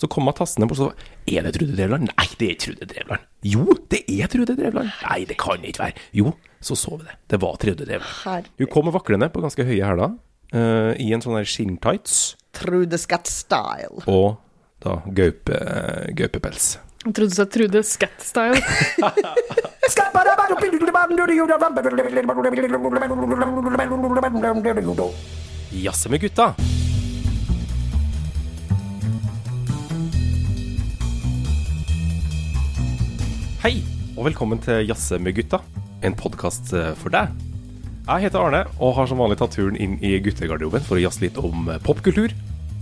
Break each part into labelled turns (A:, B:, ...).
A: Så kom jeg tassende bort, så Er det Trude Drevland? Nei, det er ikke Trude Drevland. Jo, det er Trude Drevland. Nei, det kan det ikke være. Jo, så så vi det. Det var Trude Drevland.
B: Herregud.
A: Hun kom vaklende på ganske høye hæler, eh, i en sånn der skinntights
B: Trude Skatt-style.
A: og da gaupe, gaupepels.
C: Jeg trodde du sa Trude Scat-style.
A: Jazze med gutta! Hei, og velkommen til Jazze med gutta, en podkast for deg. Jeg heter Arne og har som vanlig tatt turen inn i guttegarderoben for å jazze litt om eh, popkultur.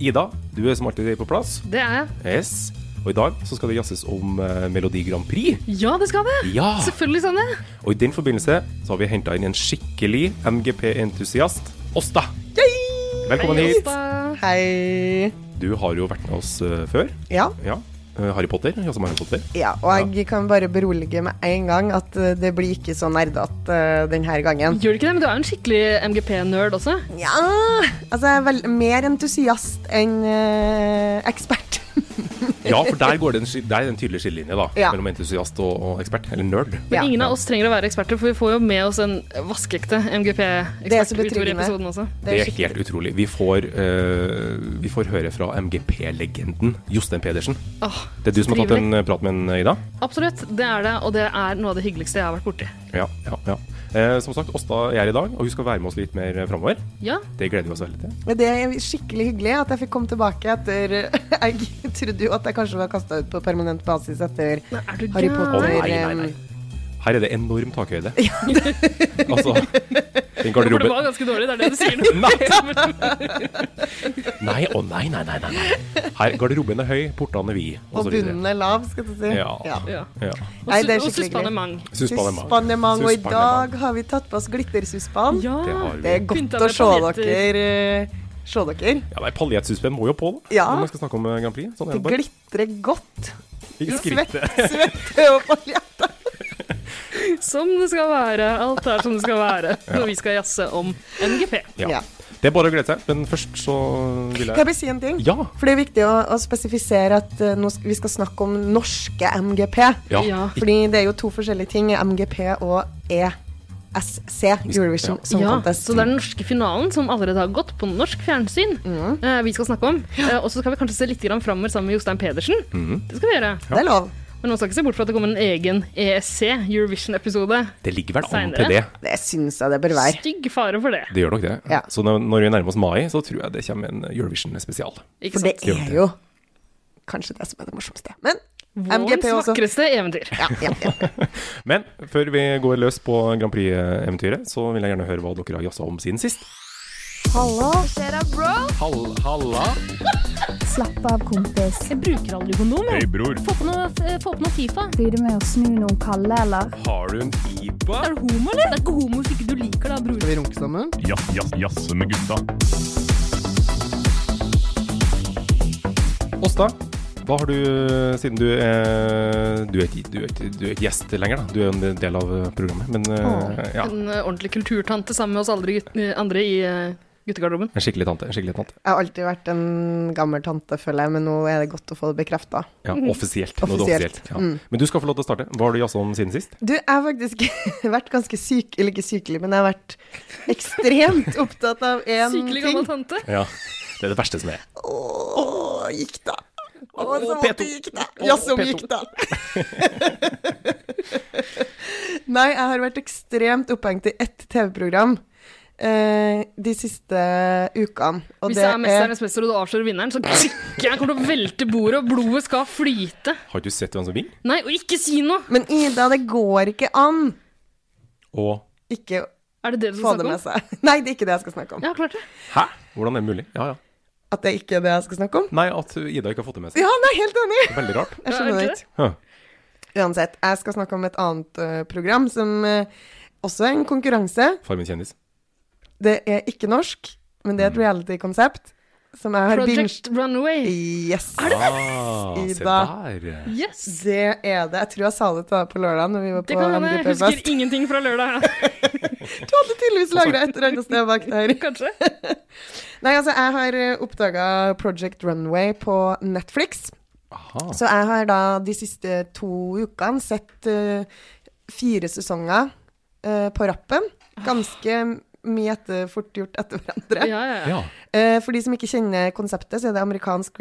A: Ida, du er som alltid på plass.
C: Det er jeg.
A: Yes. Og i dag så skal det jazzes om eh, Melodi Grand Prix.
C: Ja, det skal vi!
A: Ja!
C: Selvfølgelig skal det.
A: Og i den forbindelse så har vi henta inn en skikkelig MGP-entusiast. Åsta. Velkommen
C: Hei,
A: hit.
C: Åsta.
B: Hei.
A: Du har jo vært med oss eh, før.
B: Ja,
A: Ja. Eh, Harry Potter. Ja, som Harry Potter.
B: ja, og jeg kan bare berolige med en gang at eh, det blir ikke så nerdete denne gangen.
C: Gjør du ikke det? Men du er jo en skikkelig MGP-nerd også.
B: Ja, altså jeg er vel mer entusiast enn eh, ekspert.
A: Ja, for der går det en, sky- der er det en tydelig skillelinje da,
B: Ja.
A: mellom entusiast og, og ekspert. Eller nerd.
C: Men
B: Ja.
C: ingen av oss trenger å være eksperter, for vi får jo med oss en vaskeekte
B: Det er så
C: MGP-ekspert utover i
B: betryggende.
C: episoden også.
A: Det er
B: skikkelig-
A: helt utrolig. Vi får, eh, vi får høre fra MGP-legenden Jostein Pedersen.
C: Åh,
A: Det er du som har tatt
C: trivelig.
A: en eh, prat med en, Ida?
C: Absolutt, det er det, og det er noe av det hyggeligste jeg har vært borti.
A: Ja. ja, ja. Eh, som sagt, Åsta er her i dag, og hun skal være med oss litt mer eh, framover.
C: Ja,
A: Det gleder vi oss veldig til.
B: Men Det er skikkelig hyggelig at jeg fikk komme tilbake etter eh, Jeg trodde jo at jeg kanskje var kasta ut på permanent basis etter
C: Nei, er du
B: Harry
C: gæren?
B: Potter. eh,
A: Å, nei, nei, nei. Her er det enorm takhøyde. altså, den
C: for det
A: garderoben
C: var ganske dårlig, det er det du sier nå.
A: Nei, å nei, nei, nei. nei, nei. Her, garderoben er høy, portene er vide.
B: Og bunnen er lav, skal du si.
A: Ja.
C: ja.
A: Ja.
B: Nei, det er
C: Og
B: skikkelig
C: suspane mang.
A: Suspanemang.
B: Suspanemang. Og i
A: Suspanemang.
B: dag har vi tatt på oss glittersuspan.
C: Ja.
A: Det har
B: Det
A: vi.
B: er godt
C: Pynta
B: å
C: med
B: se
C: paljetter.
B: dere. eh, Se dere.
A: Ja, nei, Paljettsuspen må jo på, da.
B: Ja.
A: Når man skal snakke om eh, Grand Prix. Sånn er
B: Det
A: det bare.
B: glitrer godt.
A: I
B: Svett-
A: skrittet.
B: Svette og paljetter.
C: Som det skal være. Alt er som det skal være når vi skal jazze om MGP.
A: Ja.
B: Ja.
A: Det er bare å glede seg. Men først så vil
B: Kan jeg
A: jeg
B: bare si en ting?
A: Ja!
B: For det er viktig å, å spesifisere at eh, nå sk- vi skal snakke om norske MGP.
A: Ja.
C: Ja.
A: Ikke-
B: Fordi det er jo to forskjellige ting, MGP og ESC, Eurovision
A: Ja.
B: Song
C: ja,
B: Contest.
C: Så det er den norske finalen som allerede har gått på norsk fjernsyn. eh, vi skal snakke om. Eh, og så skal vi kanskje se litt grann framover sammen med Jostein Pedersen.
B: Mhm.
C: Det skal vi gjøre.
B: Det er lov.
C: Men man skal ikke se bort fra at det kommer en egen ESC, Eurovision-episode.
A: Det ligger vel an
C: Seinere.
A: til det.
B: Det syns jeg det bør være.
C: Stygg fare for det.
A: Det gjør nok det.
B: Ja.
A: Så når når vi nærmer oss mai, så tror jeg det kommer en Eurovision-spesial.
C: Ikke
B: For det
C: sant?
A: Gjør det.
B: er jo kanskje det som er det morsomste. Men
C: Vårens
B: MGP også.
C: vakreste eventyr.
B: Ja, ja, ja.
A: Men før vi går løs på Grand Prix-eventyret, så vil jeg gjerne høre hva dere har jazza om siden sist.
B: Hallo,
D: Slapp av, kompis.
E: Jeg bruker aldri kondom. jeg.
A: bror,
E: Få på noe, eh, få på noe Fifa.
D: Blir det med å snu noen kalde, eller?
A: har du en IPA?
E: Er du homo, eller? Det er ikke homo hvis ikke du liker det, da, bror.
B: skal vi runke sammen?
F: Jazz, jazz, jazz med gutta.
A: Åsta, hva har du eh, siden du er Du er ikke, du er ikke, du er ikke gjest lenger, da. Du er jo en del av programmet, men eh, ja.
C: En eh, ordentlig kulturtante sammen med oss andre, gutt, eh, andre i eh, guttegarderoben.
A: En skikkelig tante. en skikkelig tante.
B: Jeg har alltid vært en gammel tante, føler jeg, men nå er det godt å få det bekrefta.
A: Ja, Offisielt. nå er det
B: Mhm. Offisielt, Mm.
A: offisielt. Ja. Men du skal få lov til å starte. Hva har du jazza om siden sist?
B: Du, jeg har faktisk vært ganske syk, eller ikke sykelig, men jeg har vært ekstremt opptatt av én
C: Sykelig
B: ting.
C: gammel tante.
A: Ja, Det er det verste som er.
B: Åh, gikk da. Å, så
A: P2.
B: måtte gikk da. Ja,
A: Å,
B: så
A: P2.
B: gikk da. Nei, jeg har vært ekstremt opphengt i ett TV-program eh, de siste ukene. Og
C: Hvis jeg er mesternes mester og du avslører vinneren, så jeg kommer til å velte bordet, og blodet skal flyte.
A: Har du sett hvem som vinner?
C: Nei, og ikke si noe!
B: Men Ida, det går ikke an
A: Og
B: ikke
C: Er det det du
B: få
C: skal
B: det
C: snakke
B: med
C: om?
B: seg. Nei, det er ikke det jeg skal snakke om.
C: Ja, klart det.
A: Hæ? Hvordan er det mulig? Ja, ja.
B: At det ikke er det jeg skal snakke om.
A: Nei, at Ida ikke har fått det med seg.
B: Ja, nei, helt enig.
A: Veldig rart.
B: Jeg
C: Ja, er
B: skjønner
C: det
B: det
C: ikke
B: ikke.
A: Huh.
B: Uansett, jeg skal snakke om et annet eh, program som eh, også er en konkurranse.
A: Farmen kjendis.
B: Det er ikke norsk, men det er et reality-konsept som jeg har binget.
C: Project Runway.
B: Yes.
A: Ah, se
B: Ida.
A: der.
C: Yes!
B: Det er det. Jeg tror jeg sa det til deg på lørdag når vi var
C: Det
B: på
C: kan hende. Jeg
B: MGP Fest.
C: husker ingenting fra lørdag,
B: Du hadde tydeligvis lagra et eller annet sted bak der.
C: kanskje.
B: eh, Nei, altså, jeg har oppdaga Project Runway på Netflix.
A: Aha.
B: Så jeg har da de siste to ukene sett eh, fire sesonger eh, på rappen. Ganske mye etter, fort gjort etter hverandre.
C: Ja, ja, ja.
A: Ja.
B: Eh, for de som ikke kjenner konseptet, så er det amerikansk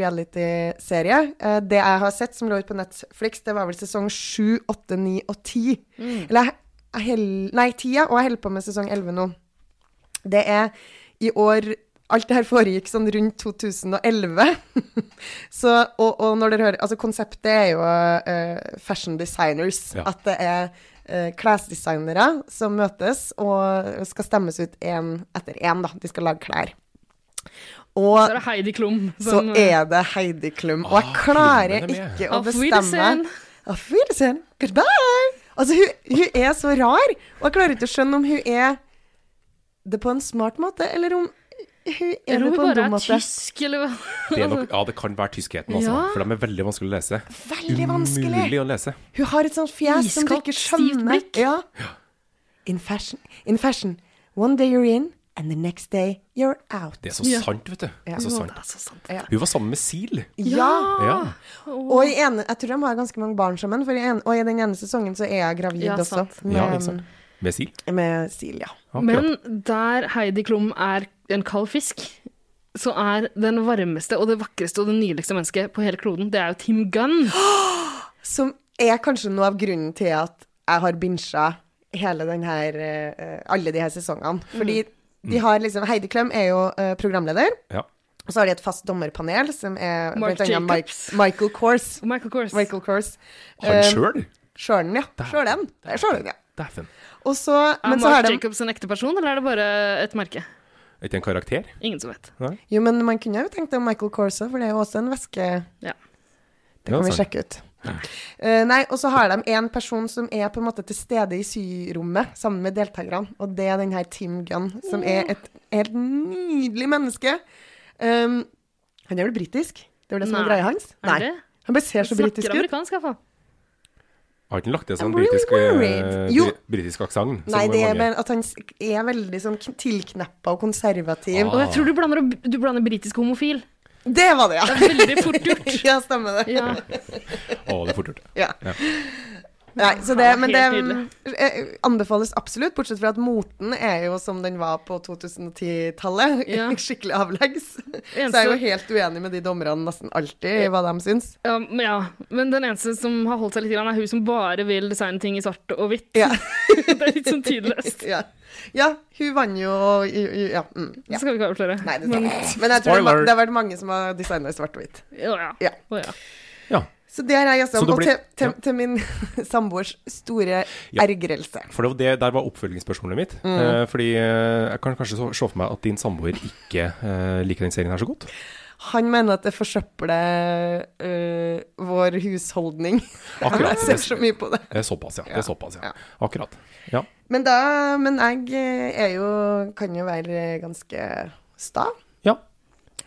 B: reality-serie. Eh, det jeg har sett som lå ute på Netflix, det var vel sesong 7, 8, 9 og 10. Eller jeg, jeg held, Nei, 10, ja. Og jeg holder på med sesong 11 nå. Det er i år Alt det her foregikk sånn rundt 2011. så, og, og når dere hører Altså, konseptet er jo eh, fashion designers.
A: Ja.
B: At det er eh, klesdesignere som møtes og skal stemmes ut én etter én, da. De skal lage klær.
C: Så
B: Og
C: er det Heidi Klum.
B: så
C: som- eh,
B: er det Heidi Klum. Og jeg
A: Ah,
B: klarer
A: Klum er med.
B: ikke å
C: Auf Wiedersehen.
B: bestemme Auf Wiedersehen. Goodbye. Altså, hun, hun er så rar, og jeg klarer ikke å skjønne om hun er det på en smart måte, eller om hun er
C: Eller
B: det
C: om
B: på en
C: hun bare
B: dum
C: er
B: måte.
C: tysk, eller hva?
A: Det, er nok, ja, det kan være tyskheten, altså.
C: Ja.
A: For de er veldig vanskelig å lese.
B: Veldig vanskelig.
A: Umulig å lese.
B: Hun har et sånt fjes som du
C: Iskaldt,
B: ikke
C: stivt
B: skjønner.
C: blikk.
B: Ja. In fashion. In fashion. One day you're in, and the next day you're out.
A: Det er så
C: Ja.
A: sant, vet du. Det er så
C: Jo,
A: sant.
C: det er så sant.
A: Hun var sammen med Sil.
B: Ja.
A: Ja.
B: Og i ene, jeg tror de har ganske mange barn sammen, for i en, og i den ene sesongen så er jeg gravid
C: Ja,
B: også.
C: sant.
A: Ja, ikke sant. Med Sil.
B: med Silja.
A: Akkurat.
C: Men der Heidi Klum er en kald fisk, så er den varmeste og det vakreste og det nydeligste mennesket på hele kloden, det er jo Tim Gunn.
B: Som er kanskje noe av grunnen til at jeg har binsja hele den her, eh, alle de her sesongene. Fordi de har liksom Heidi Klem er jo eh, programleder.
A: Ja.
B: Og så har de et fast dommerpanel som er
C: Mark
B: blant annet Mike,
C: Jacobs.
B: Michael Kors.
C: Og Michael Kors.
B: Michael Kors. Eh,
A: Han sjøl?
B: Sjølen, ja.
A: Der.
B: Sjølen. Det er Sjølen, ja.
A: Dæven.
B: Og så,
C: Er
B: men så har
C: Mark
B: de
C: Jacobs en ekte person, eller er det bare et merke?
A: Er ikke en karakter?
C: Ingen som vet.
B: Jo, men man kunne jo tenkt det om Michael Kors òg, for det er jo også en væske
C: Ja.
B: Det kan
A: Ja, altså.
B: vi
A: sant.
B: sjekke ut. Eh, nei, og så har de en person som er på en måte til stede i syrommet sammen med deltakerne, og det er den her Tim Gunn, som er et helt nydelig menneske. Um, han er vel britisk? Det er vel det som
C: Nei.
B: er greia hans?
C: Er
B: Nei.
C: det?
B: Han bare ser så britisk
C: Snakker
B: ut.
C: amerikansk, i hvert fall.
A: Har ikke han lagt det sånn
B: I'm really
A: britisk,
B: worried. Jo.
A: uh, britisk aksent?
B: Nei, det er mer at han s- er veldig sånn k- tilkneppa og
A: Ah.
B: konservativ.
C: Og jeg tror du blander, du blander britisk og homofil.
B: Det var det, ja!
C: Veldig fort gjort.
B: Ja, stemmer det.
C: Ja.
A: Å, det er fort gjort.
B: Ja.
A: Ja.
B: Nei, så det, men det
C: Helt nydelig.
B: eh, anbefales absolutt, bortsett fra at moten er jo som den var på 2010-tallet.
C: Ja.
B: Skikkelig avleggs. Så
C: Eneste-
B: jeg er jo helt uenig med de dommerne nesten alltid i hva de syns.
C: Ja, men ja, men den eneste som har holdt seg litt, grann, er hun som bare vil designe ting i svart og hvitt.
B: Ja.
C: det er litt sånn tidløst.
B: Ja. ja, hun vant jo i- i- Ja. Mm,
C: Det
B: ja.
C: skal vi ikke avsløre.
B: Nei, det men, men jeg tror det,
A: Spoiler.
B: det har vært mange som har designa i svart og hvitt.
C: Å ja.
B: Ja.
C: Å ja.
A: Ja.
B: Så det har
A: Så
B: jeg jazza om.
A: det
B: Og
A: blir-
B: til, til,
A: ja.
B: til min samboers store
A: Ja.
B: ergrelse.
A: For det, var det der var oppfølgingsspørsmålet mitt.
B: Mm.
A: Eh, fordi eh, jeg kan kanskje så- se for meg at din samboer ikke eh, liker den serien her så godt.
B: Han mener at det forsøpler øh, vår husholdning.
A: Akkurat.
B: Jeg ser så mye på det.
A: Det er Eh, såpass, ja. Det er såpass, ja.
B: Ja.
A: Akkurat. Ja.
B: Men, da, men jeg eh, er jo, kan jo være ganske sta.
A: ja.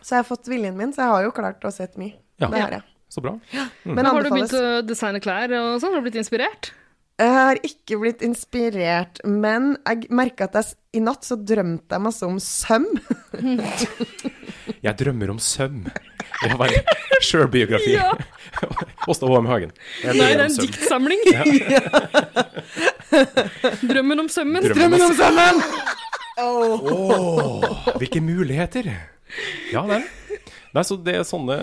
B: Så jeg har fått viljen min, så jeg har jo klart å sett mye.
A: Ja. Mm.
B: Det har jeg.
A: Så bra.
B: Men
C: Har du
B: anbefales.
C: begynt å designe klær og sånn? Har du blitt inspirert?
B: Jeg har ikke blitt inspirert, men jeg merka at jeg, s- i natt så drømte jeg masse om søm.
A: Jeg drømmer om søm. Det var en sjølbiografi.
C: Ja.
A: Åsta Håm Hagen. Jeg
C: Nei, det
A: drømmer
C: er
A: om
C: en
A: søm.
C: diktsamling. Drømmen om sømmen.
A: Drømmen om
B: sømmen!
A: Åh, hvilke muligheter! Ja, det er det. Nei, så det er sånne,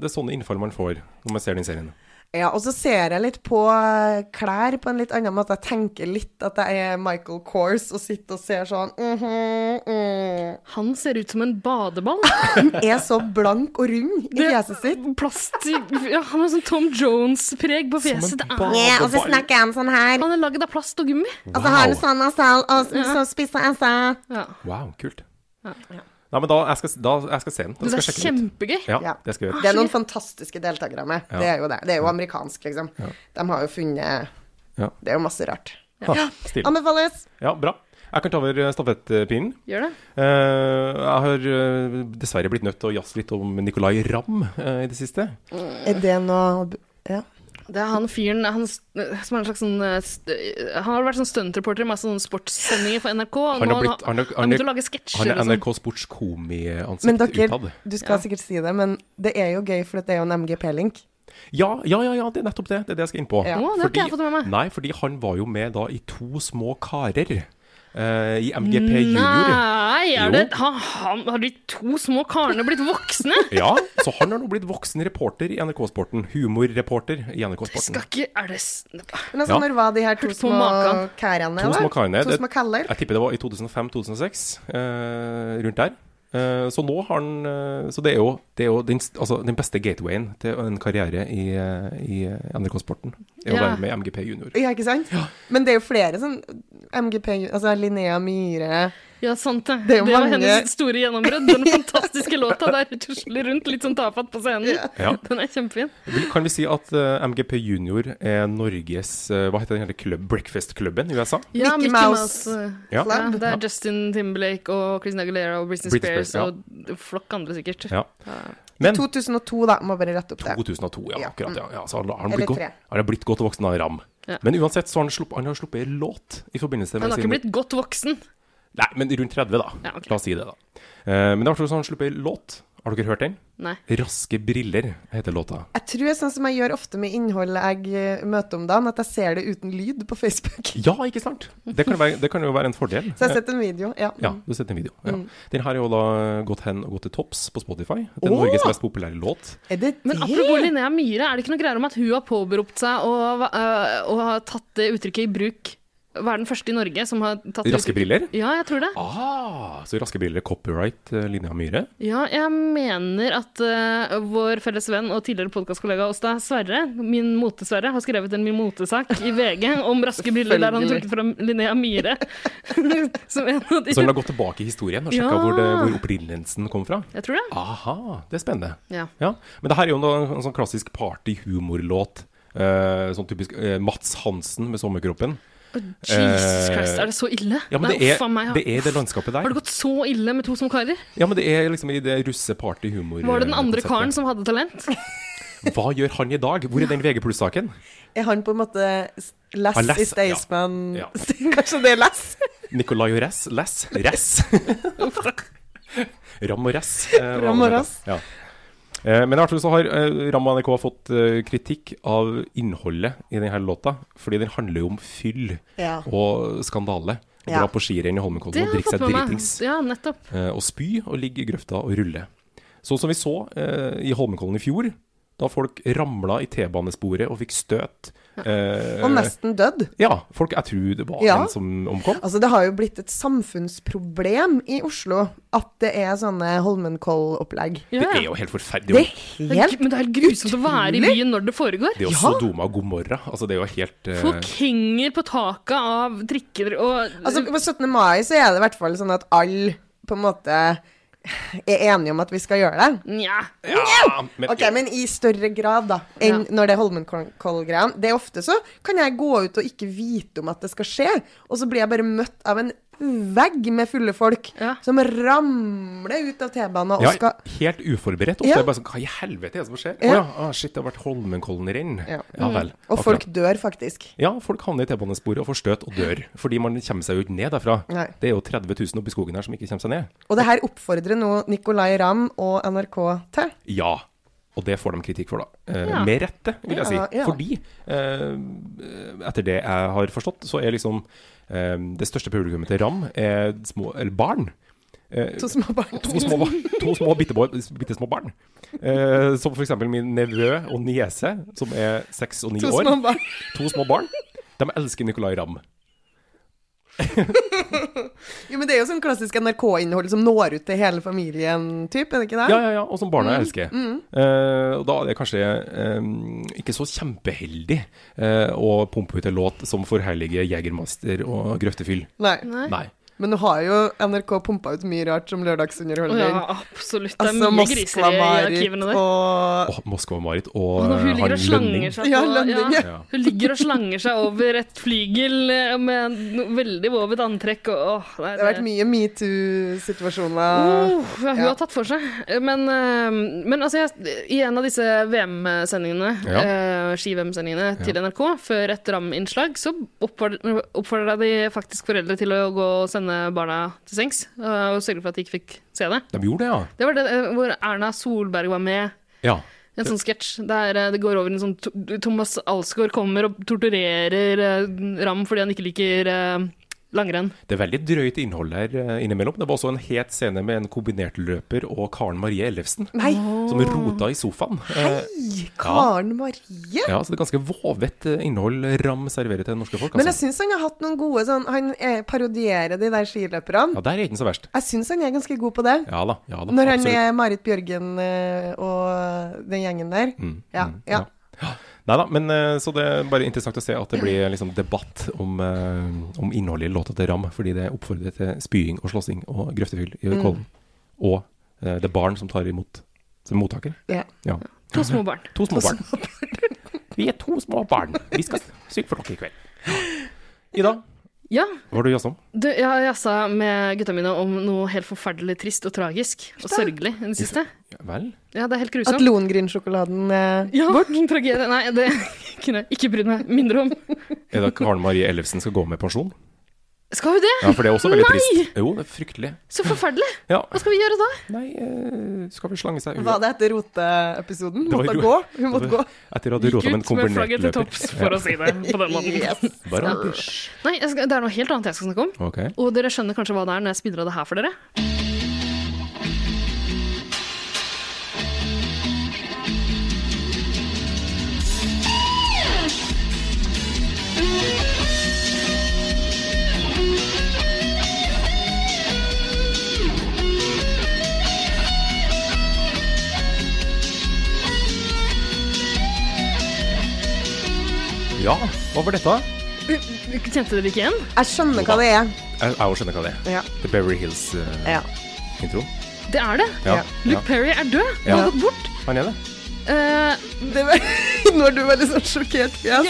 A: det er sånne innfall man får når man ser den serien.
B: Ja, og så ser jeg litt på eh, klær på en litt annen måte. Jeg tenker litt at jeg er Michael Kors og sitter og ser sånn mhm, mm.
C: Han ser ut som en badeball.
B: Er så blank og rund i fjeset sitt.
C: Plast i ja, Han har sånn Tom Jones-preg på
A: en
C: fjeset. Det er-
A: ball. Ja, og så snakker
B: jeg sånn her.
C: Han er laget av plast og gummi.
A: Altså, har en
B: sånn nasal, og så spiser jeg sånn.
C: Ja.
A: Wow, kult. Nei, men da, jeg skal, da, jeg skal se den.
C: Men
A: Jeg
C: det
A: skal
C: er
A: sjekke den ut.
C: kjempegøy.
A: Ja,
B: Ja.
A: det skal jeg gjøre.
B: Det er noen fantastiske deltakere med. Det er jo det. Det er jo amerikansk, liksom. De har jo funnet
A: Ja.
B: Det er jo masse rart.
A: Ha, Stilig.
B: Anbefales.
A: Ja, bra. Jeg kan ta over eh, stafettpinnen.
C: Gjør det.
A: Eh, jeg har eh, dessverre blitt nødt til å jazze litt om Nicolay Ramm eh, i det siste.
B: Er det noe Ja.
C: Det er han fyren han, s- som er en slags sånn eh, st Han har vært sånn stuntreporter i masse sånne sportssendinger for NRK. og
A: Han
C: nå
A: har blitt-
C: han,
A: han har-
C: han,
A: han
C: begynte
A: er-
C: å lage
A: Han
C: sketsjer
A: er
C: og sånn.
A: NRK Sports
B: Men
A: komiansikt
B: dere,
A: utad.
B: du skal
C: Ja.
B: sikkert si det, men det er jo gøy, for det er jo en MGP-link.
A: Ja, ja, ja, ja, det er nettopp det. Det er det jeg skal inn på.
B: Ja.
C: Å, det har ikke jeg fått med meg.
A: Nei, fordi han var jo med da i to små karer eh, i MGP Junior.
C: Nei,
A: Jo.
C: er det, har, han- har de to små karene blitt voksne?
A: Ja, så han har nå blitt voksen reporter i NRK-sporten. Humorreporter i NRK-sporten.
C: Skal ikke Er det s-
B: Men altså,
A: Ja.
B: når var de her to
C: Hørte på
B: små
C: maken.
B: kærene?
A: To
B: da?
A: små karene.
B: To
A: Det-
B: små kaller?
A: Jeg tipper det var i 2005-2006, eh, rundt der. Eh, så nå har han eh, Så det er jo, det er jo den, st- altså, den beste gatewayen til en karriere i, eh, i NRK-sporten. Det er å
C: Ja.
A: være med i MGP Junior.
B: Ja, ikke sant? Men det er jo flere sånn MGP Altså Linnea Myhre
C: Ja, sant det.
B: Det
C: Det
B: er jo
C: var
B: mange-
C: hennes store gjennombrudd. Den fantastiske låta der hun tusler rundt litt sånn tafatt på scenen.
A: Ja.
C: Den er kjempefin.
A: Vil- Kan vi si at eh, MGP Junior er Norges eh, Hva heter den hele klubb, breakfast-klubben i USA?
C: Ja,
B: Mickey
C: Mickey
B: Mouse.
C: Mouse. eh,
A: Ja.
C: Ja, det er Justin Timberlake og Christina Aguilera og Britney,
A: Britney
C: Spears,
A: Spears,
C: og flokk andre sikkert.
A: Ja. Men
B: 2002, da. Må bare rette opp det.
A: 2002, ja,
B: Ja.
A: akkurat. Ja, ja, så har han
B: Eller
A: blitt, godt,
B: tre.
A: har han blitt godt voksen av Ram.
C: Ja.
A: Men uansett så har han, slupp, han har sluppet en låt i forbindelse med
C: Han har
A: sin-
C: ikke blitt godt voksen.
A: Nei, men rundt 30, da.
C: Ja, ok.
A: La oss si det, da. Eh, men det er i hvert fall så han sluppet en låt. Har dere hørt den?
C: Nei.
A: 'Raske briller' heter låta.
B: Jeg tror det er sånn som jeg gjør ofte med innholdet jeg eh, møter om dagen, at jeg ser det uten lyd på Facebook.
A: Ja, ikke sant? Det kan, være, det kan jo være en fordel.
B: Så Mm. jeg har sett en video. Ja.
A: Ja, du har sett en video. Ja. Den her er jo da gått hen og gått til topps på Spotify. Det er Norges mest populære låt.
B: Er det
C: Men apropos Linnea Myhre, er det ikke noe greier om at hun har påberopt seg og, øh, og har tatt det uttrykket i bruk? Hva er den første i Norge som har tatt det
A: Raske
C: uttrykket?
A: briller.
C: Ja, jeg tror det.
A: Ah, så 'Raske briller' copyright eh, Linnea Myhre.
C: Ja, jeg mener at øh, vår felles venn og tidligere podkastkollega oss da, Sverre, min mote-Sverre, har skrevet en min motesak i VG om raske briller der han
B: Selvfølgelig.
C: trukket fram Linnea Myhre. som en av de
A: Så hun har gått tilbake i historien og sjekka
C: Ja.
A: hvor, det- hvor opprinnelsen kom fra.
C: Jeg tror det.
A: Aha, det er spennende.
C: Ja.
A: Ja, Men det her er jo en, en sånn klassisk partyhumorlåt. Eh, sånn typisk eh, Mats Hansen med sommerkroppen.
C: Jesus
A: Eh,
C: Christ, er det så ille?
A: Ja, men
C: Nei,
A: det er,
C: uff a meg, har-
A: det er det landskapet
C: Har
A: der.
C: det gått så ille med to små karer?
A: Ja, men det er liksom i det russe partyhumor
C: Var det den andre karen som hadde talent?
A: Hva gjør han i dag? Hvor er den VG saken
B: Er han på en måte s- Lass,
A: Ah, Lass,
B: i Staysman
A: ja.
B: Kanskje det er Lass?
A: Nicolay og Ress? Less? Ress? Ram og Ress. eh,
B: Ram og Ress.
A: Ja. Eh, Men i hvert fall så har eh, Ram og NRK fått eh, kritikk av innholdet i denne låta, fordi den handler jo om fyll
B: Ja.
A: og skandale. Å
B: Ja.
A: Dra på skirenn i
C: Det
A: Holmenkollen og
C: har jeg
A: drikke
C: fått
A: seg
C: med meg.
A: dritings.
C: Ja, nettopp.
A: eh, og spy og ligge i grøfta og rulle. Sånn som vi så eh, i Holmenkollen i fjor, da folk ramla i T-banesporet og fikk støt. Eh,
B: Og nesten dødd.
A: Ja, folk, jeg tror det var
B: Ja.
A: en som omkom.
B: Altså, det har jo blitt et samfunnsproblem i Oslo at det er sånne Holmenkoll-opplegg.
C: Ja,
A: Det
C: ja.
A: er jo helt forferdelig.
B: Det
A: Det,
B: er
C: Det er gru-
B: helt
C: Men det er helt grusomt å være i
B: utrolig.
C: byen når det foregår.
A: er jo Sodoma og Gomorra. Altså, det er jo helt eh,
C: Folk henger på taket av trikker og
B: Altså, på 17. mai så er det i hvert fall sånn at alle på en måte er enige om at vi skal gjøre det.
C: Nja.
A: ja, men,
B: Ok, men i større grad da, enn
C: Ja.
B: når det er Holmenkoll-greia. Det er ofte så kan jeg gå ut og ikke vite om at det skal skje, og så blir jeg bare møtt av en vegg med fulle folk
C: Ja.
B: som ramler ut av T-banen og
A: ja,
B: skal
A: helt uforberedt. Ofte
B: Ja.
A: er det bare sånn Hva i helvete er det som skjer? Å
B: Ja.
A: ja, ah, shit, det har vært Holmenkollen-renn.
B: Ja. Mm.
A: Ja. vel.
B: Og
A: akkurat.
B: folk dør faktisk.
A: Ja, folk havner i T-banesporet og får støt og dør. Fordi man kommer seg jo ikke ned derfra.
B: Nei.
A: Det er jo 30 000 oppi skogen her som ikke kommer seg ned.
B: Og det her oppfordrer nå Nicolay Ramm og NRK til.
A: Ja. Og det får de kritikk for, da. Eh,
C: Ja.
A: Med rette, vil jeg si.
B: Ja, ja.
A: Fordi, eh, etter det jeg har forstått, så er liksom eh, det største publikummet til Ram er små, eller barn. Eh,
B: To små barn.
A: to små, ba- to små bitte, bitte små barn. Eh, som f.eks. min nevø og niese, som er seks og ni
B: To
A: år.
B: små barn.
A: To små barn. De elsker Nicolay Ramm.
B: Jo, men det er jo sånn klassisk NRK-innhold som når ut til hele familien, typ, er det ikke det?
A: Ja, ja, ja, og som barna elsker. Eh, og da er det kanskje eh, ikke så kjempeheldig eh, å pumpe ut en låt som forherliger Jegermaster og Grøftefyll.
B: Nei.
C: Nei.
A: Nei.
B: Men nå har jo NRK pumpa ut mye rart som
C: Å
B: lørdagsunderholdning.
C: ja, absolutt. Det er
B: Altså
C: mye griser i arkivene
B: Moskva-Marit og
C: der.
A: Åh, Moskva-Marit og
C: Og når hun
A: eh,
C: ligger og slanger seg på
B: Ja, Lønning, ja.
A: Ja.
C: Hun ligger og slanger seg over et flygel eh, med noe veldig vovet antrekk og åh, nei,
B: Det har vært mye metoo-situasjoner.
C: Oh, ja, hun
B: Eh, Ja.
C: har tatt for seg. Men, eh, men altså, jeg, i en av disse VM-sendingene,
A: Ja.
C: eh, ski-VM-sendingene til NRK, før et ram-innslag, så oppfordra de faktisk foreldre til å gå og sende barna til sengs. eh, Og sørge for at de ikke fikk se det.
A: De gjorde det,
C: Det var det eh, hvor Erna Solberg var med.
A: ja. ja.
C: En sånn sketsj der eh, det går over i en sånn to- Thomas Alsgaard kommer og torturerer eh, Ram fordi han ikke liker eh, langrenn.
A: Det er veldig drøyt innhold her eh, innimellom. Det var også en het scene med en kombinertløper og Karen Marie Ellefsen
B: Nei,
A: som rota i sofaen. Eh,
B: Karen Marie!
A: Ja, så det er ganske vovet eh, innhold Ram serverer til det norske folk.
B: Men jeg
A: Altså.
B: syns han har hatt noen gode sånn Han eh, parodierer de der skiløperne.
A: Ja, der er ikke den så verst.
B: Jeg syns han er ganske god på det.
A: Ja da, ja da.
B: Når han
A: absolutt.
B: er Marit Bjørgen eh, og den gjengen der.
A: Mm.
B: Ja, ja.
A: Nei da, men eh, så det er bare interessant å se at det blir liksom debatt om, eh, om innholdet i låta til Ram, fordi det oppfordrer til spying og slåssing og grøftefyll i
B: Mm.
A: Kollen. Og eh, det er barn som tar imot som mottaker.
B: ja.
A: Ja.
C: To små barn.
A: To små barn. Vi er to små barn. Vi skal synge for dere i kveld. Ida,
C: Ja,
A: hva har du jazza om?
C: du, jeg har jassa med gutta mine om noe helt forferdelig trist og tragisk og sørgelig i det siste.
A: Ja, vel?
C: Ja, det er helt
B: At
C: grusomt.
B: Lohengrin-sjokoladen eh,
C: Ja, bort. Tragedie. Nei, det kunne jeg ikke brydd meg mindre om.
A: Er det at Karen Marie Ellefsen skal gå med pensjon?
C: Skal vi det?
A: Ja, for det er også veldig
C: Nei!
A: trist. Jo, det er fryktelig.
C: Så forferdelig.
A: Ja.
C: Hva skal vi gjøre da?
A: Nei, eh, skal vi slange seg
B: Var det etter roteepisoden?
A: Det var
B: Måtte
A: ro-
B: hun gå? Hun måtte gå.
A: Etter at du rota med en
C: Ut med flagget
A: kombinert
C: til
A: løper.
C: topps, for å si det sånn. på den måten.
B: Yes.
A: Bare
C: Ja. Nei, jeg skal, det er noe helt annet jeg skal snakke om.
A: Ok.
C: Og dere skjønner kanskje hva det er når jeg spiller av det her for dere?
A: Ja, hva var dette?
C: Kjente dere ikke igjen?
B: Jeg skjønner hva det er.
A: Jeg jeg også skjønner hva det er.
B: Ja.
A: The Beverly Hills-intro.
B: ja.
C: Det er det.
A: ja.
B: Ja.
C: Luke Perry er død. Han
A: Ja.
C: har gått bort.
A: Han er det.
C: Eh,
B: Det var, når du var litt sånn sjokkert fjes.
C: ja,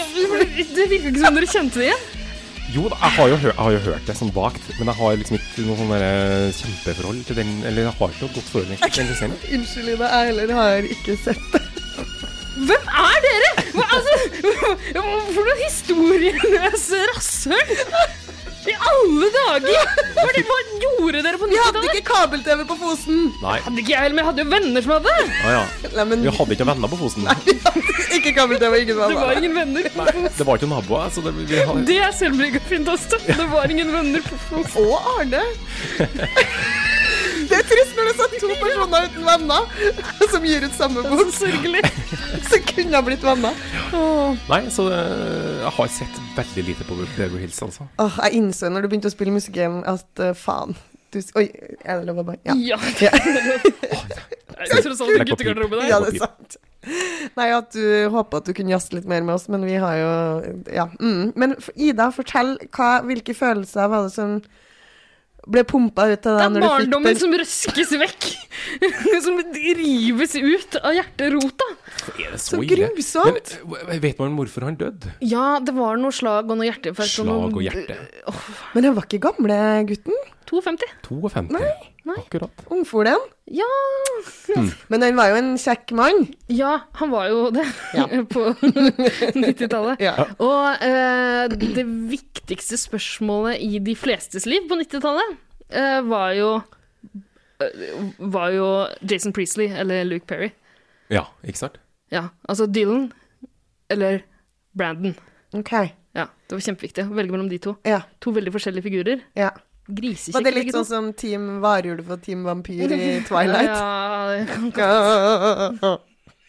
C: det virker ikke som dere kjente det igjen.
A: Jo da, jeg har jo, hør, jeg har jo hørt det sånn vagt, men jeg har liksom ikke noe sånn derre kjempeforhold til den Eller jeg har ikke noe godt forhold egentlig til den serien.
B: Unnskyld, Ida. Jeg heller har ikke sett det.
C: Hvem er dere?! Hva, altså, hva for noen historieløse rasshøl! I alle dager! Hva, er det, hva gjorde dere på
B: Vi hadde
C: 90-tallet?
B: ikke kabel-TV på Fosen!
A: Nei.
C: Hadde ikke jeg heller, men jeg hadde jo venner som hadde det!
A: Å ja.
B: Nei, men
A: Vi hadde ikke noen venner på Fosen.
B: ikke kabel-TV, ikke
C: Det
B: sånn.
C: var ingen venner. på Fosen.
A: Det var ikke noen naboer, så det, vi hadde
C: Det er selvbiografien til oss, da. Det var ingen venner på Fosen.
B: Og Arne. Det er trist når det er sånn to personer uten venner som gir ut samme
C: Det
B: bok,
C: er så sørgelig.
B: som kunne ha blitt venner.
A: Nei, så det, jeg har sett veldig lite på Beverly Hills, altså.
B: Åh, jeg innså når du begynte å spille musikk igjen, at eh, faen du, s- Oi, er det lov å bare Ja.
C: Ja.
B: Ja.
C: Jeg tror sånn guttegarderobe der.
B: ja, det er sant. Nei, at du håpa at du kunne jazze litt mer med oss, men vi har jo Ja. Mm. Men f- Ida, fortell hva, hvilke følelser var det som ble pumpa ut av deg
C: Det er
B: når du fikk
C: barndommen
B: den?
C: som røskes vekk. Som rives ut av hjerterota.
A: Er det
B: Så
A: ille?
B: grusomt.
A: Eh, Men, eh, vet man hvorfor han døde?
C: Ja, det var noe slag og noe hjerteinfarkt.
A: Slag og
C: noe-
A: hjerte.
B: Men han var ikke gamle gutten?
C: 52.
A: 52. Akkurat.
B: Ungfolen?
C: Ja.
B: Men han var jo en kjekk mann.
C: ja, han var jo det
B: Ja.
C: på 90-tallet.
B: Ja.
C: Og eh, det viktigste spørsmålet i de flestes liv på 90-tallet eh, var jo eh, var jo Jason Priestley eller Luke Perry.
A: Ja, ikke sant?
C: Ja, altså Dylan eller Brandon.
B: OK.
C: Ja, det var kjempeviktig å velge mellom de to.
B: Ja.
C: To veldig forskjellige figurer.
B: ja.
C: Grisekjekke
B: Var det litt
C: begge
B: sånn
C: to.
B: som Team varulv og Team vampyr i Twilight?
C: Ja, jeg kan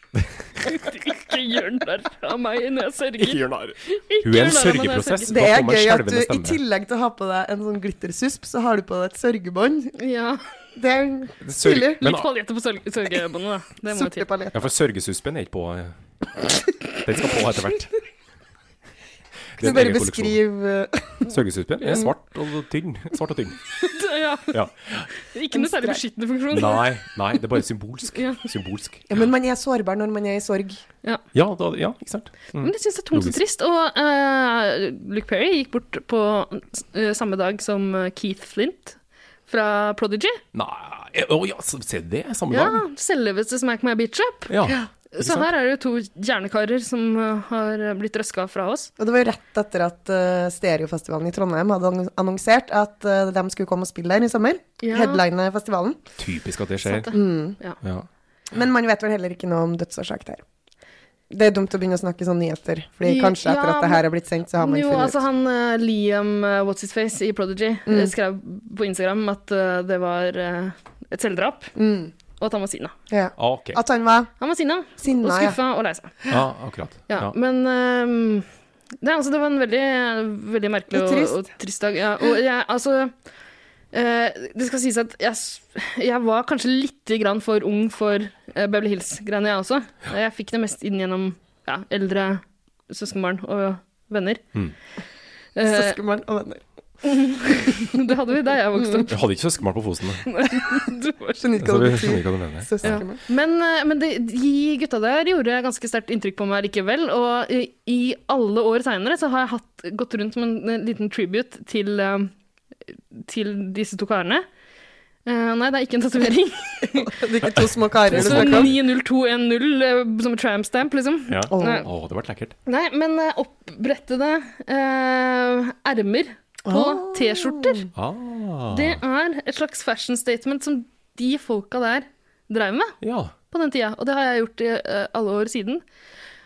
C: ikke gjøre narr av meg når jeg sørger.
A: gjør narr.
C: Ikke
A: Hun er en
C: gjør narr av meg når jeg
A: sørgeprosess.
B: Det
A: Da
B: er
A: kommer
B: gøy at du
A: skjelvende
B: i
A: stemme.
B: tillegg til å ha på deg en sånn glittersusp, så har du på deg et sørgebånd.
C: sørger. Ja,
B: Det er
A: Sørg,
B: Tydelig.
A: men, ah,
C: litt paljette på sørge- sørgeøynene, da. Det må jo til.
B: sortepaljett.
A: ja, for sørgesuspen er ikke på eh. Den skal på etter hvert.
B: Kan du bare beskrive Mm.
A: Sørgesuspen er svart og tynn. Svart og tynn.
C: Ja,
A: Ja.
C: ikke noe særlig beskyttende funksjon.
A: Nei, nei, det er bare symbolsk.
C: Ja.
A: Symbolsk.
B: Ja, men man er sårbar når man er i sorg.
A: Ja, da, ja ikke sant?
C: Men jeg syns det er tungt og
A: Logisk.
C: trist. Og eh, Luke Perry gikk bort på eh, samme dag som Keith Flint fra Prodigy.
A: Nei eh, Å ja, så- se det, samme
C: Ja,
A: dag.
C: selveste Smack My Bitch Up.
A: Ja. Ikke
C: Så
A: sant?
C: her er det jo to hjernekarer som eh, har blitt røska fra oss.
B: Og det var jo rett etter at eh, Stereofestivalen i Trondheim hadde annon- annonsert at eh, de skulle komme og spille der i sommer.
C: Ja.
B: Headline festivalen. Mm,
A: Typisk at det skjer.
C: Sant det. Ja.
A: Ja.
B: Men man vet vel heller ikke noe om dødsårsak der. Det er dumt å begynne å snakke sånn nyheter, Fordi
C: Ja,
B: kanskje etter at det her er blitt sendt, så har man
C: jo,
B: funnet
C: altså
B: ut.
C: han eh, Liam eh, What's His Face i Prodigy eh,
B: Mm.
C: skrev på Instagram at eh, det var eh, et selvdrap,
B: Mm,
C: og at han var sinna.
B: ja.
A: Ah, ok.
B: At han var
C: Han var sinna, og
B: sinna, ja.
C: skuffa og lei seg.
A: Ja, akkurat.
C: Ja,
A: Ja.
C: Men ehm, det, altså, det var en veldig, veldig merkelig
B: Litt
C: og,
B: trist.
C: og trist dag. Ja, og jeg, altså eh, Det skal sies at jeg, s- jeg var kanskje litt grann for ung for eh, Beverly Hills-greiene, jeg også. Jeg fikk det mest inn gjennom ja, eldre søskenbarn og venner.
A: Mm.
C: Eh,
B: Søskenbarn og venner.
C: det hadde vi da jeg vokste
B: Mm.
C: opp.
A: Jeg hadde ikke søskenbarn på Fosen. da.
C: Det var så-
B: Skjønner
A: Så jeg Altså,
B: ikke hva det
A: skjønner
B: betyr.
A: ikke hva du mener.
B: Søskenbarn.
C: Men, eh, men de, de gutta der gjorde ganske sterkt inntrykk på meg likevel. Og i, i alle år seinere så har jeg hatt, gått rundt med en, eh, liten tribute til, eh, til disse to karene. Eh, nei, det er ikke en tatovering.
B: Det er ikke to små karer du
C: Så
B: snakker om.
C: 90210 eh, som tramp stamp, liksom.
A: Ja. Å,
B: Åh.
C: Nei.
A: det ble lekkert.
C: Nei, men eh, oppbrettede eh, ermer på
B: Ah.
C: T-skjorter.
A: Ah.
C: Det er et slags fashion statement som de folka der dreiv med.
A: Ja.
C: på den tida, og det har jeg gjort i eh, alle år siden.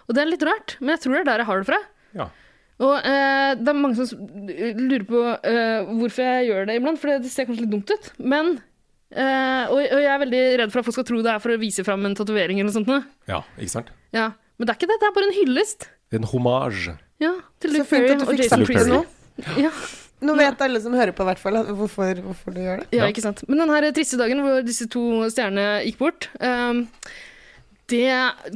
C: Og det er litt rart, men jeg tror det er der jeg har det fra.
A: ja.
C: Og eh, det er mange som s- lurer på eh, hvorfor jeg gjør det iblant, for det ser kanskje litt dumt ut. Men eh, og, og jeg er veldig redd for at folk skal tro det er for å vise fram en tatovering eller noe sånt. noe.
A: Ja, ikke sant?
C: Ja. Men det er ikke det, det er bare en hyllest.
A: Det er en hommage.
C: Ja, til
B: Så
C: Luke
B: fint
C: Ferry
B: at du
C: og
B: fikk
C: Jason
B: sagt det
C: Priestley.
B: nå.
C: Ja,
B: Nå vet alle som hører på, i hvert fall at- hvorfor, hvorfor du gjør det.
C: ja,
A: Ja.
C: ikke sant. Men den her triste dagen hvor disse to stjernene gikk bort, ehm, det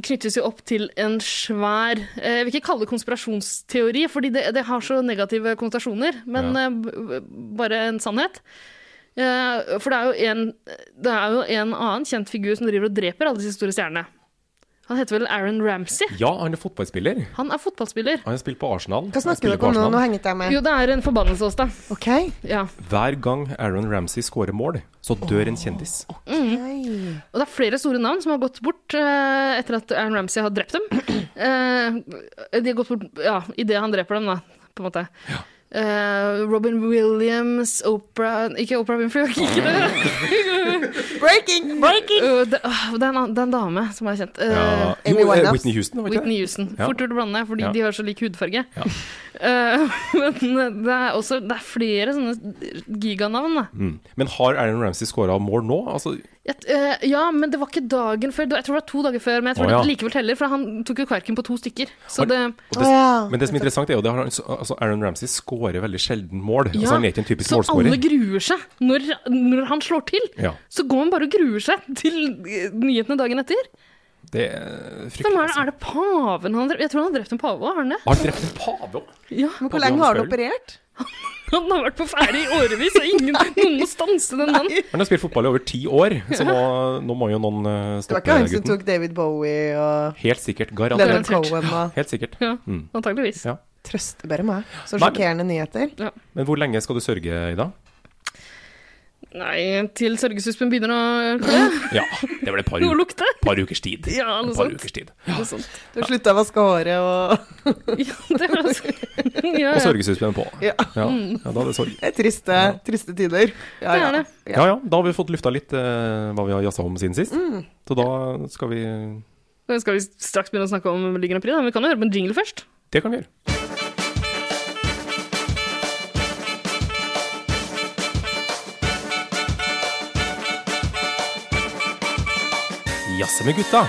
C: knyttes jo opp til en svær eh, Jeg vil ikke kalle det konspirasjonsteori, fordi det, det har så negative konnotasjoner, men eh, b- b- bare en sannhet. Eh, for det er, jo en, det er jo en annen kjent figur som driver og dreper alle disse store stjernene. Han heter vel Aaron Ramsey.
A: Ja, han er fotballspiller.
C: Han er fotballspiller.
A: Han har spilt på Arsenal.
B: Hva
A: Han
B: snakker
A: spiller
B: dere
A: på
B: om nå? Nå
A: Arsenal.
B: henget jeg med.
C: Jo, det er en forbannelse hos deg.
B: OK.
C: Ja.
A: Hver gang Aaron Ramsey scorer mål, så dør en kjendis.
C: Mm.
B: Hei.
C: Og det er flere store navn som har gått bort eh, etter at Aaron Ramsey har drept dem. Eh, de har gått bort ja, idet han dreper dem, da, på en måte. Eh, Robin Williams, Oprah Ikke Oprah Winfrey, ikke det.
B: Breaking!
C: Eh, det, åh, det, er en, annen- det er en dame som er kjent. Eh,
A: Ja.
B: Amy
A: Jo, eh,
B: Winehouse.
A: Whitney Houston, var ikke det?
C: Whitney Houston.
A: Ja.
C: Fort gjort å blande, fordi
A: Ja.
C: de har så lik hudfarge.
A: Ja.
C: Eh, men det er også det er flere sånne giganavn, da.
A: Mm. Men har Aaron Ramsey scora mål nå? Altså,
C: Jeg, eh, ja, men det var ikke dagen før. Jeg tror det var to dager før, men jeg tror
A: Å, ja.
C: det likevel teller, for han tok jo kverken på to stykker. Så
A: Har-
C: det,
A: og
B: Å
A: det,
B: ja.
A: men det som er interessant, er jo at altså, Aaron Ramsey scorer veldig sjelden mål.
C: Ja,
A: altså, han er ikke en typisk
C: så alle
A: målscorer.
C: gruer seg når, når han slår til.
A: Ja,
C: Så går man bare og gruer seg til eh, nyhetene dagen etter.
A: det er
C: Hvem
A: fryktelig.
C: er, det,
A: altså.
C: er det paven han drept? Jeg tror han har drept en pave òg, har han det?
A: Har han drept en pave òg?
C: Ja,
B: Men hvor lenge har han operert?
C: Han har vært på ferde i årevis, og ingen, noen må stanse den mannen.
A: Han har spilt fotball i over ti år, så nå, nå må jo noen eh,
B: Det var
A: stoppe
B: ikke han som
A: gutten.
B: tok David Bowie og
A: Helt sikkert. Garantert.
B: Leonard
C: Garantert.
B: Cohen og
A: Helt sikkert.
C: Ja,
A: Mm.
C: antageligvis.
A: Ja.
B: Trøste bare meg. Så
A: Nei, men-
B: sjokkerende nyheter.
A: Men hvor lenge skal du sørge, Ida?
C: Nei, til sørgesuspen begynner å klø
A: Ja, det blir et par,
C: og
A: u-
C: lukte.
A: par ukers tid.
C: Ja,
A: Et
C: noe
A: par
C: sånt.
A: ukers tid.
C: Noe sånt.
B: Du slutta å vaske håret og
C: Ja, det var altså ja,
A: Og
C: ja.
A: sørgesuspenn på.
B: Ja.
A: Ja. ja, da er det sorg.
B: Det er triste, triste tider. Ja,
C: Det er
B: ja.
C: det.
A: Ja ja, da har vi fått lufta litt eh, hva vi har jazza om siden sist. Så da skal vi
C: Da skal vi straks begynne å snakke om Melodi Grand Prix, da. men vi kan jo høre på en jingle først.
A: Det kan vi gjøre. Jazze med gutta.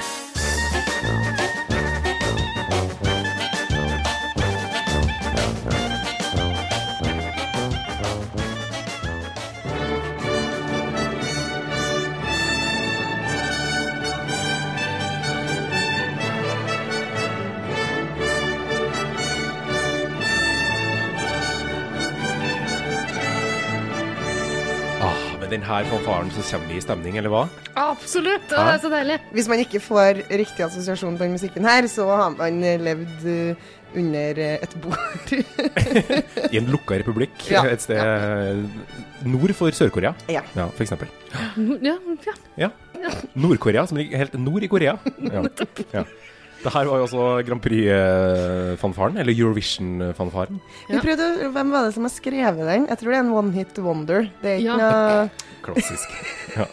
A: Ah, med denne fanfaren så kommer vi i stemning, eller hva?
C: Absolutt!
A: Ja,
C: det
A: det
C: er så deilig.
B: Hvis man ikke får riktig assosiasjon på den musikken her, så har man levd eh, under eh, et bord.
A: I en lukka republikk
B: Ja.
A: et sted eh, nord for Sør-Korea.
B: Ja.
A: ja, for eksempel.
C: Mm, Ja, ja.
A: Ja. Nord-Korea, som ligger helt nord i Korea. Ja. Ja. Det her var jo også Grand Prix-fanfaren, eller Eurovision-fanfaren.
B: Vi
C: Ja.
B: prøvde, Hvem var det som har skrevet den? Jeg tror det er en one hit wonder. Det er ikke
C: Ja.
B: noe
A: Klassisk.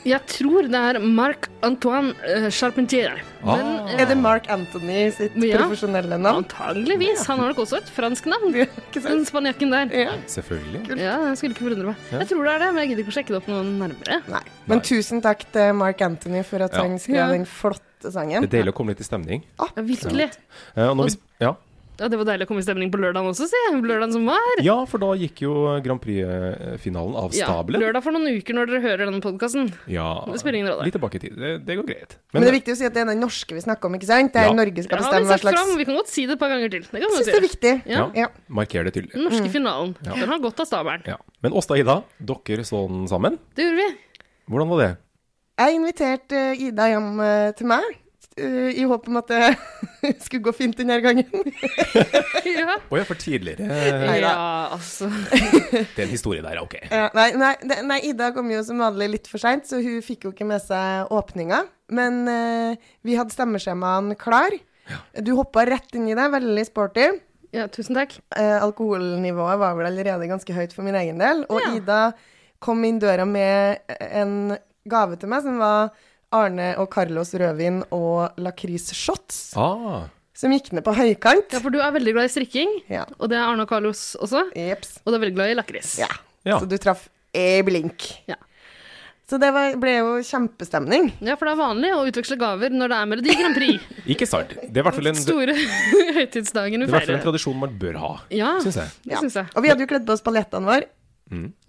C: Jeg tror det er Marc-Antoine eh, Charpentier.
A: Ah.
C: Men eh,
B: Er det Mark Anthony sitt
C: Ja.
B: profesjonelle navn?
C: antageligvis. Han har nok også et fransk navn.
B: Ja, ikke sant?
C: Den spanjakken der.
B: Ja.
A: Ah, Selvfølgelig.
C: Ja, jeg skulle ikke forundre meg.
A: Ja.
C: Jeg tror det er det, men jeg gidder ikke å sjekke det opp noe nærmere.
B: Nei. Men
A: Nei.
B: tusen takk til Mark Anthony for at
A: Ja.
B: han skrev
C: Ja.
B: den flotte sangen.
A: Det er deilig å komme litt i stemning.
C: Ja, virkelig.
A: Eh, og når vi, ja.
C: Ja, det var deilig å komme i stemning på lørdagen også, si. Lørdagen som var.
A: ja, for da gikk jo Grand Prix-finalen av
C: Ja,
A: stabelen.
C: lørdag for noen uker når dere hører denne podkasten.
A: Ja,
C: Det spiller ingen rolle.
A: Litt tilbake i tid. Det, det går greit.
B: Men det er viktig å si at det er den norske vi snakker om, ikke sant? Det
A: Ja.
B: er Norge
C: Ja,
B: skal
C: vi,
B: bestemme hva
C: sagt
B: slags
C: fram. vi kan godt si det et par ganger til. Det kan
B: Jeg
C: vi
B: syns det er
C: godt gjøre.
B: viktig.
C: Ja. Mm.
B: Ja. Mm.
A: marker det tydelig.
C: Den norske finalen.
A: Ja.
C: Den har gått av stabelen.
A: Ja. Men Åsta og Ida, dere så den sammen.
C: Det gjorde vi.
A: Hvordan var det?
B: Jeg inviterte eh, Ida hjem eh, til meg eh, i håp om at det skulle gå fint denne gangen.
C: Ja,
A: Å ja, for tidligere eh,
B: Neida.
C: ja altså.
A: Den historien der, ok.
B: Ja, nei, nei, det- nei, Ida kom jo som vanlig litt for seint, så hun fikk jo ikke med seg åpninga. Men eh, vi hadde stemmeskjemaene klar. Du hoppa rett inn i det, veldig sporty.
C: Ja, tusen takk.
B: Eh, alkoholnivået var vel allerede ganske høyt for min egen del. Og
C: Ja.
B: Ida kom inn døra med en gave til meg som var Arne og Carlos rødvin og lakris-shots,
A: Ah,
B: som gikk ned på høykant.
C: Ja, for du er veldig glad i strikking,
B: Ja.
C: og det er Arne og Carlos også.
B: Jeps.
C: Og du er veldig glad i lakris.
B: Ja.
A: ja.
B: Så du traff i blink.
C: Ja.
B: Så det var, ble jo kjempestemning.
C: Ja, for det er vanlig å utveksle gaver når det er Melodi Grand Prix.
A: Ikke sant. Det er i hvert fall
C: Den
A: en, det
C: store høytidsdagen vi
A: er i hvert fall en
C: feirer.
A: tradisjon man bør ha,
C: Ja,
A: syns jeg.
C: det
B: Ja.
C: syns jeg.
B: Og vi hadde jo kledd på oss paljettene våre.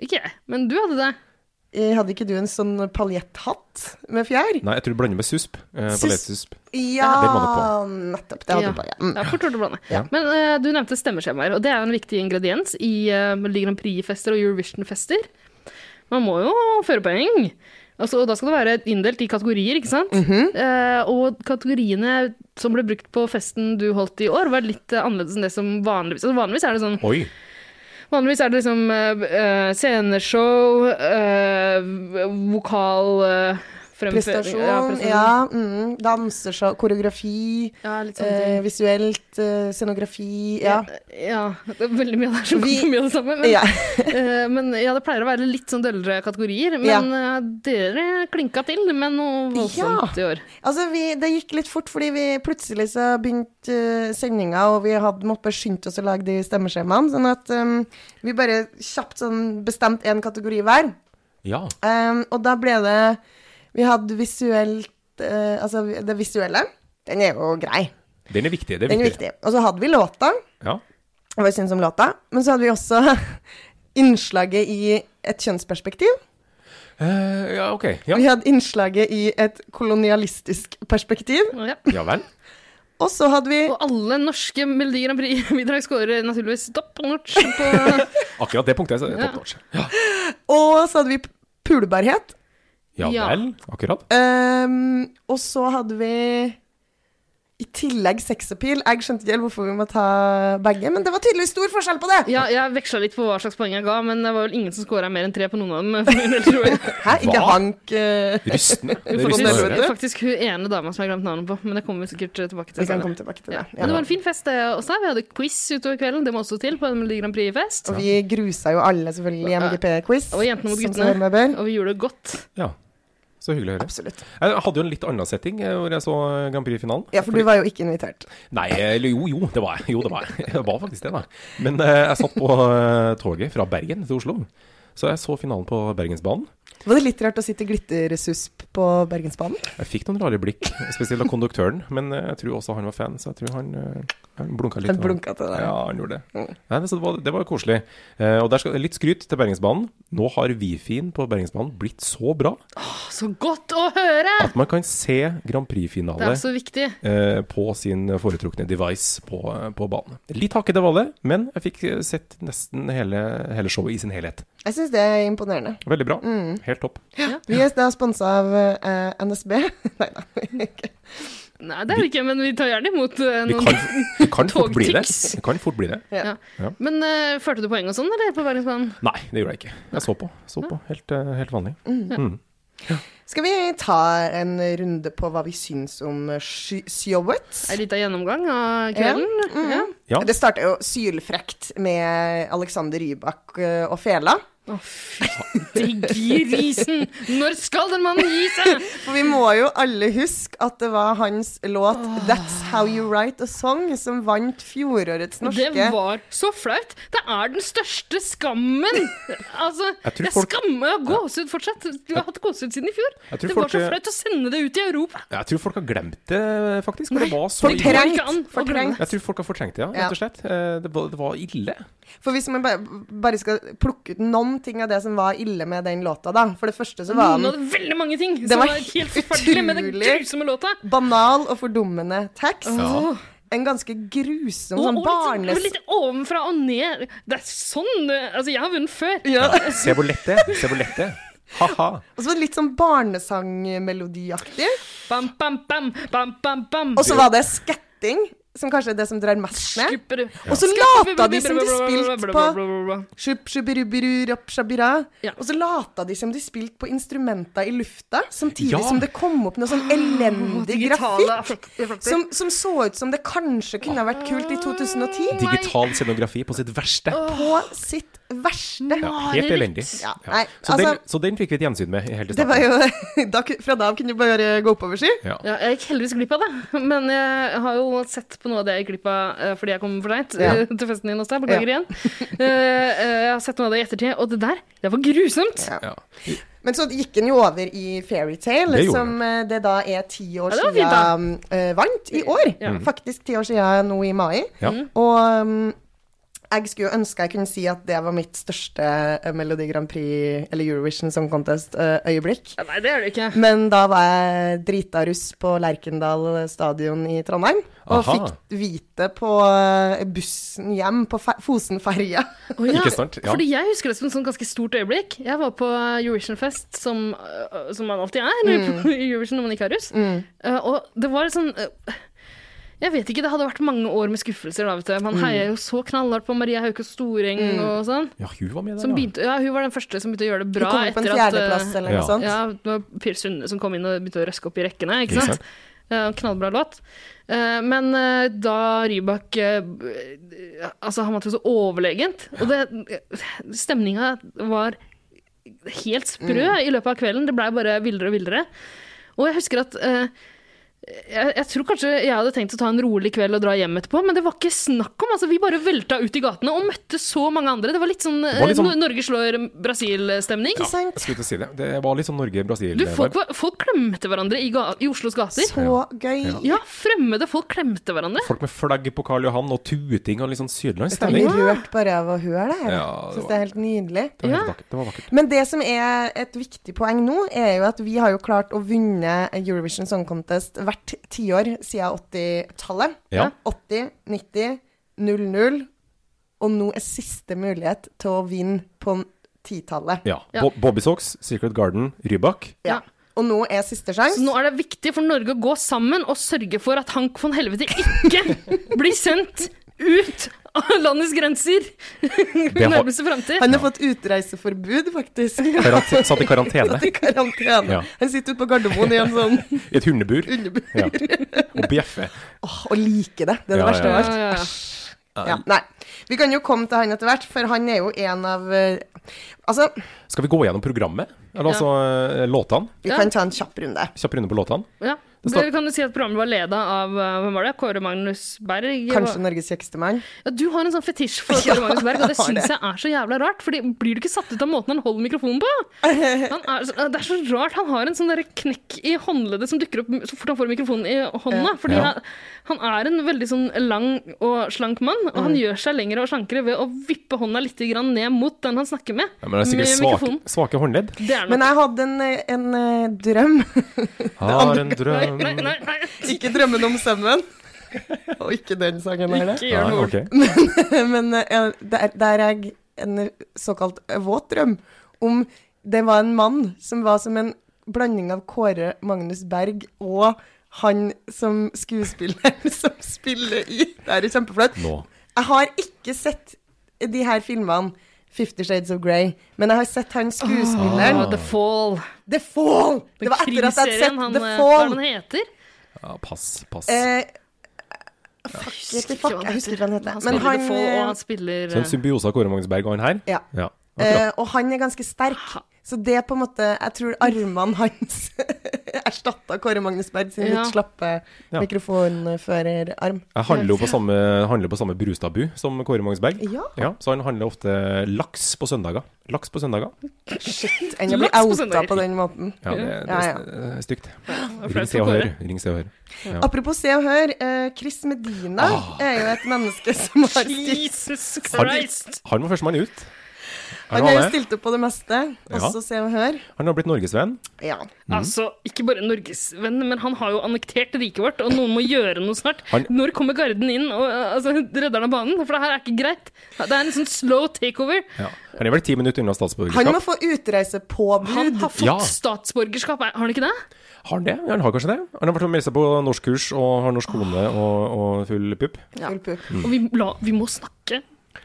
C: Ikke jeg, men du hadde det.
B: Eh, Hadde ikke du en sånn paljetthatt med fjær?
A: Nei, jeg tror du blander med susp. Eh,
B: Susp.
A: Paljettsusp. Det
B: Ja,
A: må
B: nettopp. Det hadde du på. Ja. Mm.
C: Det er fort gjort å blande.
A: Ja.
C: Men eh, du nevnte stemmeskjemaer, og det er jo en viktig ingrediens i eh, Melodi Grand Prix-fester og Eurovision-fester. Man må jo føre poeng. Altså, og da skal det være inndelt i kategorier, ikke sant?
B: Mhm.
C: Eh, og kategoriene som ble brukt på festen du holdt i år, var litt eh, annerledes enn det som vanligvis altså, Vanligvis er det sånn
A: Oi.
C: Vanligvis er det liksom eh, eh, sceneshow, eh, vokal eh, fremføring-
B: Prestasjon, ja.
C: ja, prestasjon.
B: mm, danseshow, koreografi,
C: Ja, litt sånne ting.
B: eh, visuelt, eh, scenografi, ja.
C: ja. det er Veldig mye av det er så
B: Vi-
C: mye av det samme. Men,
B: ja.
C: eh, men ja, det pleier å være litt sånn døllere kategorier. Men
B: Ja.
C: eh, dere klinka til med noe voldsomt i år.
B: Altså, vi, det gikk litt fort, fordi vi plutselig så begynte eh, sendinga, og vi hadde måtte skynde oss å lage de stemmeskjemaene, sånn at eh, vi bare kjapt sånn bestemte én kategori hver.
A: Ja.
B: Eh, og da ble det Vi hadde visuelt eh, Altså, vi- det visuelle. Den er jo grei.
A: Den er viktig. Det er
B: Den er
A: viktig.
B: viktig. Og så hadde vi låta.
A: Ja.
B: og hva vi syntes om låta. Men så hadde vi også innslaget i et kjønnsperspektiv.
A: Eh, ja, ok. Ja.
B: Vi hadde innslaget i et kolonialistisk perspektiv.
C: Ja.
A: ja vel.
B: Og så hadde vi
C: Og alle norske Melodi Grand Prix-bidrag scorer naturligvis topp notch på
A: Akkurat det punktet er top notch. Ja.
B: Og så hadde vi p- pulebarhet.
A: ja
C: Ja.
A: vel. Akkurat.
B: Ehm, og så hadde vi i tillegg sexappeal. Jeg skjønte ikke helt hvorfor vi må ta begge, men det var tydeligvis stor forskjell på det.
C: Ja, jeg veksla litt på hva slags poeng jeg ga, men det var vel ingen som scora mer enn tre på noen av dem. for min
B: Sånn
C: del, tror jeg.
B: Hæ, ikke
A: Hva?
B: hank eh,
A: Rystende. Det er rystende å
C: Faktisk,
A: høre.
C: sånn. faktisk hun ene dama som jeg har glemt navnet på, men det kommer vi sikkert eh, tilbake
B: Vi
C: til.
B: kan
C: senere.
B: komme tilbake til det.
C: Men det
B: Ja.
C: var en fin fest det også. Vi hadde quiz utover kvelden. Det må også til på en Melodi Grand Prix-fest.
B: Og vi grusa jo alle, selvfølgelig, i MGP-quiz.
C: sånn. Og jentene mot
B: Som så
C: guttene.
B: med bør.
C: Og vi gjorde det godt.
A: Ja. Så hyggelig å høre.
B: Absolutt.
A: Jeg hadde jo en litt annen setting eh, hvor jeg så eh, Grand Prix-finalen.
B: Ja, for du var jo ikke invitert.
A: Nei, eh, eller jo, jo, det var jeg. Jo, det var jeg. Jeg var faktisk det, da. Men eh, jeg satt på eh, toget fra Bergen til Oslo, så jeg så finalen på Bergensbanen.
B: Var det litt rart å sitte i glittersusp på Bergensbanen?
A: Jeg fikk noen rare blikk, spesielt av konduktøren, men eh, jeg tror også han var fan, så jeg tror han, eh, han blunka litt.
B: Han blunka til deg.
A: Ja, han gjorde det.
B: Mm.
A: Nei, men så det, var, det var jo koselig. Eh, og der skal, litt skryt til Bergensbanen. Nå har Wifien på Bergensbanen blitt så bra
C: Så godt å høre!
A: at man kan se Grand
C: Det
A: Prix-finale
C: er så viktig.
A: eh, på sin foretrukne device på, på banen. Litt hakkete var det, men jeg fikk eh, sett nesten hele, hele showet i sin helhet.
B: Jeg syns det er imponerende.
A: Veldig bra.
C: Mm.
A: Helt topp.
B: Vi er da sponsa av eh, NSB. Nei da. ikke.
C: Nei, det er det ikke, men vi tar gjerne imot eh,
A: Vi
C: noen.
A: kan, vi kan fort bli det.
C: Togtics.
A: Vi kan fort bli det.
B: Ja.
A: Ja.
C: Men eh, førte du poeng og sånn, eller? På verdensbanen?
A: Nei, det gjorde jeg ikke. Jeg så på. Så på. Helt, eh, helt vanlig. Mm.
B: Skal vi ta en runde på hva vi syns om eh, sj- Sjåwet?
C: En liten gjennomgang av kvelden.
B: Mm-hmm.
C: Ja.
A: Ja.
B: Det starta jo sylfrekt med Alexander Rybak eh, og fela.
C: Å, fytti grisen! Når skal den mannen gi seg?
B: For vi må jo alle huske at det var hans låt 'That's How You Write A Song' som vant fjorårets norske
C: Det var så flaut. Det er den største skammen. Altså,
A: Jeg tror
C: jeg
A: folk-
C: skammer meg av gåsehud fortsatt. Du har hatt gåsehud siden i fjor.
A: Jeg tror
C: Det var
A: folk-
C: så flaut å sende det ut i Europa.
A: Jeg tror folk har glemt det, faktisk. for det var så
C: Det går
A: ille.
B: Fortrengt.
C: ikke an å glemme.
B: Fortrengt.
A: Jeg tror folk har fortrengt det, ja,
B: Ja.
A: rett og slett. Eh, Det var, det var ille.
B: For hvis man bare, bare skal plukke ut noen ting av det som var ille med den låta, da For det første så var
C: Noen
B: den
C: hadde veldig mange ting
B: Det
C: som
B: var
C: var helt forferdelig med den
B: utrolig.
C: grusomme låta.
B: banal og fordummende tekst.
A: Ja.
B: En ganske grusom
C: Og,
B: sånn
C: og litt,
B: barnes...
C: litt ovenfra og ned. Det er sånn eh, Altså, jeg har vunnet før.
B: Ja.
A: Se hvor lett det er. Se hvor lett det er. Ha-ha.
B: Og så var det litt sånn barnesangmelodiaktig.
C: Bam, bam, bam, bam, bam, bam.
B: Og så var det skatting, som kanskje er det som drar mest ned.
C: Skipper du.
B: Og så lata de som de spilte på Shup, shubirubiru, rap, shabira.
C: Ja.
B: Og så lata de som de spilte på instrumenta i lufta, samtidig
A: Ja.
B: som det kom opp noe
C: Ah,
B: sånn elendig grafikk.
C: grafikk.
B: Som, som så ut som det kanskje kunne ha vært
C: Ah.
B: kult i 2010.
A: Digital scenografi på sitt verste.
B: På sitt verste.
A: Ja, helt elendig.
B: Ja,
A: Ja.
B: nei,
A: Så, den,
B: altså-
A: så den fikk vi et gjensyn med helt i
B: Det var
A: starten.
B: jo da, ku- Fra da av kunne du bare gå oppover, si.
A: Ja.
C: Ja, jeg gikk heldigvis glipp av det, men jeg har jo sett på noe av det jeg gikk glipp av eh, fordi jeg kom for seint
B: Ja.
C: eh, til festen din også. Beklager igjen. Eh, eh, Jeg har sett noe av det i ettertid, og det der, det var grusomt.
B: Ja.
A: Ja.
B: Men så gikk den jo over i Fairytale,
A: Det gjorde
B: som eh, det da er ti år
C: Ja, det var fint, da.
B: siden eh, vant i år.
A: Mm.
B: Faktisk ti år siden nå i mai.
A: Ja.
B: Og um, jeg skulle jo ønske jeg kunne si at det var mitt største eh, Melodi Grand Prix eller Eurovision Song Contest-øyeblikk.
C: Ja, nei, det er det ikke.
B: Men da var jeg drita russ på Lerkendal stadion i Trondheim. Og
A: Aha.
B: fikk vite på eh, bussen hjem på fe- Fosenferja.
C: Å, ja.
A: Ikke sant? Ja.
C: Fordi jeg husker det som et sånt ganske stort øyeblikk. Jeg var på Eurovision-fest, som, øh, som man alltid er på
B: Mm.
C: Eurovision når man ikke er russ. Eh, og det var sånn øh, Jeg vet ikke, det hadde vært mange år med skuffelser da, vet du. Man
B: Mm.
C: heia jo så knallhardt på Maria Hauke Storeng og sånn.
A: ja, hun var med der,
C: Som
A: ja.
C: begynte, ja, hun var den første som begynte å gjøre det
B: Du
C: bra.
B: kom opp på en
C: etter at, eh,
B: fjerdeplass eller noe
A: ja.
B: sånt.
C: ja, det var Per Sunde som kom inn og begynte å røske opp i rekkene.
A: Ikke
C: Ikke sant? Eh, knallbra låt. Eh, men eh, da Rybak eh, b- eh, Altså, han vant jo så overlegent. Og det Stemninga var helt
A: Mm.
C: sprø i løpet av kvelden. Det blei bare villere og villere. Og jeg husker at eh, jeg, jeg tror kanskje jeg hadde tenkt å ta en rolig kveld og dra hjem etterpå, men det var ikke snakk om. Altså, vi bare velta ut i gatene og møtte så mange andre. Det var litt sånn,
A: var litt
C: eh,
A: sånn-
C: Nor- Norge slår Brasil-stemning.
B: Ikke sant?
A: Jeg skulle til å si det. Det var litt sånn Norge-Brasil.
C: Du, folk, var- folk klemte hverandre i, ga, i Oslos gater.
B: Så gøy.
A: Ja.
C: Ja, fremmede folk klemte hverandre.
A: Folk med flagg på Karl Johan og tuting og litt sånn sydlandsk
B: Jeg blir
A: stemning.
B: rørt bare av å høre det her.
A: Ja, det
B: Syns
A: var-
B: det er helt nydelig.
A: Det var
C: Ja.
A: helt vakkert. Det var vakkert.
B: Men det som er et viktig poeng nå, er jo at vi har jo klart å vinne Eurovision Song Contest hvert tiår siden 80-tallet.
A: Ja.
B: 80, 90, 00. Og nå er siste mulighet til å vinne på 10-tallet.
A: Ja.
C: Ja.
A: Bo- Bobby Socks, Secret Garden, Rybak.
B: Ja. Og nå er siste sjanse.
C: Så nå er det viktig for Norge å gå sammen og sørge for at Hank von Helvete ikke blir sendt ut av landets grenser i
A: har-
C: nærmeste framtid.
B: Han har fått utreiseforbud, faktisk.
A: Karant- Satt i karantene
B: Satt i karantene.
A: Ja.
B: Han sitter ute på Gardermoen i en sånn
A: i et hundebur
B: underbur.
A: ja. og bjeffe.
B: Åh, å like det. Det er det
A: Ja,
B: verste av
A: ja,
B: alt.
C: ja, ja.
B: Ja, nei. Vi kan jo komme til han etter hvert, for han er jo en av eh, Altså,
A: Skal vi gå gjennom programmet? Eller altså eh, låtene?
B: vi
C: Ja.
B: kan ta en kjapp runde.
A: Kjapp runde på låtene.
C: Ja.
A: Det står-
C: Vi kan jo si at Programmet var leda av eh, hvem var det? Kåre Magnus Berg?
B: Kanskje Norges kjekkeste mann.
C: Ja, du har en sånn fetisj for
B: Ja,
C: Kåre Magnus Berg, og det
B: jeg har
C: syns
B: det.
C: jeg er så jævla rart. Fordi blir du ikke satt ut av måten han holder mikrofonen på? Han er, så- det er så rart. Han har en sånn derre knekk i håndleddet som dukker opp så fort han får mikrofonen i hånda. Fordi
A: Ja.
C: han, han er en veldig sånn lang og slank mann, og
B: Mm.
C: han gjør seg lengre og slankere ved å vippe hånda litt grann ned mot den han snakker med.
A: Ja, men det er sikkert
C: med
A: svake,
C: mikrofonen.
A: svake håndledd.
C: Det er
B: Men
C: nok.
B: jeg hadde en, eh, en eh, drøm.
A: Har en
C: Nei,
A: drøm
C: nei, nei, nei.
B: ikke drømmen om sømmen. Og ikke den sangen her, det.
C: Ikke gjør noe.
A: ok.
B: Men eh, en- der, der er jeg en såkalt våt drøm om det var en mann som var som en blanding av Kåre Magnus Berg og han som skuespiller som spiller i Det her er kjempeflaut.
A: Nå.
B: Jeg har ikke sett de her filmene Fifty Shades of Grey. Men jeg har sett han skuespilleren
C: The Fall.
B: The Fall! Det
C: Den
B: var etter at jeg hadde
C: krigsserien
B: sett
C: Ah. han,
B: The
C: eh, Hva er det
B: Fall.
C: den heter?
A: Ja, pass, pass.
B: Eh,
C: Jeg
B: husker ikke hva han heter. Men
C: Han spiller
B: han,
C: The Fall,
B: eh,
C: og han spiller
A: Så en symbiose av Kåre Magnsberg og han her?
B: ja.
A: Ja, akkurat.
B: Eh, og han er ganske sterk.
C: Ha-
B: Så det er på en måte Jeg tror armene hans erstatta Kåre Magnus Berg sin
C: Ja.
B: litt slappe
A: Ja.
B: mikrofonførerarm.
A: Jeg handler jo på samme, handler på samme Brustadbu som Kåre Magnsberg.
B: Ja.
A: så han handler ofte laks på søndager. Laks på søndager.
B: Enn å bli
C: Laks på
B: outa
C: søndager.
B: på den måten.
A: Ja, det, det,
B: Ja, ja.
A: er s- eh, stygt. Ring
C: flaut
A: Se og
C: for
A: Hør.
C: Kåre.
A: Ring Se og Hør. Ja.
B: Apropos Se og Hør. eh, Chris Medina er jo et menneske som har stilt
C: Jesus
A: Han,
C: Christ!
A: han var førstemann ut. Er
B: Han
A: det
B: har jo
A: han, er?
B: stilt opp på det meste, også Se og Hør.
A: han har blitt norgesvenn.
B: Ja.
A: Mm.
C: Altså, ikke bare norgesvenn, men han har jo annektert riket vårt, og noen må gjøre noe snart.
A: Han-
C: Når kommer garden inn og eh, altså, redder han av banen? For det her er ikke greit. Det er en sånn slow takeover.
A: Ja. Han er vel ti minutter unna statsborgerskap.
B: Han må få utreisepåbud.
C: Han har fått
A: Ja.
C: statsborgerskap, er- har han ikke det?
A: Har han det? Ja, han har kanskje det? Han har vært og meldt seg på norskkurs og har norsk kone og, og full pupp.
B: Full pupp.
A: Mm.
C: Og vi, la, vi må snakke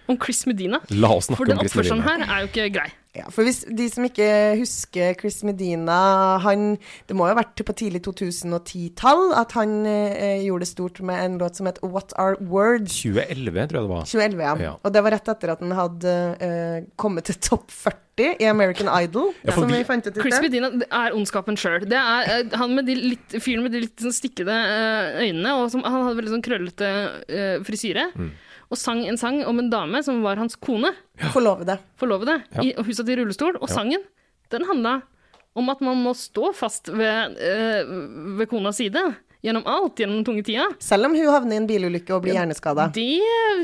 C: om Chris Medina.
A: La oss
C: For
A: snakke
C: den
A: om Kristin
C: oppførselen
A: Line.
C: her er jo ikke grei.
B: Ja, for hvis de som ikke husker Chris Medina han, Det må jo ha vært på tidlig 2010-tall at han eh, gjorde det stort med en låt som het What Are Words?
A: 2011, tror jeg det var.
B: 2011, ja.
A: Ja.
B: Og det var rett etter at den hadde eh, kommet til topp 40 i American Idol.
A: Ja, for
B: som
A: vi-
B: vi, fant ut i
C: Chris
B: sted.
C: Medina er ondskapen sjøl. Det er eh, han med de litt, fyren med de litt sånn stikkede eh, øynene, og som, han hadde veldig sånn krøllete eh, frisyre.
A: Mm.
C: Og sang en sang om en dame som var hans kone,
B: Forlovede.
C: forlovede,
A: Ja.
C: i, og hun satt i rullestol. Og sangen, den handla om at man må stå fast ved, eh, ved konas side gjennom alt, gjennom den tunge tida.
B: Selv om hun havner i en bilulykke og blir hjerneskada.
C: Det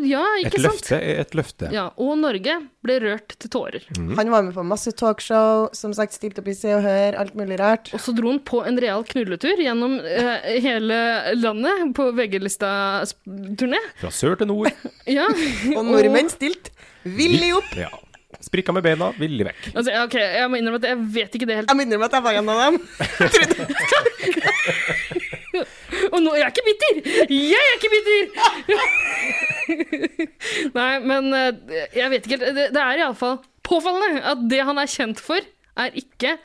C: Ja,
A: Et
C: ikke sant?
A: løfte er et løfte.
C: Ja, og Norge ble rørt til tårer.
B: Han var med på masse talkshow, som sagt stilte opp i Se og Hør, alt mulig rart.
C: Og så dro han på en real knulletur gjennom eh, hele landet på VG-lista-turné.
A: Fra sør til nord.
C: Ja.
B: Og nordmenn stilte villig opp.
A: Ja. Sprikka med beina, villig vekk.
C: Altså, ja, ok, jeg må innrømme at jeg vet ikke det helt.
B: Jeg må innrømme at jeg var en av dem.
C: Og nå, jeg er ikke bitter! Jeg er ikke bitter! Nei, men eh, jeg vet ikke helt. Det, det er iallfall påfallende at det han er kjent for, er ikke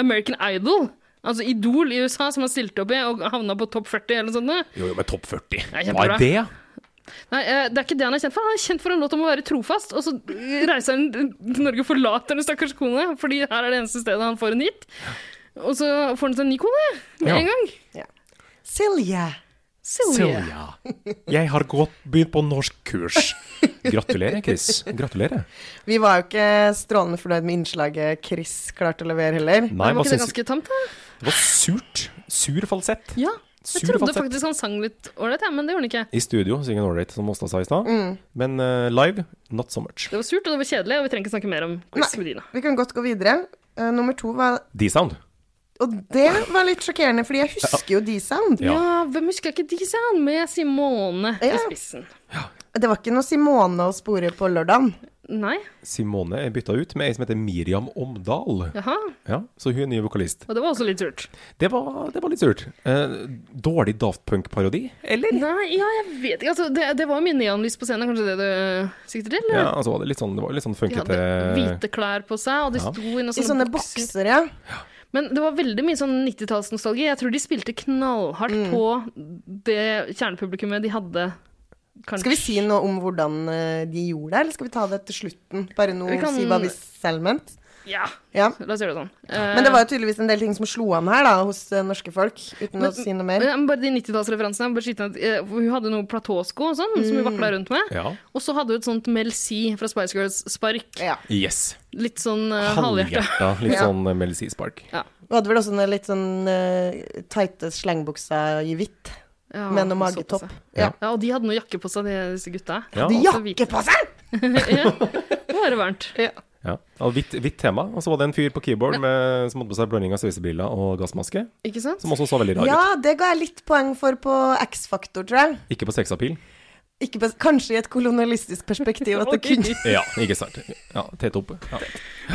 C: American Idol. Altså Idol i USA, som han stilte opp i og havna på topp 40 eller noe sånt. nå.
A: Jo, jo, men topp 40.
C: Nei,
A: Hva
C: kjempebra.
A: er det?
C: Nei, eh, det er ikke det han er kjent for. Han er kjent for en låt om å være trofast, og så reiser han til Norge og forlater den stakkars kone, fordi her er det eneste stedet han får en hit. Og så får han seg en ny kone med
A: Ja.
C: en gang.
B: Silje.
C: Silje.
A: Jeg har gått, begynt på norskkurs. Gratulerer, Chris. Gratulerer.
B: Vi var jo ikke strålende fornøyd med innslaget Chris klarte å levere heller.
A: Nei,
C: Nei,
A: hva
C: var ikke det
A: syns du?
C: ganske tamt, da?
A: Det var surt. Sur falsett.
C: Ja. Jeg
A: Sur
C: trodde
A: falsett.
C: faktisk han sang litt ålreit, ja, men det gjorde han ikke.
A: I studio synger han ålreit, som Åsta sa i stad.
C: Mm.
A: Men eh, live, not so much.
C: Det var surt, og det var kjedelig, og vi trenger ikke snakke mer om Chris Medina.
B: Vi kan godt gå videre. Eh, nummer to var
A: D-sound.
B: Og det var litt sjokkerende, fordi jeg husker jo D-Sound.
A: Ja.
C: Ja. hvem husker ikke de, sa han, med Simone
B: Ja.
C: i spissen.
B: Det var ikke noe Simone å spore på lørdagen.
C: Nei,
A: Simone er bytta ut med ei som heter Miriam Omdal.
C: jaha.
A: Ja, så hun er ny vokalist.
C: Og det var også litt surt.
A: Det var, det var litt surt. Eh, dårlig Daft Punk-parodi, eller?
C: Nei, ja, jeg vet ikke. Altså, det, det var jo mye neonlys på scenen, kanskje det du sikter til?
A: Ja, altså, det, var litt sånn, det var litt sånn
C: De
A: funkete
C: hadde hvite klær på seg, og de
A: Ja.
C: sto i noen
B: I sånne bokser, ja.
C: Men det var veldig mye sånn 90-tallsnostalgi. Jeg tror de spilte knallhardt
B: Mm.
C: på det kjernepublikummet de hadde. Kanskje.
B: Skal vi si noe om hvordan eh, de gjorde det, eller skal vi ta det til slutten? Bare nå
C: Vi kan-
B: si hva vi selv mente.
C: Ja,
B: Ja.
C: la oss gjøre det sånn.
B: Men det var jo tydeligvis en del ting som slo an her, da, hos eh, norske folk. Uten
C: Men-
B: å si noe mer.
C: Ja, men bare de 90-tallsreferansene. bare skyte inn at, eh, Hun hadde noen platåsko og sånn,
B: Mm.
C: som hun vakla rundt med.
A: Ja.
C: Og så hadde hun et sånt Mel C fra Spice Girls-spark.
B: Ja.
A: Yes.
C: Litt sånn uh, halvhjerte.
A: Halvhjerta. Litt
B: Ja.
A: sånn Mel C-spark.
B: Hun hadde vel også noen litt sånn eh, tighte slengbukser i hvitt,
C: Ja,
B: med noe
C: såpass,
B: magetopp.
C: ja.
A: Ja.
C: Ja, og de hadde noe jakke på seg, de, disse gutta.
A: Ja.
B: De
C: altså hvite.
B: jakker på seg!
C: ja. Det var det varmt.
A: Ja. Ja, Hvitt hvitt tema. Og så var det en fyr på keyboard med, som hadde på seg blanding av sveisebriller og gassmaske,
C: Ikke sant?
A: som også så veldig rar ut.
B: Ja, det ga jeg litt poeng for på X-Faktor, tror jeg.
A: Ikke på sexappeal.
B: Ikke på, kanskje i et kolonialistisk perspektiv at det
C: Oi.
B: kunne
A: Ja, ikke sant. Ja, Tete opp. Ja.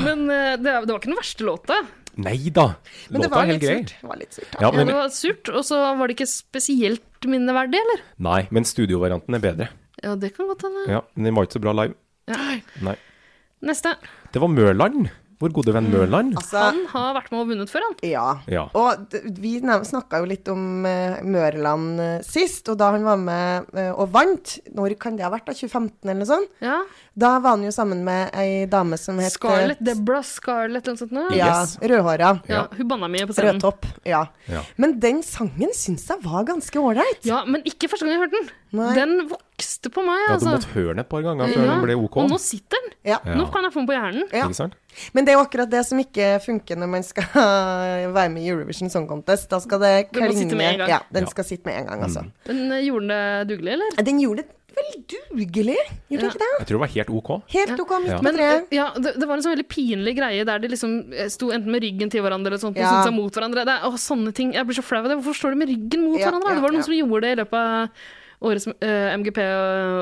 C: Men eh, det, det var ikke den verste låta.
A: Nei da.
B: Men det
A: Låta
B: var
A: er helt
B: litt
A: grei.
B: surt. Det var litt surt, da.
A: Ja,
C: Ja,
A: men,
C: det var surt, og så var det ikke spesielt minneverdig, eller?
A: nei, men studiovarianten er bedre.
C: Ja, det kan godt hende.
A: Ja, men den var ikke så bra live.
C: Ja.
A: Nei.
C: Neste.
A: Det var Mørland. Vår gode venn Mørland.
B: Altså,
C: Han har vært med og vunnet før, han.
B: ja.
A: Ja.
B: Og d- vi snakka jo litt om eh, Mørland eh, sist, og da han var med eh, og vant, når kan det ha vært, da? 2015 eller noe sånt?
C: Ja.
B: Da var han jo sammen med ei dame som het eh,
C: Scarlett Debra Scarlett eller noe sånt. nå.
B: Ja,
A: Yes.
B: rødhåra.
C: ja. Hun banna mye
B: Rød
C: på scenen.
B: topp. Ja.
A: Ja.
B: Men den sangen syns jeg var ganske ålreit.
C: Ja, men ikke første gang jeg hørte den.
B: Nei.
C: Den vokste på meg,
A: Ja, du
C: altså.
A: måtte høre den et par ganger før
C: Ja,
A: den ble OK.
C: Og nå sitter den.
B: Ja.
A: Ja.
C: Nå kan jeg få den på hjernen.
B: Ja.
A: Ikke sant?
B: Men det er jo akkurat det som ikke funker når man skal være med i Eurovision Song Contest. Da skal det
C: Den må
B: klinge
C: sitte med en gang.
B: Ja, den
A: Ja. Mm.
B: skal sitte med en gang, altså.
C: Men eh, gjorde den det dugelig, eller?
B: Den gjorde det veldig dugelig, gjorde den
C: Ja.
B: ikke det?
A: Jeg tror det var helt OK.
B: Helt OK, midt
A: Ja.
B: på
C: Men
B: treet.
C: eh, ja, det, det var en sånn veldig pinlig greie der de liksom eh, sto enten med ryggen til hverandre eller sånt, og
B: Ja.
C: syntes seg mot hverandre. Det, er- å, sånne ting. Jeg blir så flau av det. Hvorfor står de med ryggen mot
B: Ja,
C: hverandre?
B: ja,
C: det var
B: ja.
C: noen som gjorde det i løpet av årets eh, MGP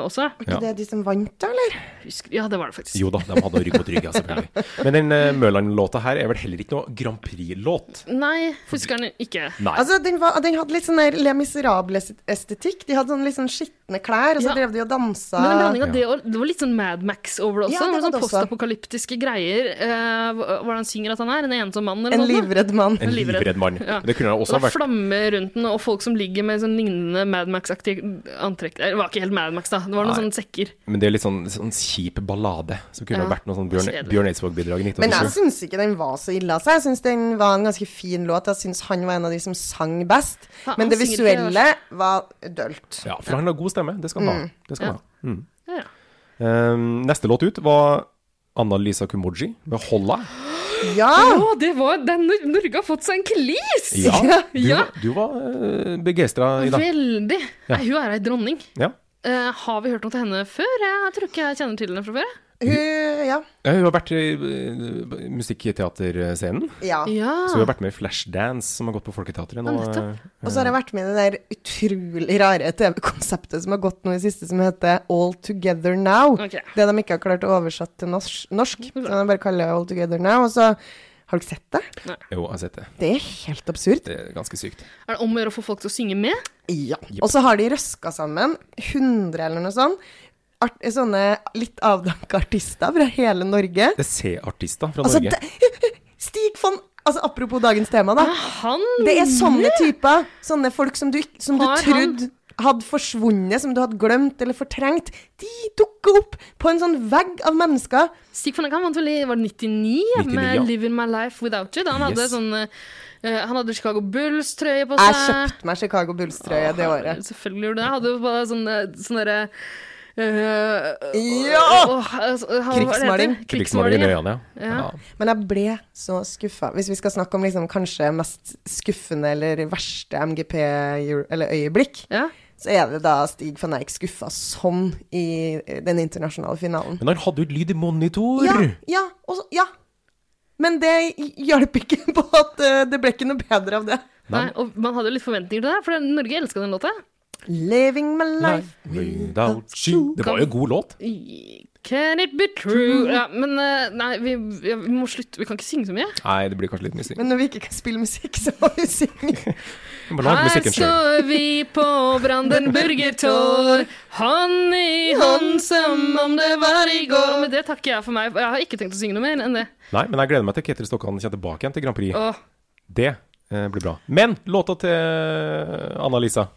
C: også.
A: Ja.
B: Ikke det de som vant, da, eller?
C: Husker, ja, det var det faktisk.
A: Jo da, de hadde rygg mot rygg. ja, selvfølgelig. Men den eh, Mørland-låta her er vel heller ikke noe Grand Prix-låt?
C: Nei, husker den ikke.
A: Nei.
B: Altså, den, var, den hadde litt sånn der Le Miserable-estetikk. De hadde sånn litt sånn skitne klær, og så
C: Ja.
B: drev de og dansa.
C: Men en blanding av
A: Ja.
C: det og Det var litt sånn Mad Max over det også.
B: Ah. Ja, det
C: det var
B: var det
C: sånn
B: også.
C: Postapokalyptiske greier. Eh, hva- hva er det han synger at han er? En ensom mann, eller
B: En
C: noe sånt?
B: livredd mann.
A: en
C: livredd.
A: livredd mann.
C: Ja.
A: Det kunne
C: Og det
A: også
C: er
A: vært
C: flammer rundt den, og folk som ligger med sånn lignende Mad Max-aktig antrekk Det var ikke helt Mad Max, da. Det var noen
A: Nei.
C: sånne sekker.
A: Men det er litt sånn, sånn kjip ballade, som kunne
C: Ja.
A: ha vært noe sånn Bjørn,
C: Kjedelig.
A: Bjørn Eidsvåg-bidrag i
B: Men
A: 1987.
B: altså- jeg syns ikke den var så ille av seg. Jeg syns den var en ganske fin låt. Jeg syns han var en av de som sang best.
C: Ja, han
B: Men det
C: synger ikke
B: visuelle var dølt.
A: Ja, for han har god stemme. Det skal han ha. Det skal han ha.
C: Ja.
A: Mm.
C: Ja, ja.
A: Ehm, neste låt ut var Anna-Lisa Kumoji med 'Holla'.
B: Ja!
C: Å, det var den Norge har fått seg en klis!
A: Ja, du,
C: Ja.
A: var- du var begeistra i dag.
C: Veldig.
A: Ja.
C: Nei, hun er ei dronning.
A: Ja.
C: Eh, har vi hørt noe til henne før? Jeg tror ikke jeg kjenner til henne fra før. jeg.
B: Hun Ja.
A: Ja, Hun har vært i eh, musikkteaterscenen,
B: ja.
C: Ja.
A: så hun har vært med i Flashdance, som har gått på Folketeatret nå.
C: Ja, Ah. nettopp.
A: eh,
B: Og så har jeg vært med i det der utrolig rare TV-konseptet som har gått nå i siste, som heter All Together Now.
C: Ok.
B: Det de ikke har klart å oversette til norsk. norsk så de bare kaller det All Together Now. Og så Har dere sett det?
A: Jo, jeg har sett det.
B: Det er helt absurd.
A: Det er ganske sykt.
C: Er det om å gjøre å få folk til å synge med?
B: Ja. Og så har de røska sammen 100 eller noe sånt. Art, sånne litt avdanka artister fra hele Norge.
A: Det er C-artister fra
B: Altså,
A: Norge.
B: det, Stig von Altså, apropos dagens tema, da.
C: Han
B: Det er sånne typer. Sånne folk som du, ikk- som du
C: Mm. Har han-
B: trodde hadde forsvunnet, som du hadde glemt eller fortrengt. De dukker opp på en sånn vegg av mennesker.
C: Stig van Eyck han vant vel i var det 99,
A: 99,
C: med
A: ja.
C: 'Living My Life Without You'. Da. Han, hadde
A: Yes.
C: sånn, eh, han hadde Chicago Bulls-trøye på seg.
B: Jeg kjøpte meg Chicago Bulls-trøye det året.
C: Selvfølgelig gjorde du det. Jeg hadde jo bare sånne, sånne derre øh,
B: Ja!
C: åh, altså, hva- hva heter
B: Krigsmaling.
C: det?
A: Krigsmaling i
C: ja.
A: øynene, ja.
C: Ja.
A: ja.
B: Men jeg ble så skuffa. Hvis vi skal snakke om liksom kanskje mest skuffende eller verste MGP-øyeblikk,
C: Ja.
B: så er det da Stig van Eijk skuffa sånn i eh, den internasjonale finalen.
A: Men han hadde jo ikke lyd i monitor!
B: Ja, ja, og så, ja. Men det hjalp ikke på at eh, det ble ikke noe bedre av det.
C: Nei, og man hadde jo litt forventninger til det, her, for Norge elska den låta.
B: Living my life.
A: Without you. Det var jo en god låt.
C: Can it be true? Ja, men eh, nei, vi, vi må slutte. Vi kan ikke synge så mye.
A: Nei, det blir kanskje litt mysig.
B: Men når vi ikke kan spille musikk, så må vi synge.
A: Bare lag
C: Her
A: musikken sjøl.
C: står vi på Brandenburger Tor, hånd i hånd som om det var i går. Men det takker jeg for meg. Jeg har ikke tenkt å synge noe mer enn det.
A: Nei, men jeg gleder meg til Ketil Stokkan kommer tilbake igjen til Grand Prix.
C: Åh,
A: Det eh, blir bra. Men låta til eh, Anna-Lisa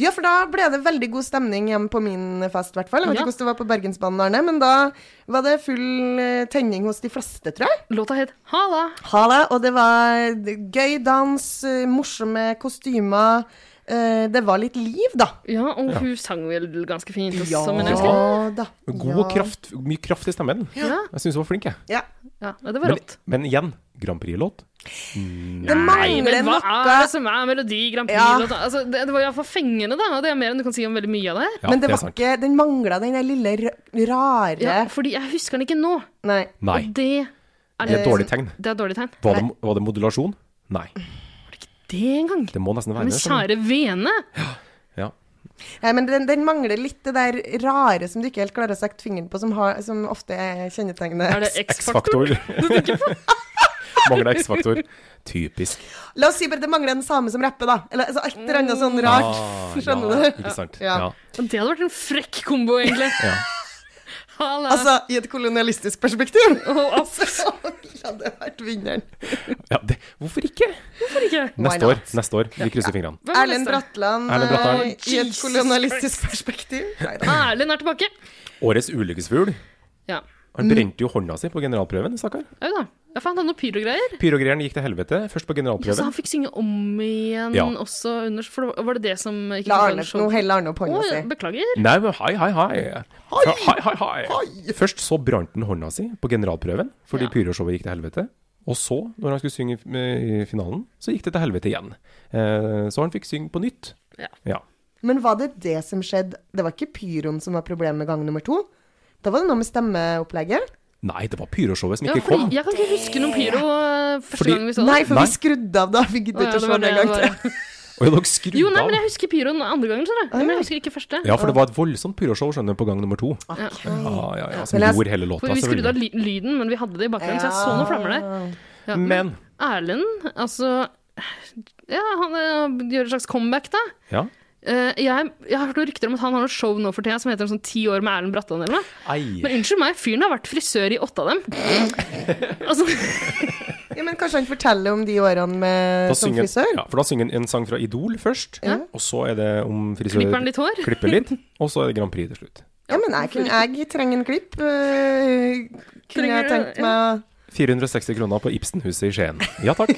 B: Ja, for da ble det veldig god stemning hjemme på min fest, i hvert fall. Jeg vet
C: Ja.
B: ikke hvordan det var på Bergensbanen, Arne, men da var det full eh, tenning hos de fleste, tror jeg.
C: låta het Hala.
B: Ha det, og det var gøy dans, eh, morsomme kostymer. Eh, Det var litt liv, da.
C: Ja, og hun sang vel ganske fint også, men jeg husker.
B: Ja da.
A: God og kraft, mye kraft i stemmen.
C: Ja,
A: Jeg syns hun var flink, jeg.
B: Ja.
C: ja, det var
A: Men,
C: rått.
A: men igjen, Grand Prix-låt.
B: Det mangler
C: men hva er
B: noe.
C: det som er Melodi Grand Prix?
B: Ja.
C: låta? Altså, det, det var iallfall fengende, da. Og det er mer enn du kan si om veldig mye av det her.
A: Ja,
B: Men det
A: er
B: var
A: sant.
B: ikke, den mangla den der lille r- rare
C: Ja, fordi jeg husker den ikke nå.
B: Nei.
A: Nei.
C: Og det er
A: Det er et dårlig tegn.
C: Det er et dårlig tegn.
A: Var det, var det modulasjon? Nei.
C: Det engang.
A: Det må nesten være
C: Men
A: det. sånn.
C: kjære vene.
A: Ja.
B: Nei, men den, den mangler litt det der rare som du ikke helt klarer å sette fingeren på, som, har, som ofte er kjennetegnet.
C: Er det X-faktor?
A: X-faktor. Mangla X-faktor. Typisk.
B: La oss si bare det mangler en same som rapper, da. Eller altså, et eller annet sånn rart.
A: Ah,
B: Skjønner
A: ja,
B: du?
A: Ikke sant.
B: Ja.
A: Ja.
C: Det hadde vært en frekk kombo, egentlig.
A: Ja.
C: Halla.
B: Altså, i et kolonialistisk perspektiv.
C: Å, altså,
B: Så hadde jeg vært vinneren.
A: Ja, det, hvorfor ikke?
C: hvorfor ikke?
A: Neste
B: not?
A: år. neste år, Vi krysser fingrene.
C: Hvem er
B: Erlend
C: neste?
B: Bratland,
A: Erlend Bratland.
B: eh, i et
C: Jesus
B: kolonialistisk perspektiv. Neida.
C: Erlend er tilbake.
A: Årets ulykkesfugl.
C: Ja.
A: Han brente jo hånda si på generalprøven, stakkar.
C: Au da. Ja, faen, det er noe pyrogreier.
A: Pyrogreiene gikk til helvete, først på
C: Ja, så
A: generalprøven.
C: han fikk synge om igjen
A: Ja.
C: også under For det var- var det det som ikke
B: La
C: var
B: Arne,
C: en show?
B: nå heller Arne opp
C: Å,
B: hånda
C: ja,
B: si.
C: beklager.
A: Nei, men hei, hei, hei. Hei, hei, hei, hei. Først så brant han hånda si på generalprøven fordi
C: Ja.
A: pyroshowet gikk til helvete. Og så, når han skulle synge i- i finalen, så gikk det til helvete igjen. Eh, så han fikk synge på nytt.
C: Ja.
A: Ja.
B: Men var det det som skjedde? Det var ikke pyroen som var problemet med gang nummer to? Da var det noe med stemmeopplegget?
A: Nei, det var pyroshowet som
C: Ja,
A: ikke
C: fordi,
A: kom.
C: jeg kan ikke huske noen pyro eh, første
A: Fordi-
C: gang vi så det.
B: Nei, for
A: Nei.
B: vi skrudde av da. Vi
C: Å,
B: gidder
C: ja,
B: ikke sånn å
C: det
B: se
C: var
B: det en
C: det
B: gang
C: det
B: til.
C: var.
A: Og dere skrudde
C: Jo, nei, men
A: av.
C: jeg husker pyroen andre gangen, skjønner du. Men jeg husker Ah. ikke første.
A: Ja, for det var et voldsomt pyroshow, skjønner du, på gang nummer to.
B: Ok.
A: Ja, ja, ja, som
B: Men jeg-
A: gjorde hele låta,
C: For vi skrudde av
A: selvfølgelig.
C: ly- lyden, men vi hadde det i bakgrunnen, så jeg så noen flammer der. Ja,
A: Men
C: Erlend, altså Ja, han eh, gjør et slags comeback, da.
A: Ja.
C: Eh, jeg, jeg har hørt noen rykter om at han har noe show nå for tida som heter sånn Ti år med Erlend Bratland eller noe.
A: Ei.
C: Men unnskyld meg, fyren har vært frisør i åtte av dem. altså,
B: Ja, men kanskje han forteller om de årene med,
A: Da
B: som
A: synger,
B: frisør?
A: ja, for da synger han en sang fra Idol først,
C: Ja.
A: og så er det om frisør
C: klipper han litt hår?
A: klipper litt, og så er det Grand Prix til slutt.
B: Ja, men jeg, kunne, jeg trenger en klipp. øh, kunne
C: Trenger
B: jeg
C: du-
B: tenkt
C: ja.
B: meg å
A: 460 kroner på Ibsenhuset i Skien. Ja takk.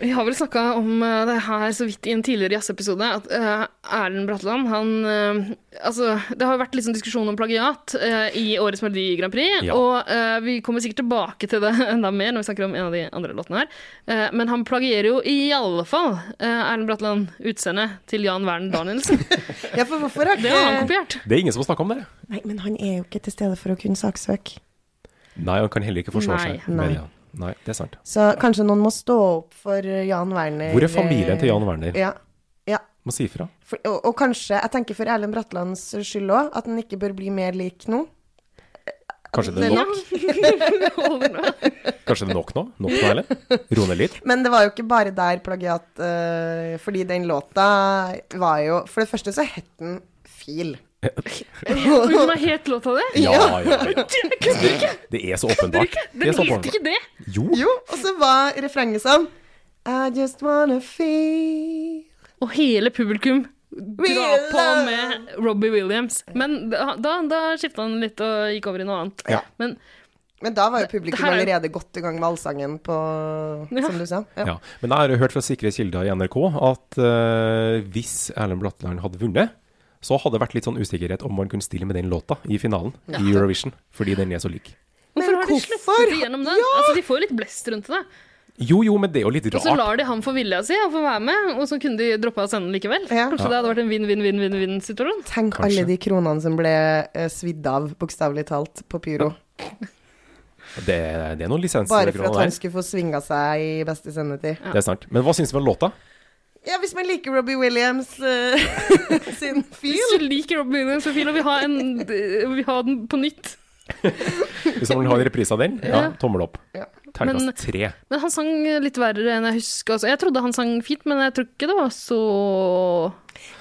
C: Vi har vel snakka om eh, det her så vidt i en tidligere jazzepisode, at eh, Erlend Bratland, han eh, Altså, det har jo vært litt sånn diskusjon om plagiat eh, i årets Melodi Grand Prix,
A: Ja.
C: og eh, vi kommer sikkert tilbake til det enda mer når vi snakker om en av de andre låtene her. Eh, men han plagierer jo i alle fall eh, Erlend Bratland utseendet til Jan Werner Danielsen.
B: Ja, for hvorfor har
C: Det har han
B: ikke
C: kopiert.
A: Det er ingen som har snakka om det.
B: Nei, men han er jo ikke til stede for å kunne saksøke.
A: Nei, han kan heller ikke forsvare seg.
B: Nei.
A: Men ja. Nei, det er sant.
B: Så kanskje noen må stå opp for øh, Jan Werner.
A: Hvor er familien til Jan
B: øh,
A: Werner?
B: Ja. ja.
A: Må si ifra.
B: For, og, og kanskje, jeg tenker for Erlend Bratlands skyld òg, at han ikke bør bli mer lik nå.
A: Kanskje det er nok? Kanskje det er nok nå? Nok nå, eller? Ro ned litt.
B: Men det var jo ikke bare der plagiat, eh, fordi den låta var jo For det første så het den Fil.
C: Og Hun har helt låta di.
A: Ja, ja, ja. Det er så åpenbart. Det
C: Den
A: er så
C: likte
A: åpenbart.
C: ikke det.
A: Jo.
B: Jo, og så var refrenget sånn I just wanna feel
C: Og hele publikum dra
B: Will
C: på
B: love.
C: med Robbie Williams. Men da, da, da skifta han litt og gikk over i noe annet.
A: Ja.
C: Men
B: Men da var jo publikum
C: her er-
B: allerede godt i gang med allsangen på Som du sa. Ja.
A: Ja. Men jeg har hørt fra sikre kilder i NRK at eh, hvis Erlend Blatland hadde vunnet, så hadde det vært litt sånn usikkerhet om man kunne stille med den låta i finalen i Eurovision, fordi den er så lik.
C: hvorfor
B: Men
C: har de
B: hvorfor?
C: sluppet igjennom den? Altså, de får jo litt blest rundt det.
A: Jo, jo, men det er jo litt
C: Og så
A: rart.
C: lar de ham få vilja si og få være med, og så kunne de droppa å sende den likevel.
B: Ja.
C: Kanskje det hadde vært en vinn-vinn-vinn-vinn-situasjon.
B: Tenk
A: Kanskje.
B: alle de kronene som ble eh, svidd av, bokstavelig talt, på pyro.
A: Det, det er noen
B: Bare for at
A: lisensgreier
B: han
A: der.
B: skulle få svinga seg i beste sendetid.
A: Det er sant. Men hva syns vi om låta?
B: Ja, hvis man liker Robbie Williams eh, sin
C: Hvis
B: fil
C: du liker Robbie Williams og Phil, og vil ha, en, vil ha den på nytt
A: Hvis man vil ha en reprise av den, ja,
C: Ja.
A: tommel opp.
B: Ja.
A: Terningkast
C: Men-
A: tre.
C: Men han sang litt verre enn jeg husker. Altså, jeg trodde han sang fint, men jeg tror ikke det var så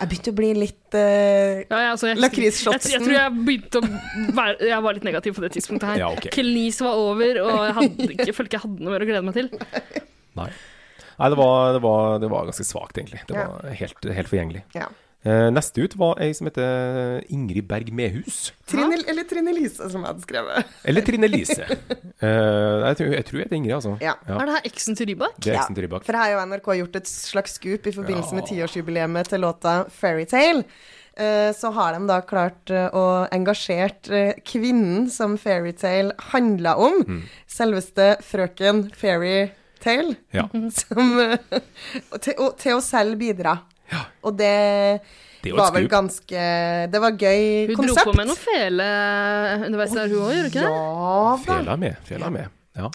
B: Jeg begynte å bli litt eh,
C: ja, ja, altså, jeg, husker-
B: Lakrisshotsen.
C: Jeg, jeg tror jeg begynte å være Jeg var litt negativ på det tidspunktet her.
A: Ja, ok.
C: Kelis var over, og jeg hadde ikke, jeg følte ikke jeg hadde noe mer å glede meg til.
A: Nei. Nei, det var, det var, det var ganske svakt, egentlig. Det var helt, helt forgjengelig.
B: ja.
A: Eh, neste ut var ei som heter Ingrid Berg Mehus.
B: Trine, Eller Trine Lise, som jeg hadde skrevet.
A: Eller Trine Lise. Eh, jeg, tror, jeg tror det er Ingrid, altså.
B: Ja.
A: Ja.
C: Er det her eksen til Rybak?
A: Det er sånn Eksen til Rybak.
B: For her har jo NRK gjort et slags scoop i forbindelse med
A: Ja.
B: tiårsjubileet til låta 'Fairytale'. Eh, Så har de da klart eh, å engasjert eh, kvinnen som 'Fairytale' handla om.
A: Mm.
B: Selveste frøken Fairytale.
A: Ja.
B: Som, eh, og til, og, til å selv bidra. Og det,
A: Det er jo et
B: var vel
A: skup.
B: ganske Det var gøy
C: Hun
B: konsept.
C: dro på med noe fele underveis der, hun òg, gjorde hun ikke det?
B: Ja da.
A: Fela er med. Fela er med. Ja.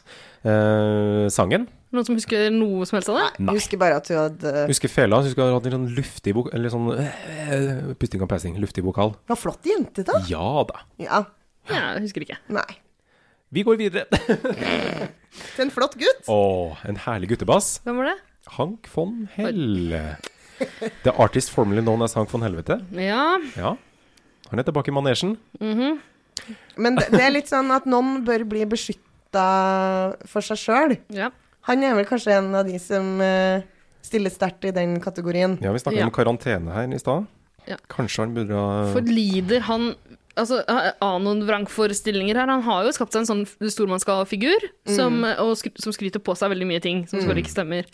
A: Eh, sangen?
C: Noen som husker noe som helst av det?
A: Nei.
B: Jeg husker bare at hun hadde
A: Husker Fela husker hun hadde en sånn luftig vok- Eller sånn eh, pusting og passing. Luftig vokal.
B: Hun var flott jente, da.
A: Ja da.
B: Ja.
C: Ja, jeg husker ikke.
B: Nei.
A: Vi går videre.
B: Til en flott gutt.
A: Å, en herlig guttebass.
C: Hvem var det?
A: Hank von Hell. The artist formerly known as Hank von Helvete.
C: Ja,
A: Ja. Han er tilbake i manesjen.
B: Men det, det er litt sånn at noen bør bli beskytta for seg sjøl.
C: Ja.
B: Han er vel kanskje en av de som eh, stiller sterkt i den kategorien.
A: Ja, vi snakket
C: Ja.
A: om karantene her i stad.
C: Ja.
A: Kanskje han burde ha
C: For lider han altså, av noen vrangforestillinger her? Han har jo skapt seg en sånn stormannsgalfigur som, og skry- som skryter på seg veldig mye ting som selvfølgelig ikke stemmer.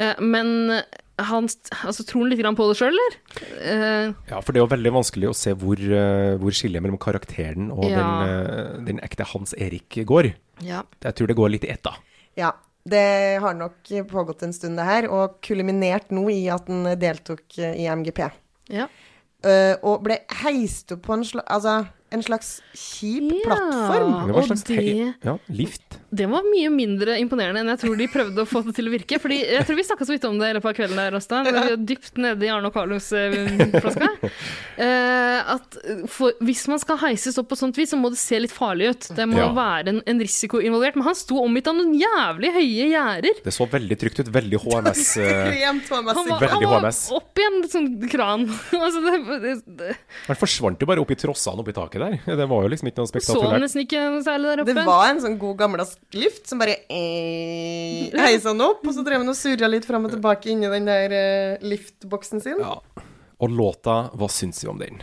C: Eh, Men han st- altså, tror han litt grann på det sjøl, eller? Eh,
A: Ja, for det er jo veldig vanskelig å se hvor, eh, hvor skillet mellom karakteren og
C: Ja.
A: den, eh, den ekte Hans Erik går.
C: ja.
A: Jeg tror det går litt i ett, da.
B: Ja. Det har nok pågått en stund, det her, og kuliminert nå i at han deltok eh, i MGP.
C: Ja.
B: Eh, og ble heist opp på en, sla altså, en slags kjip plattform.
A: Det var
C: og
A: en slags
C: det-
A: hei- ja, lift.
C: Det var mye mindre imponerende enn jeg tror de prøvde å få det til å virke. Fordi jeg tror vi snakka så vidt om det i løpet av kvelden der, Rasta. Vi var dypt nede i Arne og Carlos eh, flaska. Eh, at for, hvis man skal heises opp på sånt vis, så må det se litt farlig ut. Det må
A: Ja.
C: være en, en risiko involvert. Men han sto omgitt av noen jævlig høye gjerder.
A: Det så veldig trygt ut. Veldig HMS. eh,
B: Ekstremt
C: Han var,
B: HMS.
A: Veldig
C: han var
A: HMS.
C: opp i en sånn kran. altså det, det, det,
A: Han forsvant jo bare oppi trossene oppi taket der. Det var jo liksom ikke noe
C: så han
A: spektakulært.
C: nesten ikke noe særlig der
B: Det
C: oppe.
B: var en sånn god gammeldags lift som bare eh, heisa han opp, og så drev han og surra litt fram og tilbake inni den der eh, liftboksen sin.
A: Ja. Og låta, hva syns vi om den?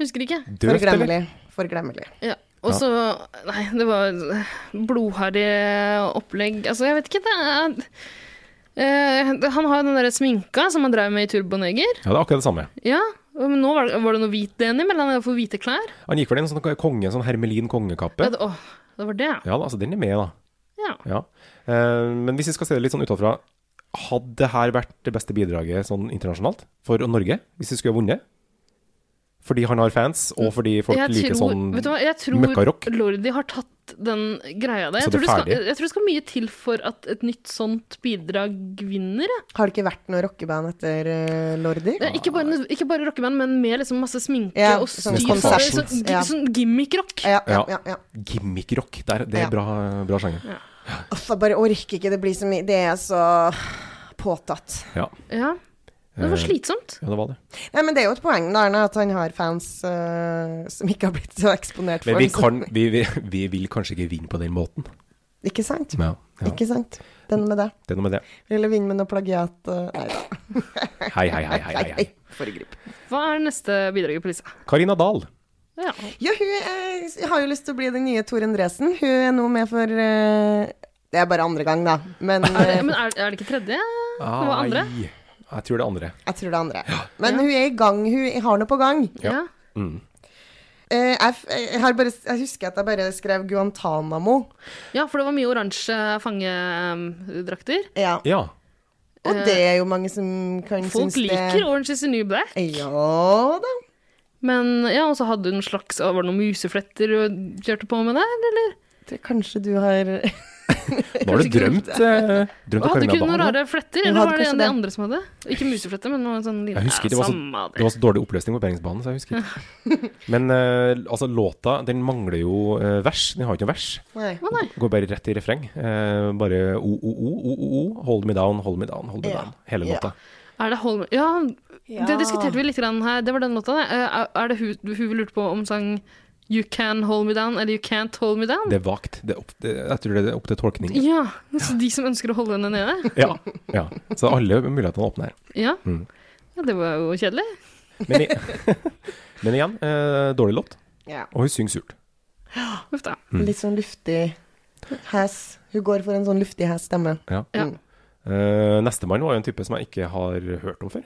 C: Husker ikke.
A: Døvt, eller?
B: Forglemmelig. Forglemmelig.
C: Ja. Og så Nei, det var blodharry opplegg. Altså, jeg vet ikke, det er Eh, det- Han har jo den der sminka som han drev med i Turboneger.
A: Ja, det er akkurat det samme.
C: Ja, men nå var det, var det noe hvit denim, eller han hadde fått hvite klær.
A: Han gikk vel i en sånn konge, sånn hermelin
C: Ja,
A: kongekappe.
C: det, åh, det var det.
A: Ja, da, altså den er med, da.
C: Ja.
A: Ja. Eh, men hvis vi skal se det litt sånn utenfra, hadde det her vært det beste bidraget sånn internasjonalt for Norge, hvis vi skulle ha vunnet? Fordi han har fans, og fordi folk liker sånn
C: Mm. vet du hva, jeg
A: møkkarock.
C: tror Lordi har tatt den greia der. Jeg
A: Så
C: tror
A: det er
C: det, skal,
A: ferdig?
C: jeg tror det skal mye til for at et nytt sånt bidrag vinner. jeg.
B: Har det ikke vært noe rockeband etter eh, Lordi?
C: Ja, ikke, bare, ikke bare rockeband, men med liksom masse sminke
B: Ja,
C: og
B: sånn
C: styr.
A: konsert.
C: Sånn, sånn,
B: Ja.
C: sånn gimmick-rock.
B: Ja, ja,
A: Ja.
B: ja, ja.
A: Gimmick-rock. Det er, det er
B: Ja.
A: bra, bra sjanger.
B: Uff, jeg bare orker ikke. Det blir så mye Det er så påtatt.
A: Ja.
C: Ja. Det var
A: Eh,
C: slitsomt.
A: ja, det var det.
B: Nei, men det er jo et poeng da, Arne, at han har fans eh, som ikke har blitt så eksponert for
A: Men vi,
B: det, så-
A: kan, vi, vi, vi vil kanskje ikke vinne på den måten.
B: Ikke sant?
A: Ja, ja.
B: Ikke sant? Det er noe med det.
A: Det er noe med det.
B: Ville vinne med noe plagiat eh, Nei da.
A: Hei, hei, hei. hei, hei, hei.
B: Foregrip.
C: Hva er neste bidraget på lista?
A: Karina Dahl.
C: Ja.
B: Ja, hun eh, har jo lyst til å bli den nye Tor Endresen. Hun er nå med for eh, Det er bare andre gang, da. Men eh,
C: Men er, er det ikke tredje? Det var andre?
A: Ah, Ai. Jeg tror det er andre.
B: jeg tror det er andre. Men hun er i gang. Hun har noe på gang.
A: Ja.
C: Ja.
A: Mm.
B: Eh, jeg, f- jeg, har bare, jeg husker at jeg bare skrev Guantánamo.
C: ja, for det var mye oransje eh, fangedrakter.
B: Ja.
A: Ja.
B: Og det er jo mange som kan
C: Folk
B: synes det
C: liker Orange is the New Black.
B: Ja da.
C: Men ja, og så hadde hun en slags Var det noen musefletter hun kjørte på med der, eller?
B: Det, kanskje du har Nei,
A: Nå har du drømt, eh, drømt av
C: Hadde
A: Karina
C: ikke hun noen
A: Dahl. da.
C: rare fletter?
B: Hun
C: Eller
B: hadde
C: var det
B: kanskje
C: en av de
B: det.
C: andre som hadde? Ikke musefletter, men noen sånn liten
A: Jeg husker, det var, så,
C: samme det.
A: det var så dårlig oppløsning på bergensbanen, så jeg husker ikke. Men eh, altså, låta den mangler jo eh, vers. Den har ikke noe vers.
C: Å, nei.
A: Går bare rett i refreng. Eh, bare o-o-o-o-o. Hold me down, hold me down, hold me
B: Ja.
A: down. Hele
B: Ja.
A: låta.
C: Er det Holm... Ja, det
B: Ja.
C: diskuterte vi litt grann her. Det var den låta, det. Eh, Er er det hun, hun vi lurte på om sang You Can Hold Me Down, eller You Can't Hold Me Down?
A: Det er vagt. Det er opp, det, jeg tror det er opp til tolkning.
C: Ja, så de som ønsker å holde henne nede?
A: Ja. ja. Så alle mulighetene er åpne her.
C: Ja.
A: Mm.
C: ja det var jo kjedelig.
A: Men, i, men igjen, eh, dårlig låt.
B: Ja.
A: Og hun synger surt.
C: Uff da.
B: Litt sånn luftig hes. Hun går for en sånn luftig hes stemme.
A: Ja.
C: Ja.
B: Mm.
A: Eh, Nestemann var jo en type som jeg ikke har hørt om før.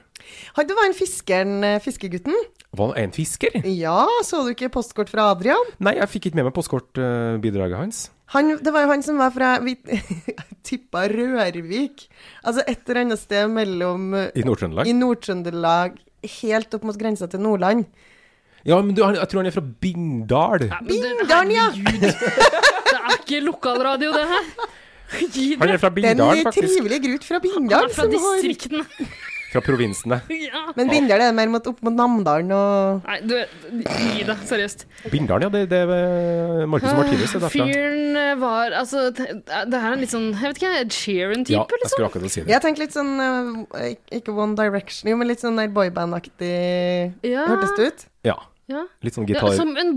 B: Han, det var en fiskeren, eh, fiskegutten.
A: Var han en fisker?
B: Ja, så du ikke postkort fra Adrian?
A: Nei, jeg fikk ikke med meg postkortbidraget hans.
B: Han, det var jo han som var fra vi, Tippa Rørvik. Altså et eller annet sted mellom eh,
A: I Nord-Trøndelag?
B: I Nord-Trøndelag, helt opp mot grensa til Nordland.
A: Ja, men du, han, jeg tror han er fra Bindal.
C: Nei, men det-
B: Bindalen, ja!
C: herregud. Det er ikke lokalradio, det her. Gi
A: Han
C: dere.
A: er fra
B: Det er
A: Bindal,
B: en
A: faktisk.
B: trivelig grut fra
C: Han
B: Bindal.
C: er fra
B: som har-
C: distriktene.
A: Fra provinsene.
C: Ja.
B: Men Bindal er mer mot, opp mot Namdalen og
C: Nei, du, gi deg. Seriøst.
A: Bindal, ja. Det, det er Marcus Martinus er derfra.
C: Fyren var Altså, det det her er en litt sånn Jeg vet ikke, Ed
A: Ja,
C: Sheeran-type,
A: jeg
C: liksom.
A: skulle akkurat si det.
B: Jeg tenkte litt sånn eh, ik- Ikke One Direction, jo, men litt sånn der boyband-aktig
C: Ja.
B: hørtes det ut.
A: Ja.
C: Ja.
A: Litt sånn
C: Ja,
A: gitar.
C: som en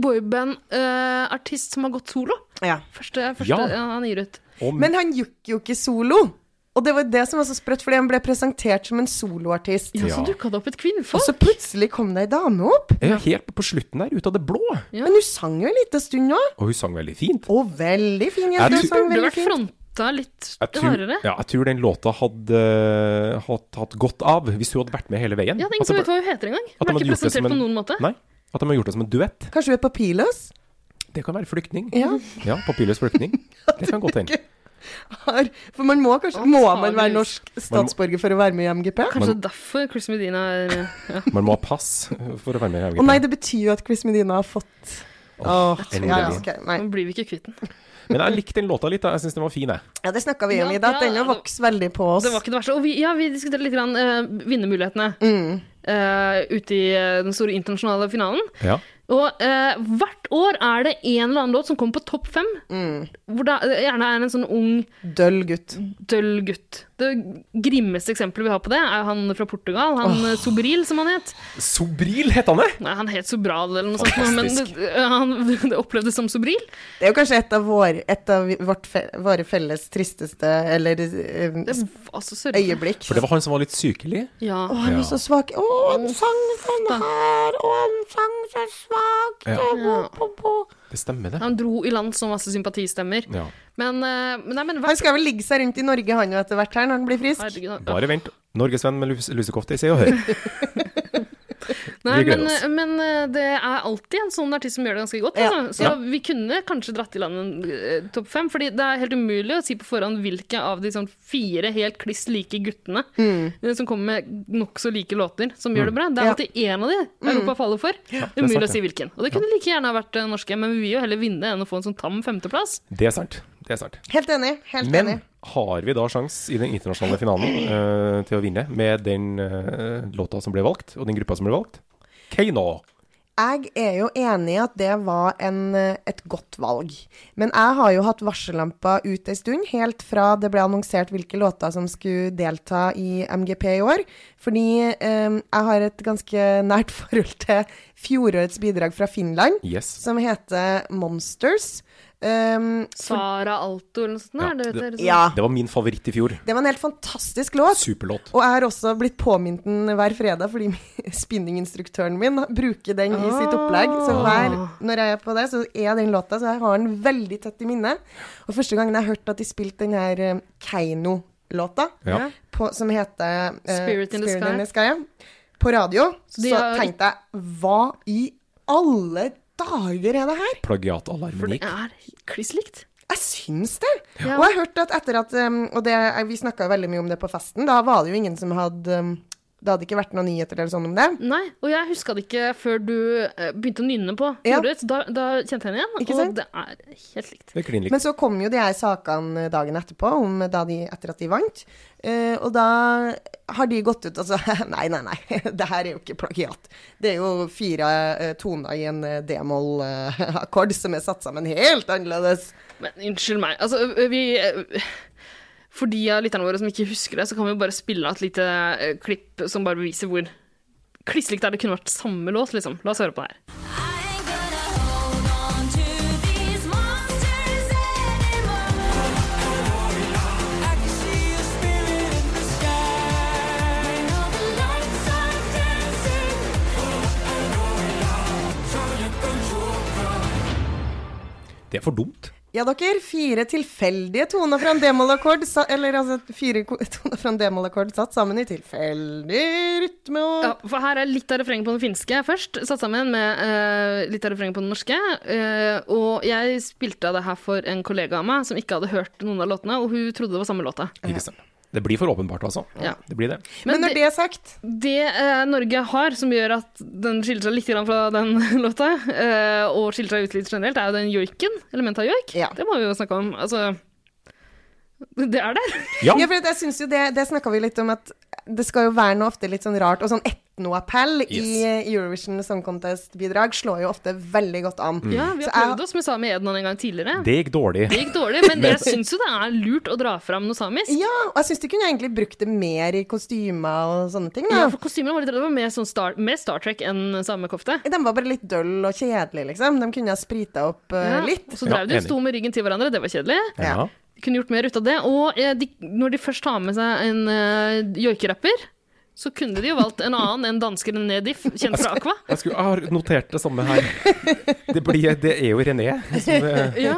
C: boyband-artist som har gått solo.
B: Ja.
C: Første, første
A: Ja.
C: ja, han gir ut.
A: og,
B: Men han gikk jo ikke solo. Og det var det som var så sprøtt, fordi han ble presentert som en soloartist.
C: Ja, Så
A: Ja.
C: dukka det opp et
B: Og
C: kvinnfolk.
B: så plutselig kom det ei dame opp.
A: ja, helt på slutten der, ut av det blå.
C: Ja.
B: Men hun sang jo en liten stund òg.
A: Og hun sang veldig fint.
B: Og veldig fin
A: Jeg
B: jente.
A: tror-
B: Hun sang
C: Burde
B: veldig
C: vært
B: fint.
C: fronta litt
A: Jeg tror,
C: hardere.
A: ja, jeg tror den låta hadde eh, hatt, hatt godt av hvis hun hadde vært med hele veien.
C: Ja, det er
A: At
C: ingen som
A: det
C: vet hva hun heter engang.
A: Mm. Altså, At
C: Hun
A: de
C: ble
A: hadde
C: ikke
A: gjort det som
C: presentert på
A: en-
C: noen måte.
A: Nei, at de har gjort det som en duett.
B: Kanskje hun er papirløs?
A: Det kan være flyktning.
B: Ja.
C: Mhm.
A: Ja, papirløs flyktning. Det kan godt hende.
B: Har- For man må kanskje
C: Å,
B: Må man være
C: faderløs.
B: norsk statsborger for å være med i MGP?
C: Kanskje det er derfor Chris Medina er eh, ja.
A: Man må ha pass for å være med i
B: Å nei,
A: MGP.
B: det betyr jo at Chris Medina har fått Åh, ja, ja,
A: endelig.
B: ok, nei.
C: Nå blir vi ikke kvitt den.
A: Men jeg likte den låta litt. da. Jeg syns den var fin, jeg.
B: ja, det snakka vi om,
C: Ja,
B: Ida. At
C: ja,
B: den har
C: det-
B: vokst veldig på oss.
C: Det var ikke det verste. Og vi, ja, vi diskuterte litt grann, eh, vinnermulighetene
B: Mm.
C: eh, ute i eh, den store internasjonale finalen.
A: Ja.
C: Og eh, hvert år er det en eller annen låt som kommer på topp fem,
A: Mm.
C: hvor det er- gjerne er en sånn ung,
B: Døll gutt.
C: Mm. døll gutt. Det grimmeste eksempelet vi har på det, er jo han fra Portugal, han eh, Sobril, som han het.
A: Sobril het han eh? det!
C: Nei, han het Sobral eller noe sånt, men det,
A: Fantastisk.
C: han, det opplevdes som Sobril.
B: Det er jo kanskje et av, vår, et av vårt fe våre felles tristeste eller eh,
C: Det var så sørgelig.
B: øyeblikk.
A: For det var han som var litt sykelig.
C: Ja.
B: Å, han
A: Ja.
B: var så svak. Å, han sang sånn
C: da.
B: her, og han sang så svakt.
A: Ja.
B: og bo,
C: Ja.
B: bo, bo.
A: Det stemmer, det.
C: Han dro i land så masse sympatistemmer.
A: Ja.
C: Men, eh, men nei, men hva
B: Han skal vel ligge seg rundt i Norge, han jo, etter hvert her, når han blir frisk.
C: Herregud, han-
A: Bare vent. Norgesvenn med lus lusekofte i Se og Hør.
C: Nei,
A: Vi gleder
C: men,
A: oss.
C: men eh, det er alltid en sånn artist som gjør det ganske godt.
B: Ja.
C: Altså. Så
A: Ja.
C: vi kunne kanskje dratt i land en eh, topp fem, fordi det er helt umulig å si på forhånd hvilke av de sånn fire helt kliss like guttene eh, som kommer med nokså like låter, som gjør det bra. Det er
B: Mm. Ja. Mm.
C: alltid én av de Europa faller for.
A: Mm. det er
C: umulig
A: sant,
C: å si hvilken. Og det kunne like gjerne ha vært eh, norske, men vi vil jo heller vinne enn å få en sånn tam femteplass.
A: Det er sant. Det er sant.
B: Helt enig. Helt
A: Men
B: enig.
A: har vi da sjans i den internasjonale finalen eh, til å vinne med den eh, låta som ble valgt, og den gruppa som ble valgt? Keiino.
B: Jeg er jo enig i at det var en, eh, et godt valg. Men jeg har jo hatt varsellampa ut en stund, helt fra det ble annonsert hvilke låter som skulle delta i MGP i år. Fordi eh, jeg har et ganske nært forhold til fjorårets bidrag fra Finland,
A: Yes.
B: som heter Monsters. Um,
C: Sara Alto eller noe sånt.
A: Ja,
C: der, det,
A: det-
C: vet dere, sånn.
B: ja.
A: Det var min favoritt i fjor.
B: Det var en helt fantastisk låt.
A: Superlåt.
B: Og jeg har også blitt påminnet den hver fredag, fordi spinninginstruktøren min bruker den i sitt opplegg. Så hver, når jeg er på det, så er den låta, så jeg har den veldig tett i minnet. Og første gangen jeg hørte at de spilte den her eh, Keiino-låta,
A: Ja.
B: på- som heter eh,
C: Spirit in the Sky.
B: ja, på radio, så,
C: de har-
B: tenkte jeg Hva i alle dager er det her?
A: Plagiatalarmen
C: Det
A: gikk.
C: er kliss likt.
B: Jeg syns det. Og jeg hørte at etter at um, Og det, vi snakka veldig mye om det på festen. Da var det jo ingen som hadde um, Det hadde ikke vært noen nyheter eller sånn om det.
C: Nei, og jeg huska det ikke før du eh, begynte å nynne på
B: Ja.
C: fjorårets. Da, da kjente jeg henne igjen,
B: Ikke
C: og
B: sant?
C: det er helt likt.
A: Det er klin likt.
B: Men så kom jo de her sakene dagen etterpå, om da de, etter at de vant. Eh, og da har de gått ut og sagt nei, nei, nei, det her er jo ikke plagiat. Det er jo fire eh, toner i en eh, d-moll-akkord som er satt sammen helt annerledes.
C: Men unnskyld meg. Altså, ø- vi ø, For de av lytterne våre som ikke husker det, så kan vi jo bare spille av et lite ø, klipp som bare beviser hvor kliss likt det er. Det kunne vært samme låt, liksom. La oss høre på det her.
A: Det er for dumt.
B: Ja, dere. Fire tilfeldige toner fra en d-moll-akkord sa- Eller altså fire ko- toner fra en d-moll-akkord satt sammen i tilfeldig rytme og
C: Ja, for her er litt av refrenget på den finske først, satt sammen med ø, litt av refrenget på den norske. ø, og jeg spilte av det her for en kollega av meg som ikke hadde hørt noen av låtene, og hun trodde det var samme låta.
A: Ikke sant. Det blir for åpenbart, altså.
C: Ja.
A: Det blir det.
B: Men,
C: men
B: når
C: det-
B: det, er sagt
C: Det eh, Norge har, som gjør at den skiller seg litt grann fra den låta, eh, og skiller seg ut litt generelt, er jo den joiken, elementet av joik.
B: Ja.
C: Det må vi jo snakke om. Altså Det er der.
A: Ja.
B: Ja, for at jeg synes jo det, det snakka vi litt om, at det skal jo være noe ofte litt sånn rart og sånn et, Noah Pell
A: Yes.
B: i Eurovision Song Contest-bidrag slår jo ofte veldig godt an.
C: Ja, vi
B: Så
C: har
B: jeg-
C: prøvd oss med Sami Ednan en gang tidligere.
A: Det gikk dårlig.
C: Det gikk dårlig, men jeg syns jo det er lurt å dra fram noe samisk.
B: Ja, og jeg syns de kunne egentlig brukt det mer i kostymer og sånne ting.
C: Ja,
B: Da.
C: for kostymene var litt det var mer, sånn Star, mer Star Trek enn samekofte.
B: De var bare litt døll og kjedelige, liksom. De kunne ha sprita opp eh, litt.
C: Og så
A: Ja,
C: drev de og
A: enig.
C: sto med ryggen til hverandre, det var kjedelig.
A: Ja.
C: De kunne gjort mer ut av det. Og eh, de, når de først har med seg en eh, joikerapper, så kunne de jo valgt en annen enn dansken Nedif, kjent fra Aqua.
A: Jeg, skulle, jeg har notert det samme her. Det, blir, det er jo René. Som, eh,
C: Ja.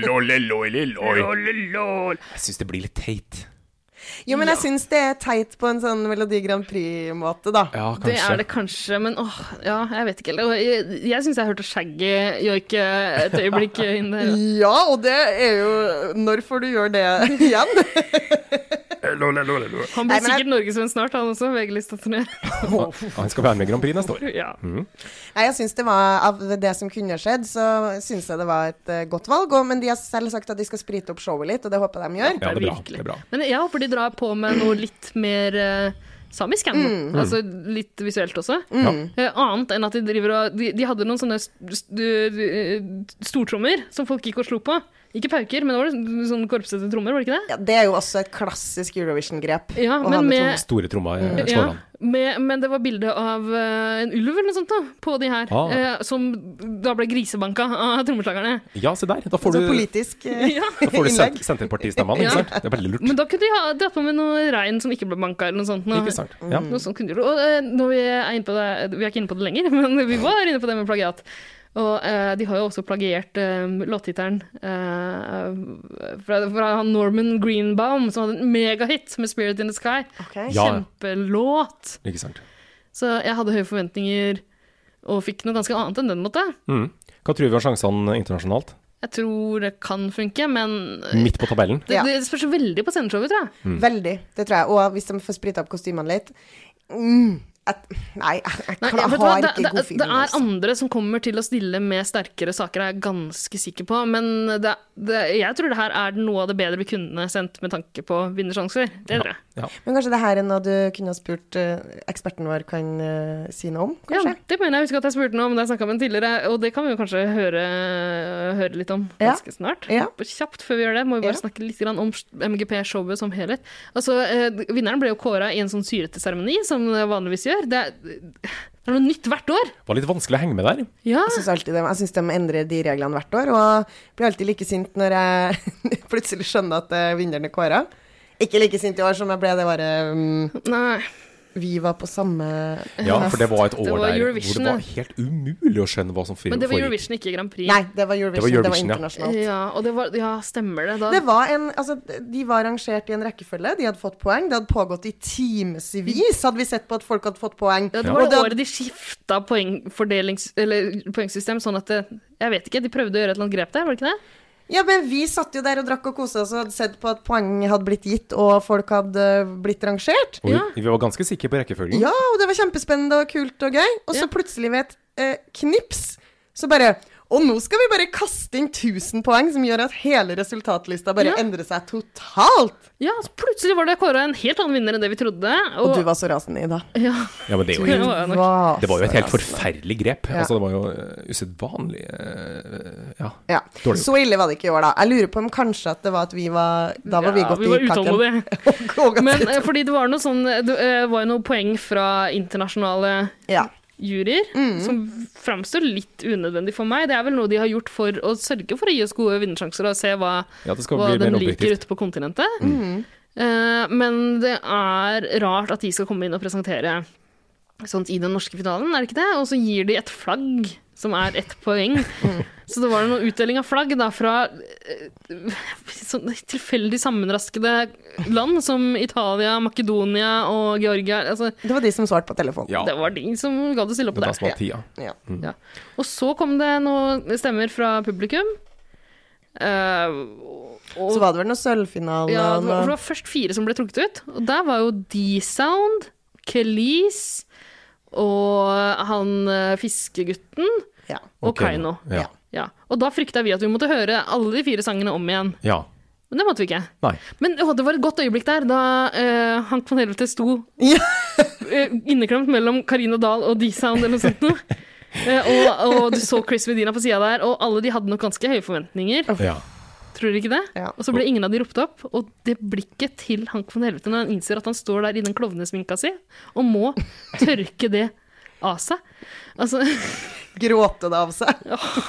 A: lol, lol, lol. Jeg syns det blir litt teit.
B: Jo, men jeg syns det er teit på en sånn Melodi Grand Prix-måte, da.
A: Ja, kanskje.
C: Det er det kanskje, men åh, ja, jeg vet ikke. Eller, Jeg, jeg syns jeg hørte Shaggy joike et øyeblikk inn der.
B: Ja, og det er jo Når får du gjøre det igjen?
C: Han
B: Nei,
C: blir
B: men jeg-
C: sikkert norgesvenn snart, han også. VG-listaturné.
A: Han skal være med i Grand Prix neste år.
C: Ja.
B: Nei, jeg synes det var, Av det som kunne skjedd, så syns jeg det var et eh, godt valg. Og, men de har selv sagt at de skal sprite opp showet litt, og det håper jeg de gjør.
A: Ja, det er bra.
C: Virkelig.
A: Det er bra.
C: Men jeg håper de drar på med noe litt mer eh, samisk. jeg,
B: Mm.
C: nå. Altså litt visuelt også.
A: Ja.
C: Eh, annet enn at de driver og De, de hadde noen sånne st st eh, stortrommer som folk gikk og slo på. Ikke pauker, men det var det sånn korpsete trommer, var det ikke det?
B: Ja, det er jo også et klassisk Eurovision-grep.
C: Ja,
B: å ha
C: men
B: med
C: med,
A: Store tromma eh, slår
C: Mm, ja,
A: han.
C: med, men det var bilde av eh, en ulv eller noe sånt da, på de her,
A: Ah.
C: eh, som da ble grisebanka av trommeslagerne.
A: Ja, se der. Da
B: to-
A: får du,
B: Så politisk eh,
C: Ja.
A: da får du sen-
B: innlegg.
A: Senterpartistemmene,
C: Ja.
A: ikke sant. Det er veldig lurt.
C: Men da kunne de ha dratt på med noe rein som ikke ble banka, eller noe sånt. Noe,
A: Ikke sant. Ja.
C: Noe sånt kunne de gjort. Og eh, når vi er inne på det, vi er ikke inne på det lenger, men vi var inne på det med plagiat. Og eh, de har jo også plagiert uh, låttittelen eh, fra, fra han Norman Greenbaum, som hadde en megahit med 'Spirit in the Sky'.
B: Ok.
A: Ja.
C: Kjempelåt!
A: Ikke sant.
C: Så jeg hadde høye forventninger og fikk noe ganske annet enn den måte.
A: Mm. Hva tror vi har sjansene internasjonalt?
C: Jeg tror det kan funke, men det,
A: Midt på tabellen?
B: Ja.
C: det spørs jo veldig på sceneshowet, tror jeg.
B: Veldig, det tror jeg. Og hvis de får sprita opp kostymene litt mm, at, Nei, jeg, jeg,
C: Nei,
B: klar-
C: vet du hva,
B: har
C: det,
B: ikke
C: det,
B: god
C: det
B: feeling.
C: er
B: altså.
C: andre som kommer til å stille med sterkere saker, er jeg ganske sikker på. Men det, det, jeg tror det her er noe av det bedre vi kunne sendt med tanke på vinnersjanser. Det tror jeg.
A: Ja.
B: Men kanskje det her er noe du kunne ha spurt eh, eksperten vår kan eh, si noe om?
C: Ja,
B: Kanskje?
C: det mener jeg husker at jeg spurte noe om da jeg snakka med en tidligere, og det kan vi jo kanskje høre, høre litt om
B: Ja.
C: ganske snart.
B: Ja.
C: Kjapt før vi gjør det, må vi bare
B: Ja.
C: snakke litt grann om MGP-showet som helhet. Altså, eh, vinneren ble jo kåra i en sånn syrete seremoni, som det vanligvis gjør. Det er, det er noe nytt hvert år. Altså,
A: Var litt vanskelig å henge med der.
C: Ja.
B: Jeg syns alltid de, jeg synes de endrer de reglene hvert år, og blir alltid like sint når jeg plutselig skjønner at eh, vinneren er kåra. Ikke like sint i år som jeg ble det året mm,
C: Nei.
B: vi var på samme
A: Ja, for det var et
C: Det
A: år der
C: var
A: hvor
C: Eurovision,
A: det var
C: ja.
A: helt umulig å skjønne hva som
C: Men det var
A: foregikk.
C: Eurovision, ikke Grand Prix.
B: Nei, det var Eurovision. Det var,
A: Eurovision, ja.
B: internasjonalt.
C: Ja, og det var, ja, stemmer det. Da,
B: Det var en, altså, de var rangert i en rekkefølge, de hadde fått poeng. Det hadde pågått i timevis, hadde vi sett på at folk hadde fått poeng.
C: ja, det
B: Og
C: var det
B: hadde-
C: året de skifta poengfordelings... Eller poengsystem, sånn at det, Jeg vet ikke, de prøvde å gjøre et eller annet grep der, var det ikke det?
B: Ja, men vi satt jo der og drakk og kosa oss og hadde sett på at poeng hadde blitt gitt, og folk hadde eh, blitt rangert.
A: Og vi,
C: Ja.
A: vi var ganske sikre på rekkefølgen.
B: Ja, og det var kjempespennende og kult og gøy. Og så
C: Mm. Ja.
B: plutselig ved et eh, knips, så bare Og nå skal vi bare kaste inn 1000 poeng, som gjør at hele resultatlista bare
C: Ja.
B: endrer seg totalt.
C: Ja, så plutselig var det kåra en helt annen vinner enn det vi trodde.
B: Og du var så rasende, Ida.
C: Ja,
A: Ja, men det, er jo
C: Ja,
A: helt,
C: var jeg nok.
B: Var
A: det var jo et
B: så
C: Altså,
A: helt
B: rasende.
A: forferdelig grep.
B: Ja.
A: Altså, det var jo eh, usedvanlig eh, Ja.
B: ja.
A: Dårlig.
B: Så ille var det ikke i år, da. Jeg lurer på om kanskje at det var at vi var Da var vi
C: ja,
B: godt
C: vi var
B: i kaken.
C: utålmodige.
B: Og at-
C: Men eh, fordi det var noe sånn Det eh, var jo noen poeng fra internasjonale
B: ja.
C: juryer som framstår litt unødvendig for meg. Det er vel noe de har gjort for å sørge for å gi oss gode vinnersjanser og se hva
A: ja, det skal
C: hva
A: bli
C: den
A: mer objektivt.
C: liker
A: Mm.
C: ute på kontinentet. Eh, men det er rart at de skal komme inn og presentere sånt i den norske finalen, er det ikke det? Og så gir de et flagg som er ett poeng.
A: Mm.
C: Så det var noen utdeling av flagg da, fra eh, sånn tilfeldig sammenraskede land som Italia, Makedonia og Georgia. Altså,
B: Det var de som svarte på telefonen.
A: Ja.
C: Det var de som gadd å stille opp
A: Det
C: der.
A: var små tida.
B: Ja.
C: Ja. Og så kom det noen stemmer fra publikum. Eh, og,
B: Så var det vel noe sølvfinale
C: ja,
B: og
C: det var, for det
B: noe
C: var først fire som ble trukket ut, og der var jo D-Sound, Kelis og han eh, fiskegutten
B: ja.
C: og
A: Ok,
C: Kaino.
A: Ja.
C: Ja. Og da frykta vi at vi måtte høre alle de fire sangene om igjen.
A: ja.
C: Men det måtte vi ikke.
A: Nei.
C: Men å, det var et godt øyeblikk der, da eh, Hank von Helvete sto
B: Ja.
C: eh, inneklemt mellom Karina Dahl og D-Sound eller noe sånt noe. Eh, og, og du så Chris Medina på sida der, og alle de hadde nok ganske høye forventninger.
A: Ja.
C: Tror dere ikke det?
B: Ja.
C: Og så ble ingen av de ropt opp. Og det blikket til Hank von Helvete når han innser at han står der i den klovnesminka si og må tørke det av seg. Altså,
B: Gråte det av seg.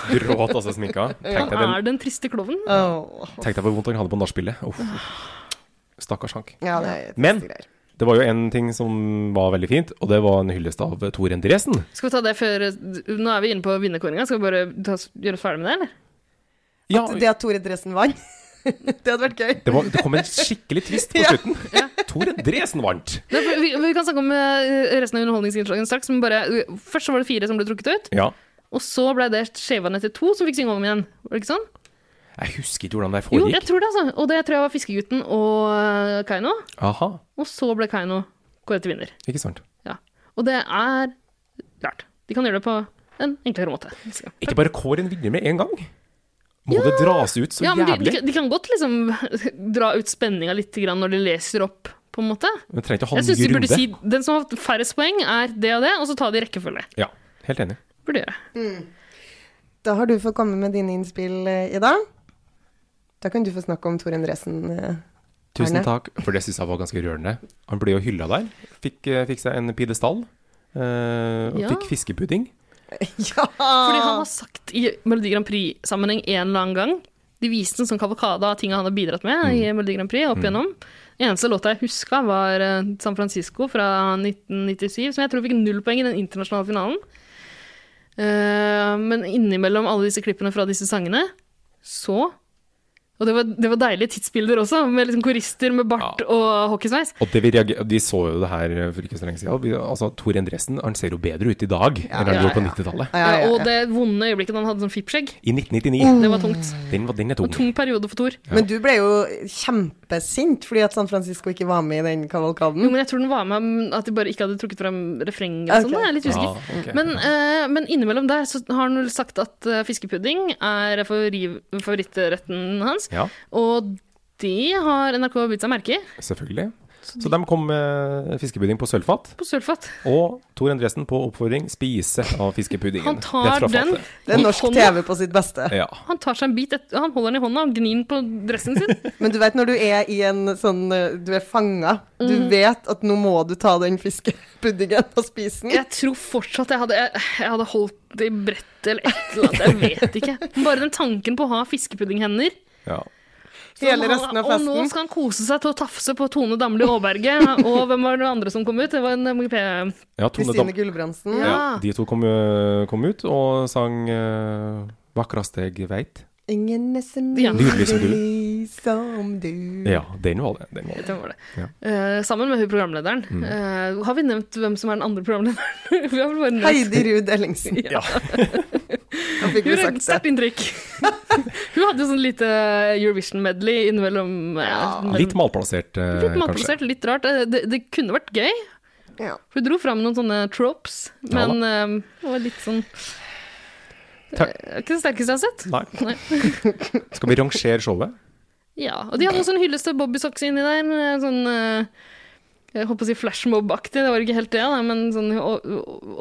A: Gråt altså sminka. Tenk deg,
C: han
A: den,
C: er den triste klovnen.
B: Åh.
A: tenk deg hvor vondt han hadde på nachspielet. Uff, uff. Stakkars Hank.
B: Ja, det er
A: Men-
B: triste greier.
A: Det var jo en ting som var veldig fint, og det var en hyllest av Tor Endresen.
C: Skal vi ta det før Nå er vi inne på vinnerkåringa. Skal vi bare ta, gjøre oss ferdig med det, eller?
A: Ja,
B: Det at Tore Dressen vant, det hadde vært gøy.
A: det, var, det kom en skikkelig twist på slutten. Tor Endresen vant!
C: Det, er- vi, vi kan snakke om eh, resten av underholdningsinnslagene straks. Men bare, eh, først så var det fire som ble trukket ut,
A: Ja.
C: og så ble det skjeva ned til to som fikk synge om igjen. Var det ikke sånn?
A: Jeg husker ikke hvordan det
C: Jo, jeg
A: foregikk.
C: tror det, altså. Og det tror jeg var Fiskegutten og eh, Kaino.
A: Aha,
C: Og så ble Kaino kåret til vinner.
A: ikke sant.
C: Ja. Og det er klart. De kan gjøre det på en enklere måte.
A: Ikke bare kår en vinner med en gang. Må det dras ut så
C: Ja, men de, de,
A: jævlig?
C: kan- de kan godt liksom dra ut spenninga litt grann når de leser opp, på en måte.
A: Men trenger ikke å ha
C: Jeg synes de
A: en ny
C: burde
A: runde.
C: si den som har hatt færrest poeng, er det og det, og så ta det i rekkefølge.
A: Ja, helt enig.
C: Burde gjøre.
B: Da har du fått komme med dine innspill, eh, Ida. Da kan du få snakke om Tor Endresen. eh.
A: Tusen
B: Arne?
A: takk, for det syns jeg var ganske rørende. Han ble jo hylla der. Fikk, eh, fikk seg en pidestall. eh, og
C: Ja.
A: fikk fiskepudding.
B: Ja!
C: Fordi
B: Ah.
C: han har sagt i Melodi Grand Prix-sammenheng en eller annen gang De viste en sånn kavalkade av ting han har bidratt med
B: Mm.
C: i Melodi Grand Prix opp igjennom. Eneste låta jeg huska, var eh, San Francisco fra 1997, som jeg tror fikk null poeng i den internasjonale finalen. Eh, men innimellom alle disse klippene fra disse sangene, så Og det var, det var deilige tidsbilder også, med liksom korister med bart og hockeysveis.
A: Og det vi reager, de så jo det her eh, for ikke så lenge siden. og vi- Altså, Tor Endresen han ser jo bedre ut i dag enn han
C: ja,
A: gjorde på
C: ja.
A: 90-tallet.
B: Ja, Uh. ja,
C: Og
B: ja.
C: det vonde øyeblikket da han hadde sånn fippskjegg,
A: I 1999.
C: det var tungt.
A: Den, var- den er
C: Det var
A: tung.
C: en tung periode for Tor.
B: Men du ble jo kjempesint fordi at San Francisco ikke var med i den
C: Jo,
B: kavalkaden.
C: men jeg tror den var med men at de bare ikke hadde trukket fram refrenget
B: Ok.
C: og sånn. da. Jeg er litt
A: Ja,
C: usikker.
A: ok.
C: Men, eh, men innimellom der så har han vel sagt at eh, fiskepudding er favori- favorittretten hans.
A: Ja,
C: Og det har NRK bitt seg merke i
A: selvfølgelig. Så de kom med fiskepudding på sølvfat,
C: på sølvfat.
A: og Tor Endresen på oppfordring spise av fiskepuddingen.
C: Han
A: rett
C: tar
A: fra
C: den
A: fatet.
B: Det er
C: i
B: norsk
C: hånda.
B: TV på sitt beste.
A: Ja.
C: Han tar seg en bit, et, han holder den i hånda og gnir den på dressen sin.
B: Men du vet når du er i en sånn eh, Du er fanga. Du
C: Mm.
B: vet at nå må du ta den fiskepuddingen og spise den.
C: Jeg tror fortsatt jeg hadde, jeg, jeg hadde holdt det i brettet eller et eller annet, jeg vet ikke. Bare den tanken på å ha fiskepuddinghender
A: ja.
C: Så
B: Hele
C: han-
B: resten av
C: Og nå
B: festen.
C: skal han kose seg til å tafse på Tone Damli Aaberge. og hvem var det andre som kom ut? Det var en eh, MGP.
A: ja Tone Dam
B: Kristine Gulbrandsen.
C: Ja.
A: ja, de to kom, eh, kom ut og sang eh, 'Vakraste jeg veit'.
B: Ingen er så
C: Ja.
A: Nydelig som du.
B: nydelig som du.
A: Ja, den var det. Den var det.
C: Det var det. Eh, sammen med hun programlederen.
A: Mm.
C: Eh, har vi nevnt hvem som er den andre programlederen? vi har vel bare nevnt
B: Heidi Ruud Ellingsen.
A: Ja.
B: Da fikk
C: Hun
B: vi
C: gjorde et
B: sagt det.
C: sterkt inntrykk. hun hadde jo sånn lite Eurovision-medley innimellom. eh, mellom-
A: Litt malplassert, eh,
C: litt
A: kanskje.
C: matplassert, litt rart. Eh, Det, det kunne vært gøy.
B: Ja.
C: Hun dro fram noen sånne tropes,
A: Ja da.
C: men eh, det var litt sånn
A: Ta-
C: Eh, Ikke det sterkeste jeg har sett.
A: Nei. Skal vi rangere showet?
C: Ja, og de hadde også en sånn hyllest til Bobby Socks inni der. med Sånn eh, Jeg holdt på å si flashmob-aktig, det var ikke helt det, da, men sånn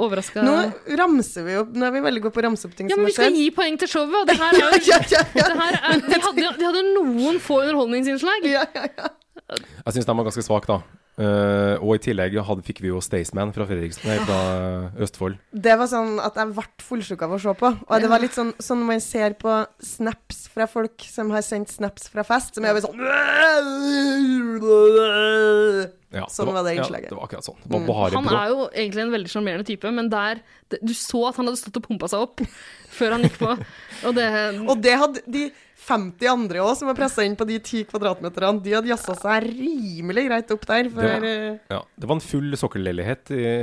C: overraska
B: Nå ramser vi opp. Nå er vi veldig gode på å ramse opp ting
C: Ja,
B: som
C: men
B: har
C: vi skal
B: skjedd.
C: gi poeng til showet, og det her er jo
B: Ja, ja, ja.
C: det her er, de, hadde, de hadde noen få underholdningsinnslag.
A: Jeg syns den var ganske svak, da. Eh, og i tillegg hadde, fikk vi jo Staysman fra Fredriksen, nei, fra Østfold.
B: Det var sånn at jeg ble fullsjuk av å se på. Og det var litt sånn, sånn når man ser på snaps fra folk som har sendt snaps fra fest, som er bare sånn
A: Ja,
B: Sånn var det innslaget.
A: Ja, det var akkurat sånn. Det var bare
C: Mm. Han
A: bra.
C: er jo egentlig en veldig sjarmerende type, men der det- Du så at han hadde stått og pumpa seg opp før han gikk på, og det
B: Og det hadde de 50 andre òg, som var pressa inn på de 10 kvadratmeterne. De hadde jazza seg rimelig greit opp der. For,
A: Det-
B: eh,
A: Ja, det var en full sokkelleilighet i, i,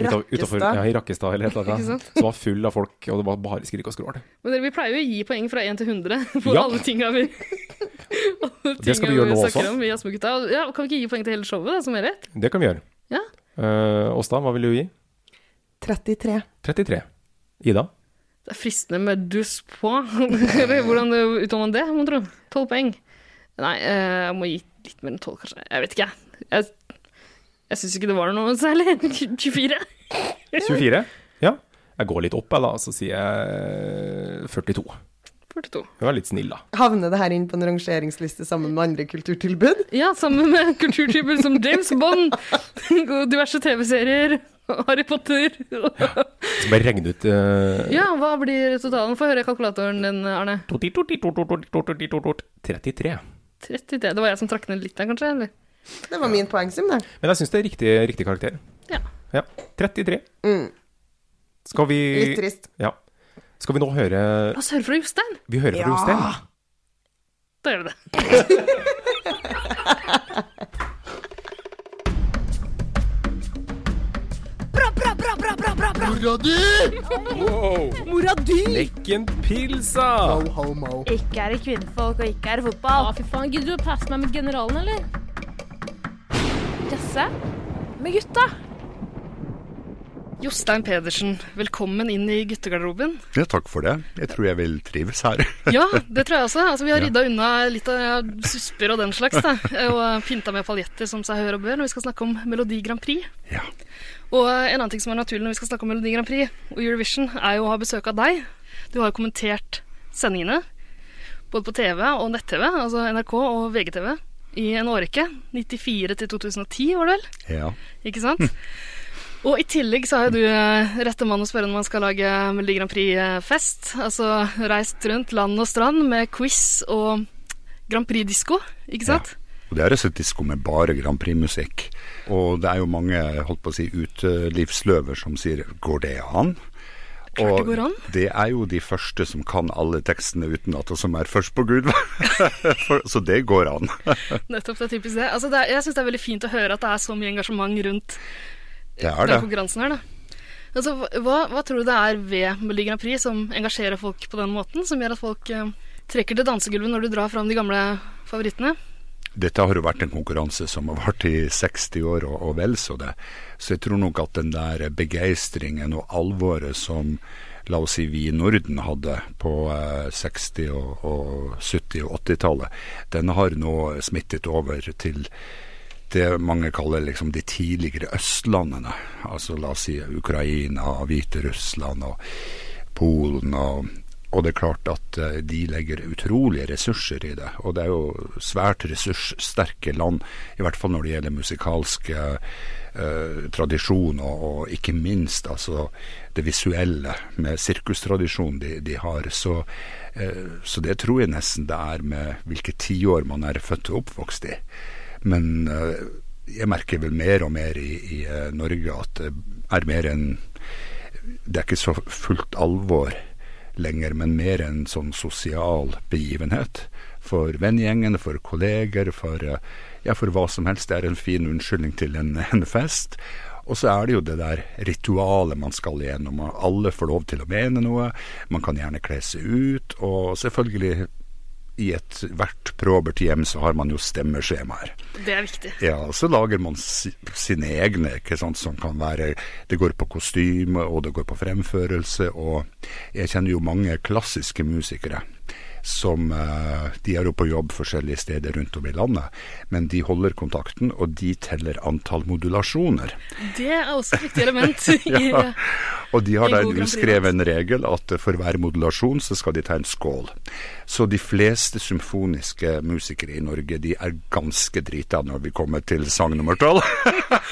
B: Rakkestad.
A: utenfor- Ja, i Rakkestad eller et eller
C: Ikke
A: annet.
C: sant?
A: Som var full av folk, og det var bare skrik og skrål.
C: Men dere, vi pleier jo å gi poeng fra 1 til 100 for
A: Ja.
C: alle tinga vi alle
A: Det skal vi
C: tinga
A: gjøre nå
C: snakker
A: også.
C: Om, i Jazzmugutta. Og ja, kan vi ikke gi poeng til hele showet, da, som helhet?
A: Det kan vi gjøre.
C: Ja.
A: Eh, Åsta, hva vil du gi?
B: 33.
A: 33. Ida?
C: Det er fristende med dus på. Eller hvordan uttaler man det, mon tro? 12 poeng. Nei, eh, jeg må gi litt mer enn 12, kanskje. Jeg vet ikke, jeg. Jeg, jeg syns ikke det var noe særlig. 24.
A: 24? Ja. Jeg går litt opp, jeg, da, så sier jeg 42.
C: 42.
A: Vær litt snill, da.
B: Havner det her inn på en rangeringsliste sammen med andre kulturtilbud?
C: Ja, sammen med kulturtyper som James Bond og diverse TV-serier. og Harry Potter.
A: Så bare regn ut eh,
C: Ja, hva blir totalen? Få høre kalkulatoren din, Arne.
A: 33.
C: 33. Det var jeg som trakk ned litt der, kanskje? eller?
B: Det var min poengsum, det.
A: Men jeg syns det er riktig, riktig karakter.
C: Ja.
A: Ja. 33.
B: Mm.
A: Skal vi
B: Litt trist.
A: Ja. Skal vi nå høre
C: La oss høre fra Jostein.
A: Vi hører fra Jostein.
C: Da gjør vi det.
F: Mora di!
A: Lekken pilsa!
F: Ikke er det kvinnfolk, og ikke er det fotball.
E: Å, fy faen. Gidder du å passe meg med generalen, eller?
F: Jasse med gutta.
C: Jostein Pedersen, velkommen inn i guttegarderoben.
G: Ja, takk for det. Jeg tror jeg vil trives her.
C: Ja, det tror jeg også. Altså, vi har rydda unna litt av susper og den slags. Da. Og pynta med paljetter, som seg hør og bør, når vi skal snakke om Melodi Grand Prix.
G: Ja.
C: Og en annen ting som er naturlig når vi skal snakke om Melodi Grand Prix og Eurovision, er jo å ha besøk av deg. Du har jo kommentert sendingene, både på TV og nett-TV, altså NRK og VGTV, i en årrekke. 94 til 2010, var det vel?
G: ja.
C: Ikke sant? Og i tillegg så er jo du eh, rette mann å spørre når man skal lage Melodi Grand Prix-fest. Altså reist rundt land og strand med quiz og Grand Prix-disko, ikke sant?
G: Og det er altså et disko med bare Grand Prix-musikk. Og det er jo mange holdt på å si, utelivsløver som sier 'går det an'?
C: Klart det går an.
G: det er jo de første som kan alle tekstene utenat, og som er først på Gud. For, så det går an.
C: Nettopp, det er typisk det. Altså det er, jeg syns det er veldig fint å høre at det er så mye engasjement rundt
G: Det er
C: den
G: det.
C: konkurransen her, da. Altså, hva, hva tror du det er ved Melodi Grand Prix som engasjerer folk på den måten, som gjør at folk eh, trekker til dansegulvet når du drar fram de gamle favorittene?
G: Dette har jo vært en konkurranse som har vart i 60 år og, og vel så det. Så jeg tror nok at den der begeistringen og alvoret som la oss si vi i Norden hadde på eh, 60- og, og 70- og 80-tallet, den har nå smittet over til det mange kaller liksom de tidligere østlandene. Altså la oss si Ukraina, Hviterussland og Polen og og det er klart at eh, de legger utrolige ressurser i det. Og det er jo svært ressurssterke land, i hvert fall når det gjelder musikalsk eh, eh, tradisjon, og, og ikke minst altså det visuelle med sirkustradisjonen de, de har. Så, eh, så det tror jeg nesten det er med hvilke tiår man er født og oppvokst i. Men eh, jeg merker vel mer og mer i, i eh, Norge at det er mer en Det er ikke så fullt alvor lenger, men mer en sånn sosial begivenhet. For vennegjengen, for kolleger, for, eh, ja, for hva som helst. Det er en fin unnskyldning til en, en fest. Og så er det jo det der ritualet man skal igjennom. og Alle får lov til å mene noe. Man kan gjerne kle seg ut. Og selvfølgelig, i ethvert probert hjem så har man jo stemmeskjemaer.
C: Det er viktig.
G: Ja, og så lager man si, sine egne, ikke sant, som kan være Det går på kostyme, og det går på fremførelse, og jeg kjenner jo mange klassiske musikere. Som eh, De er jo på jobb forskjellige steder rundt om i landet, men de holder kontakten, og de teller antall modulasjoner.
C: Det er også et viktig element. i- eh,
G: Ja. Og de har
C: En
G: da
C: god
G: en
C: Grand
G: uskreven regel at eh, for hver modulasjon så skal de ta en skål. Så de fleste symfoniske musikere i Norge de er ganske drita når vi kommer til sang nummer tolv.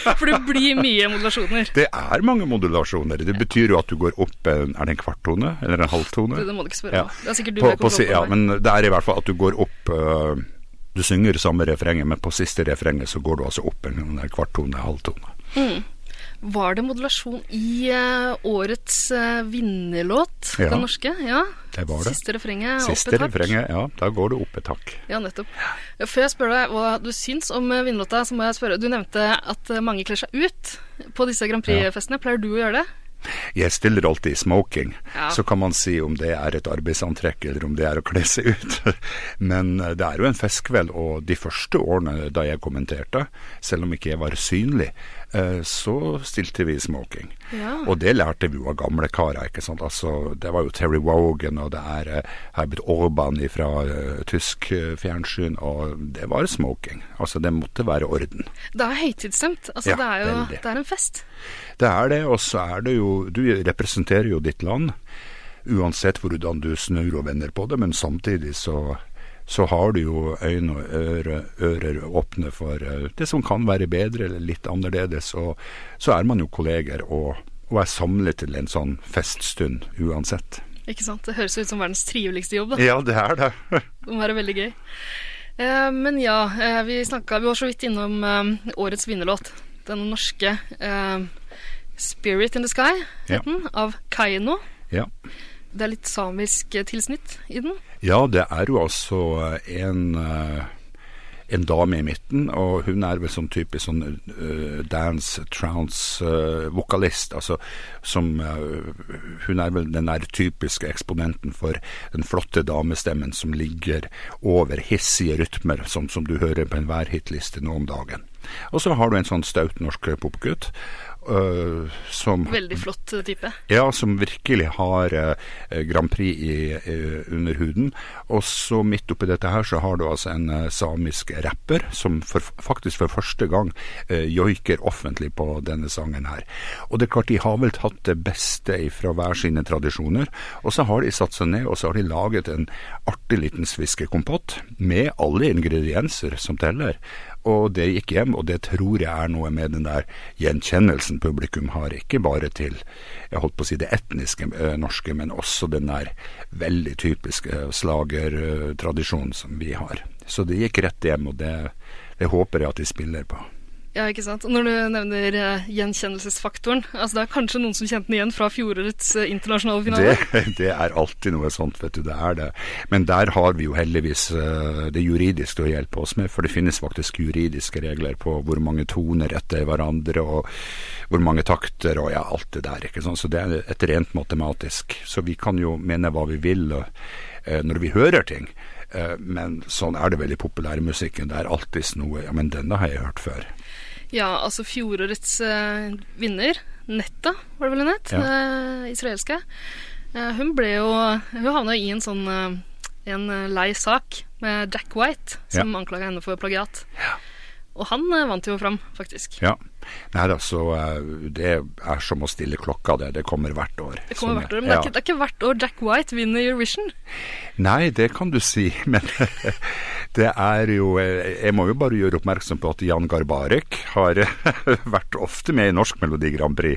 C: For det blir mye modulasjoner.
G: Det er mange modulasjoner. Det betyr jo at du går opp en, Er det en kvarttone eller en halvtone?
C: Det, det må du ikke spørre
G: Ja.
C: om. Det er sikkert du
G: På,
C: mer
G: på, si-
C: kontroll på
G: ja,
C: enn meg.
G: men det er i hvert fall at du går opp øh, Du synger samme refrenget, men på siste refrenget så går du altså opp en, en kvarttone, halvtone.
C: Var det modulasjon i eh, årets eh, vinnerlåt,
G: Ja.
C: den norske? Ja.
G: Det var det.
C: Siste refrenget. opp
G: Siste
C: et hakk.
G: refrenget, ja. Da går du opp et hakk.
C: Ja, nettopp. Før jeg spør deg hva du syns om eh, vinnerlåta, så må jeg spørre Du nevnte at eh, mange kler seg ut på disse Grand Prix-festene. Pleier du å gjøre det?
G: Jeg stiller alltid i smoking.
C: Ja.
G: Så kan man si om det er et arbeidsantrekk, eller om det er å kle seg ut. Men eh, det er jo en festkveld, og de første årene da jeg kommenterte, selv om ikke jeg var synlig, eh, så stilte vi smoking.
C: Ja.
G: Og det lærte vi jo av gamle karer, ikke sant. Altså, det var jo Terry Wogan og det er eh, Herbert Orban fra tysk eh, fjernsyn, og det var smoking. Altså, det måtte være orden.
C: Det er høytidsstemt. Altså,
G: Ja,
C: det er jo
G: veldig.
C: det er en fest.
G: Det er det, og så er det jo Du representerer jo ditt land, uansett hvordan du snur og vender på det, men samtidig så så har du jo øyne og øre, ører åpne for eh, det som kan være bedre eller litt annerledes, og så er man jo kolleger og, og er samlet til en sånn feststund uansett.
C: Ikke sant? Det høres ut som verdens triveligste jobb. Da.
G: Ja, det er det.
C: Det må være veldig gøy. Eh, men ja, eh, vi, snakket, vi var så vidt innom eh, årets vinnerlåt. Den norske eh, 'Spirit in the Sky'
G: Ja.
C: het den, av Kaino.
G: Ja.
C: Det er litt samisk eh, tilsnitt i den.
G: Ja, det er jo altså en, eh, en dame i midten, og hun er vel sånn typisk sånn eh, dance, trance, eh, vokalist. Altså som eh, Hun er vel den der typiske eksponenten for den flotte damestemmen som ligger over hissige rytmer, sånn som du hører på enhver hitliste nå om dagen. Og så har du en sånn staut norsk popgutt. eh, som
C: Veldig flott eh, type.
G: ja, som virkelig har eh, Grand Prix i, eh, under huden. Og så midt oppi dette her så har du altså en eh, samisk rapper som for, faktisk for første gang eh, joiker offentlig på denne sangen her. Og det er klart, de har vel tatt det beste fra hver sine tradisjoner, og så har de satt seg ned, og så har de laget en artig liten sviskekompott med alle ingredienser som teller. Og det gikk hjem, og det tror jeg er noe med den der gjenkjennelsen publikum har, ikke bare til jeg holdt på å si det etniske eh, norske, men også den der veldig typiske eh, slagertradisjonen som vi har. Så det gikk rett hjem, og det, det håper jeg at de spiller på.
C: Ja, ikke sant? Og Når du nevner eh, gjenkjennelsesfaktoren altså Det er kanskje noen som kjente den igjen fra fjorårets eh, internasjonale finale.
G: Det, det er alltid noe sånt, vet du. Det er det. Men der har vi jo heldigvis eh, det juridiske å hjelpe oss med, for det finnes faktisk juridiske regler på hvor mange toner etter hverandre, og hvor mange takter, og ja, alt det der. ikke sant? Så det er et rent matematisk. Så vi kan jo mene hva vi vil og, eh, når vi hører ting, eh, men sånn er det vel i populærmusikken. Det er alltids noe Ja, men denne har jeg hørt før.
C: Ja, altså fjorårets eh, vinner, Netta, var det vel hun het?
G: Ja.
C: Eh, israelske. Eh, hun ble jo Hun havna i en sånn eh, en eh, lei sak med Jack White, som
G: Ja.
C: anklaga henne for plagiat. Og han eh, vant jo fram, faktisk.
G: Ja. Nei da, så eh, det er som å stille klokka, det. Det kommer hvert år.
C: Det kommer
G: Sånn,
C: hvert år, men det,
G: ja.
C: er ikke, det er ikke hvert år Jack White vinner Eurovision.
G: Nei, det kan du si, men det er jo eh, Jeg må jo bare gjøre oppmerksom på at Jan Garbarek har vært ofte med i Norsk Melodi Grand Prix,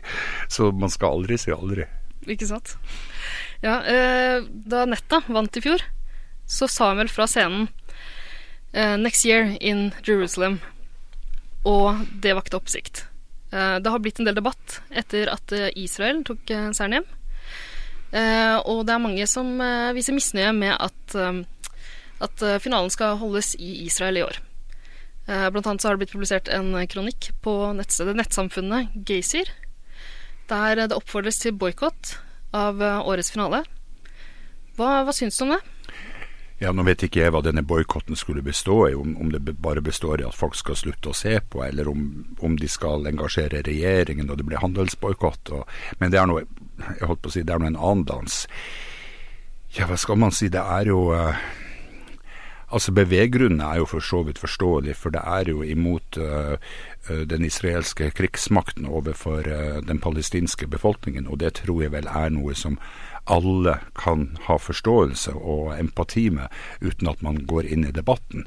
G: så man skal aldri si aldri.
C: Ikke sant? Ja, eh, da Netta vant i fjor, så sa hun vel fra scenen eh, Next year in Jerusalem. Og det vakte oppsikt. Eh, det har blitt en del debatt etter at eh, Israel tok eh, seieren hjem. Eh, og det er mange som eh, viser misnøye med at, eh, at eh, finalen skal holdes i Israel i år. Eh, blant annet så har det blitt publisert en kronikk på nettstedet Nettsamfunnet Gaysir, der det oppfordres til boikott av eh, årets finale. Hva, hva syns du om det?
G: Ja, Nå vet ikke jeg hva denne boikotten skulle bestå i, om, om det be- bare består i at folk skal slutte å se på, eller om, om de skal engasjere regjeringen og det blir handelsboikott. og- Men det er noe jeg holdt på å si, det er noe en annen dans. Ja, hva skal man si, det er jo eh, Altså Beveggrunnene er jo for så vidt forståelig, for det er jo imot eh, eh, den israelske krigsmakten overfor eh, den palestinske befolkningen, og det tror jeg vel er noe som alle kan ha forståelse og empati med, uten at man går inn i debatten.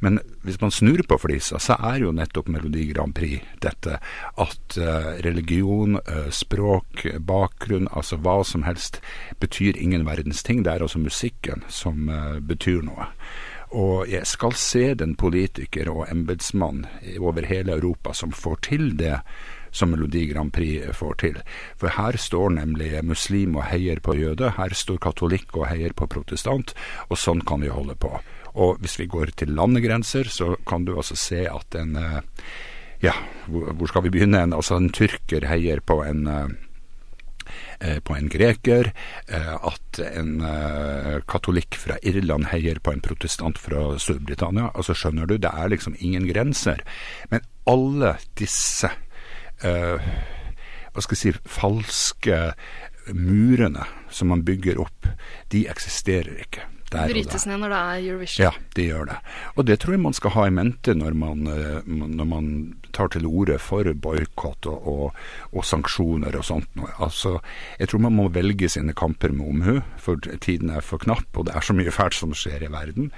G: Men hvis man snur på flisa, så er jo nettopp Melodi Grand Prix dette at eh, religion, eh, språk, bakgrunn, altså hva som helst, betyr ingen verdens ting. Det er altså musikken som eh, betyr noe. Og jeg skal se den politiker og embetsmann i- over hele Europa som får til det som Melodi Grand Prix får til. For her står nemlig muslim og heier på jøde, her står katolikk og heier på protestant, og sånn kan vi holde på. Og hvis vi går til landegrenser, så kan du altså se at en eh, Ja, hvor hvor skal vi begynne? En, altså en tyrker heier på en eh, eh, på en greker, eh, at en eh, katolikk fra Irland heier på en protestant fra Storbritannia. Altså skjønner du, det er liksom ingen grenser. Men alle disse eh, hva skal jeg si, falske murene som man bygger opp, de eksisterer ikke der og der.
C: Brytes ned når det er Eurovision.
G: Ja, de gjør det. Og det tror jeg man skal ha i mente når man, eh, når man tar til orde for boikott og, og, og sanksjoner og sånt. noe. Altså, jeg tror man må velge sine kamper med omhu, for tiden er for knapp, og det er så mye fælt som skjer i verden.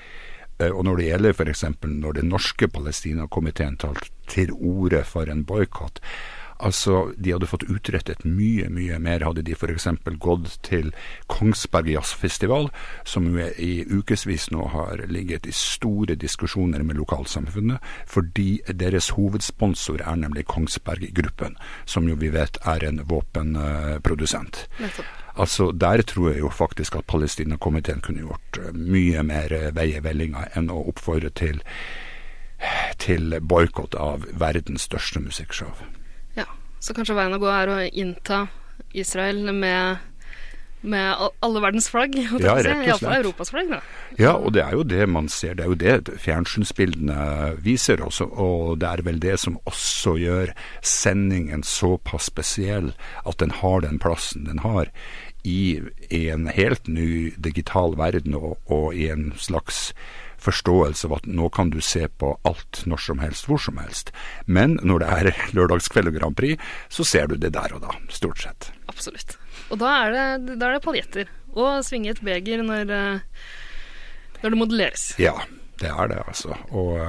G: Eh, Og når det gjelder f.eks. når den norske Palestina-komiteen tar til orde for en boikott, Altså, De hadde fått utrettet mye mye mer hadde de f.eks. gått til Kongsberg Jazzfestival, som jo er- i ukevis nå har ligget i store diskusjoner med lokalsamfunnet, fordi deres hovedsponsor er nemlig Kongsberg Gruppen, som jo vi vet er en våpenprodusent.
C: Nettopp.
G: Altså, Der tror jeg jo faktisk at Palestina-komiteen kunne gjort eh, mye mer eh, vei i vellinga enn å oppfordre til, til boikott av verdens største musikkshow.
C: Ja. Så kanskje veien å gå er å innta Israel med, med al- alle verdens flagg. holdt jeg på
G: Ja,
C: å si.
G: rett og
C: Iallfall
G: slett.
C: Europas flagg, da.
G: Ja, og det er jo det man ser. Det er jo det fjernsynsbildene viser også, og det er vel det som også gjør sendingen såpass spesiell at den har den plassen den har i en helt ny digital verden og, og i en slags forståelse av at nå kan du se på alt når som helst, hvor som helst. Men når det er lørdagskveld og Grand Prix, så ser du det der og da, stort sett.
C: Absolutt. Og da er det, da er det paljetter. Og svinge et beger når, eh, når det modelleres.
G: Ja, det er det, altså. Og,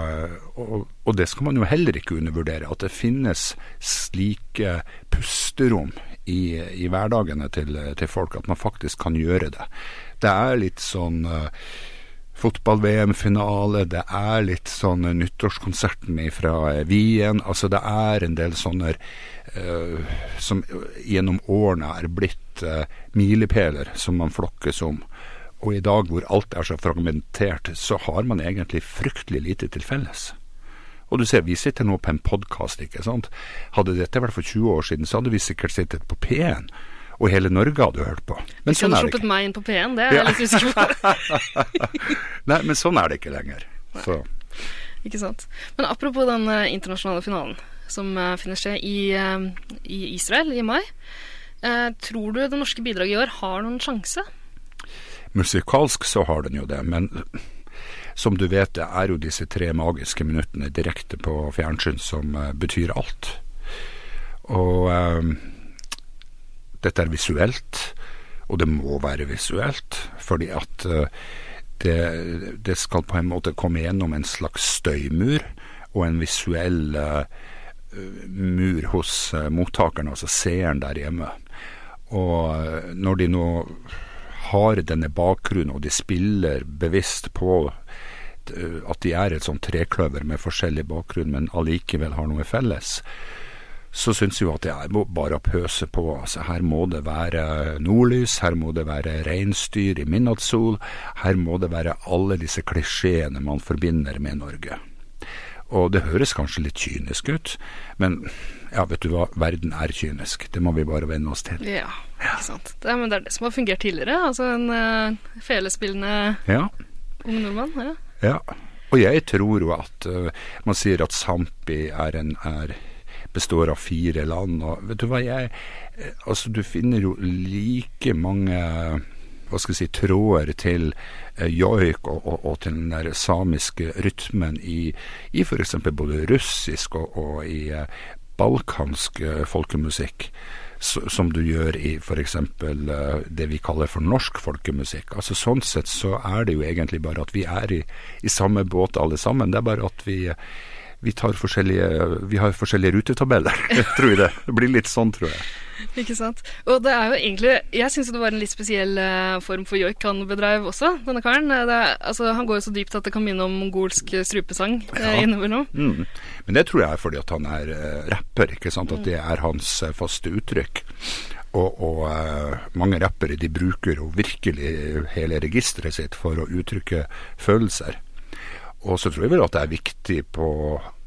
G: og, og det skal man jo heller ikke undervurdere. At det finnes slike pusterom i, i hverdagene til, til folk, at man faktisk kan gjøre det. Det er litt sånn eh, fotball-VM-finale, det er litt sånn nyttårskonserten fra Wien. Altså det er en del sånne eh, som gjennom årene er blitt eh, milepæler som man flokkes om. Og i dag hvor alt er så fragmentert, så har man egentlig fryktelig lite til felles. Og du ser, vi sitter nå på en podkast, ikke sant. Hadde dette vært for 20 år siden, så hadde vi sikkert sittet på P1, og hele Norge hadde hørt på. Men
C: Hvis du
G: sånn
C: hadde
G: er det ikke.
C: sluppet meg inn på P1, det er jeg
G: Ja.
C: litt usikker på.
G: Nei, men sånn er det ikke lenger. Så.
C: Ikke sant? Men apropos den eh, internasjonale finalen som eh, finner sted i, eh, i Israel i mai. eh, tror du det norske bidraget i år har noen sjanse?
G: Musikalsk så har den jo det, men som du vet, det er jo disse tre magiske minuttene direkte på fjernsyn som eh, betyr alt. Og eh, dette er visuelt, og det må være visuelt, fordi at eh, det, det skal på en måte komme gjennom en slags støymur og en visuell eh, mur hos eh, mottakeren, altså seeren der hjemme. Og eh, når de nå har denne bakgrunnen, og de spiller bevisst på eh, at de er et sånn trekløver med forskjellig bakgrunn, men allikevel har noe felles, så syns jeg jo at det er må bare å pøse på. Altså, her må det være nordlys, her må det være reinsdyr i midnattssol, her må det være alle disse klisjeene man forbinder med Norge. Og det høres kanskje litt kynisk ut, men ja, vet du hva, verden er kynisk. Det må vi bare venne oss til.
C: Ja, ikke sant. Det er, men det er det som har fungert tidligere. Altså en eh, felespillende
G: Ja.
C: ung nordmann. Ja.
G: Ja, og jeg tror jo at øh, man sier at Sampi er en er, består av fire land, og vet du hva jeg eh, Altså, du finner jo like mange hva skal jeg si, tråder til eh, joik og, og, og til den der samiske rytmen i, i f.eks. både russisk og, og i eh, balkansk eh, folkemusikk s- som du gjør i f.eks. det vi kaller for norsk folkemusikk. Altså Sånn sett så er det jo egentlig bare at vi er i, i samme båt alle sammen. Det er bare at vi, vi, tar forskjellige, vi har forskjellige rutetabeller, tror jeg det. Det blir litt sånn, tror jeg.
C: Ikke sant. Og det er jo egentlig Jeg syns det var en litt spesiell eh, form for joik han bedreiv også, denne karen. Eh, Det er, altså, han går jo så dypt at det kan minne om mongolsk strupesang eh,
G: Ja.
C: innimellom.
G: Mm. Men det tror jeg er fordi at han er eh, rapper, ikke sant. At det er hans eh, faste uttrykk. Og, og eh, mange rappere de bruker jo virkelig hele registeret sitt for å uttrykke følelser. Og så tror jeg vel at det er viktig på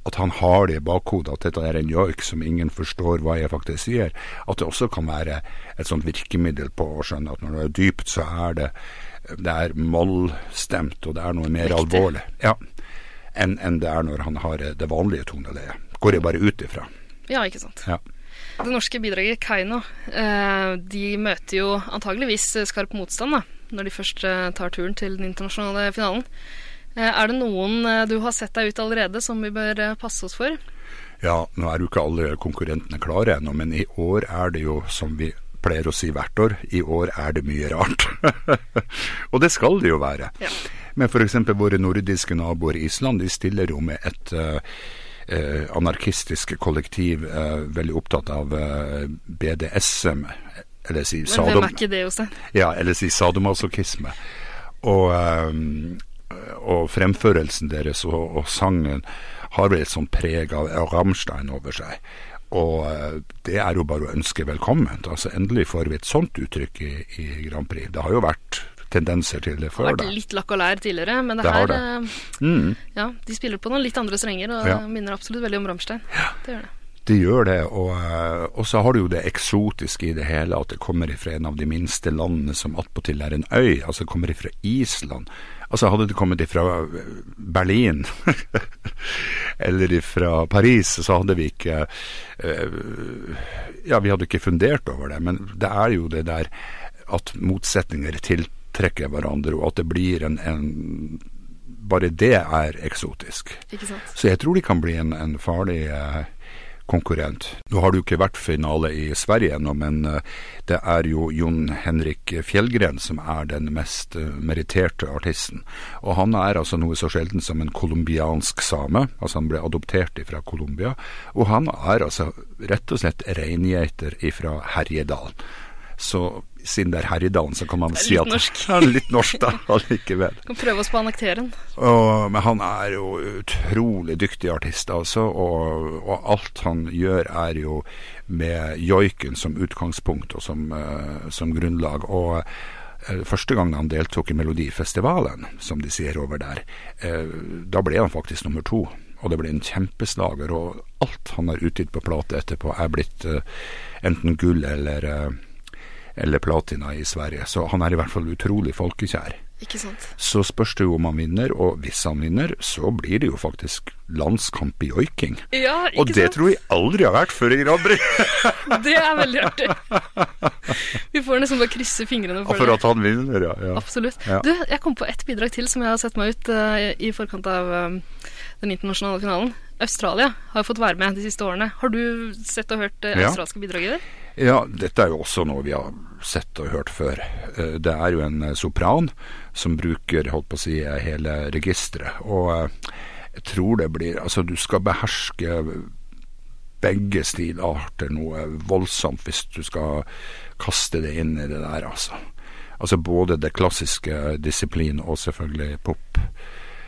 G: at han har det i bakhodet, at dette er en joik som ingen forstår hva jeg faktisk sier. At det også kan være et sånt virkemiddel på å skjønne at når det er dypt, så er det det er mollstemt, og det er noe mer
C: Riktig.
G: alvorlig. Ja enn enn det er når han har eh, det vanlige toneleiet. Går jeg bare ut ifra.
C: Ja, ikke sant.
G: Ja.
C: Det norske bidraget Kaino eh, de møter jo antageligvis skarp motstand da, når de først eh, tar turen til den internasjonale finalen. Eh, Er det noen eh, du har sett deg ut allerede som vi bør eh, passe oss for?
G: Ja, nå er jo ikke alle konkurrentene klare ennå, men i år er det jo, som vi pleier å si hvert år, i år er det mye rart. og det skal det jo være.
C: Ja.
G: Men f.eks. våre nordiske naboer i Island, de stiller jo med et eh, eh, anarkistisk kollektiv eh, veldig opptatt av eh, BDSM, eller si
C: Men hvem
G: sadom...
C: er ikke det, Jostein?
G: Ja, eller si sadomasochisme. Og, ehm, og fremførelsen deres og, og sangen har vel et sånt preg av Rammstein over seg. Og eh, det er jo bare å ønske velkomment. Altså Endelig får vi et sånt uttrykk i, i Grand Prix. Det har jo vært tendenser til det
C: Det har
G: før,
C: vært
G: da.
C: litt lakk og lær tidligere, men det,
G: Det har
C: her
G: det.
C: eh,
G: Mm,
C: Ja, de spiller på noen litt andre strenger, og
G: Ja.
C: det minner absolutt veldig om Rammstein. Det gjør det.
G: de gjør det. Og, eh, og så har du jo det eksotiske i det hele, at det kommer ifra en av de minste landene som attpåtil er en øy. Altså det kommer ifra Island. Altså hadde det kommet ifra eh, Berlin eller ifra Paris, så hadde vi ikke eh, Ja, vi hadde ikke fundert over det, men det er jo det der at motsetninger tiltrekker hverandre, og at det blir en, en Bare det er eksotisk.
C: Ikke sant?
G: Så jeg tror de kan bli en, en farlig eh, konkurrent. Nå har det jo ikke vært finale i Sverige ennå, men eh, det er jo Jon Henrik Fjellgren som er den mest eh, meritterte artisten. Og han er altså noe så sjelden som en colombiansk same, altså han ble adoptert fra Colombia. Og han er altså rett og slett reingeiter fra Herjedalen. Så siden det er Herjedalen, så kan man
C: Det er
G: si
C: litt
G: at
C: norsk.
G: Ja, litt norsk, da, allikevel.
C: Kan prøve oss på annekteren.
G: Og, men han er jo utrolig dyktig artist, altså. Og, og alt han gjør, er jo med joiken som utgangspunkt og som, eh, som grunnlag. Og eh, første gang han deltok i Melodifestivalen, som de sier over der, eh, da ble han faktisk nummer to. Og det ble en kjempeslager. Og alt han har utgitt på plate etterpå, er blitt eh, enten gull eller eh, eller platina i Sverige, så han er i hvert fall utrolig folkekjær.
C: Ikke sant?
G: Så spørs det jo om han vinner, og hvis han vinner, så blir det jo faktisk landskamp i joiking.
C: Ja, ikke
G: Og det
C: sant?
G: tror jeg aldri har vært før i Grand Prix!
C: Det er veldig artig. Vi får nesten bare krysse fingrene for,
G: For
C: det.
G: at han vinner, ja. ja.
C: Absolutt.
G: Ja.
C: Du, jeg kom på ett bidrag til som jeg har sett meg ut eh, i forkant av eh, den internasjonale finalen. Australia har jo fått være med de siste årene. Har du sett og hørt det
G: Ja.
C: australske bidraget der?
G: Ja, dette er jo også noe vi har sett og hørt før. Eh, Det er jo en eh, sopran som bruker, holdt på å si, eh, hele registeret. Og eh, jeg tror det blir Altså, du skal beherske begge stilarter noe voldsomt hvis du skal kaste det inn i det der, altså. Altså både det klassiske disiplin og selvfølgelig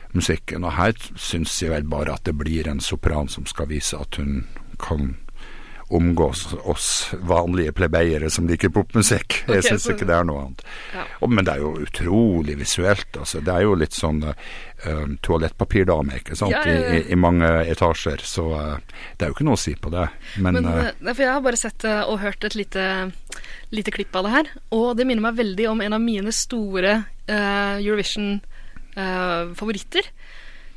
G: popmusikken. Og her syns jeg vel bare at det blir en sopran som skal vise at hun kan omgås oss vanlige plebeiere som liker popmusikk.
C: Ok,
G: Jeg syns
C: så-
G: ikke det er noe annet.
C: Ja.
G: Og, men det er jo utrolig visuelt, altså. Det er jo litt sånn eh, eh, toalettpapirdame, ikke sant,
C: Ja, ja, ja.
G: I, i, i mange etasjer. Så eh, det er jo ikke noe å si på det. Men,
C: Men,
G: eh,
C: eh, nei, for jeg har bare sett eh, og hørt et lite, lite klipp av det her. Og det minner meg veldig om en av mine store eh, Eurovision-favoritter.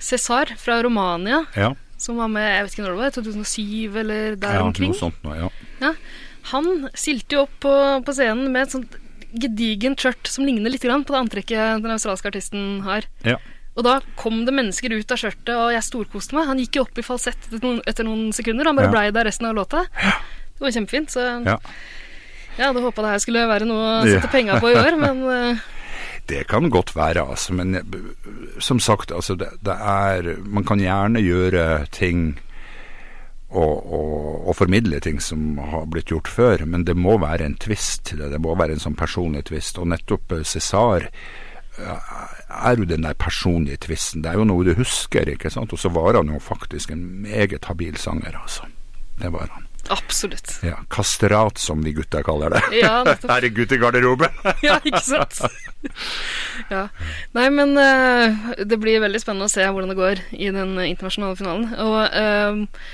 C: César fra Romania,
G: ja.
C: som var med jeg vet ikke når det var, 2007 eller eh, der
G: ja,
C: omkring.
G: Noe sånt nå, ja.
C: Ja. Han stilte jo opp på, på scenen med et sånt gedigent skjørt som ligner litt grann på det antrekket den australske artisten har.
G: Ja.
C: Og da kom det mennesker ut av skjørtet, og jeg storkoste meg. Han gikk jo opp i falsett etter noen, etter noen sekunder, han bare
G: Ja.
C: blei der resten av låta. Det var kjempefint, så
G: Ja.
C: jeg hadde håpa det her skulle være noe å
G: Ja.
C: sette penga på i år, men eh,
G: Det kan godt være, altså. Men eh, som sagt, altså, det, det er Man kan gjerne gjøre ting og, og, og formidle ting som har blitt gjort før, men det må være en twist til det. Det må være en sånn personlig twist. Og nettopp eh, Cæsar er jo den der personlige twisten. Det er jo noe du husker, ikke sant. Og så var han jo faktisk en meget habil sanger, altså. Det var han.
C: absolutt.
G: Ja, Kasterat, som vi gutta kaller det.
C: Ja, nettopp.
G: Her i guttegarderoben.
C: Ja, ikke sant? Ja. Nei, men eh, det blir veldig spennende å se hvordan det går i den internasjonale finalen. Og eh,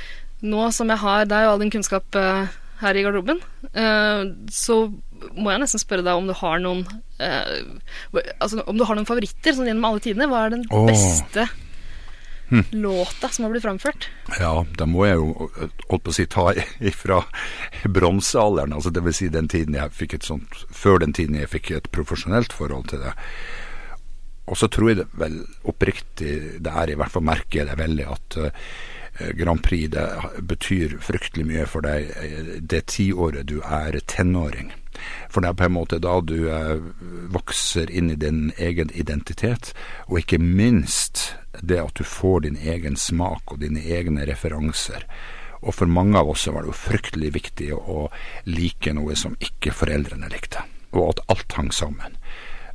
C: nå som jeg har deg og all din kunnskap eh, her i garderoben, eh, så må jeg nesten spørre deg om du har noen eh, hva- Altså om du har noen favoritter sånn gjennom alle tidene. Hva er den
G: Åh.
C: beste låta som har blitt framført.
G: Ja, da må jeg jo holdt på å si ta ifra bronsealderen, altså dvs. Si den tiden jeg fikk et sånt Før den tiden jeg fikk et profesjonelt forhold til det. Og så tror jeg det vel oppriktig det er, i hvert fall merker jeg det veldig, at eh, Grand Prix det betyr fryktelig mye for deg eh, det tiåret du er tenåring. For det er på en måte da du eh, vokser inn i din egen identitet, og ikke minst det at du får din egen smak og dine egne referanser. Og for mange av oss så var det jo fryktelig viktig å like noe som ikke foreldrene likte, og at alt hang sammen.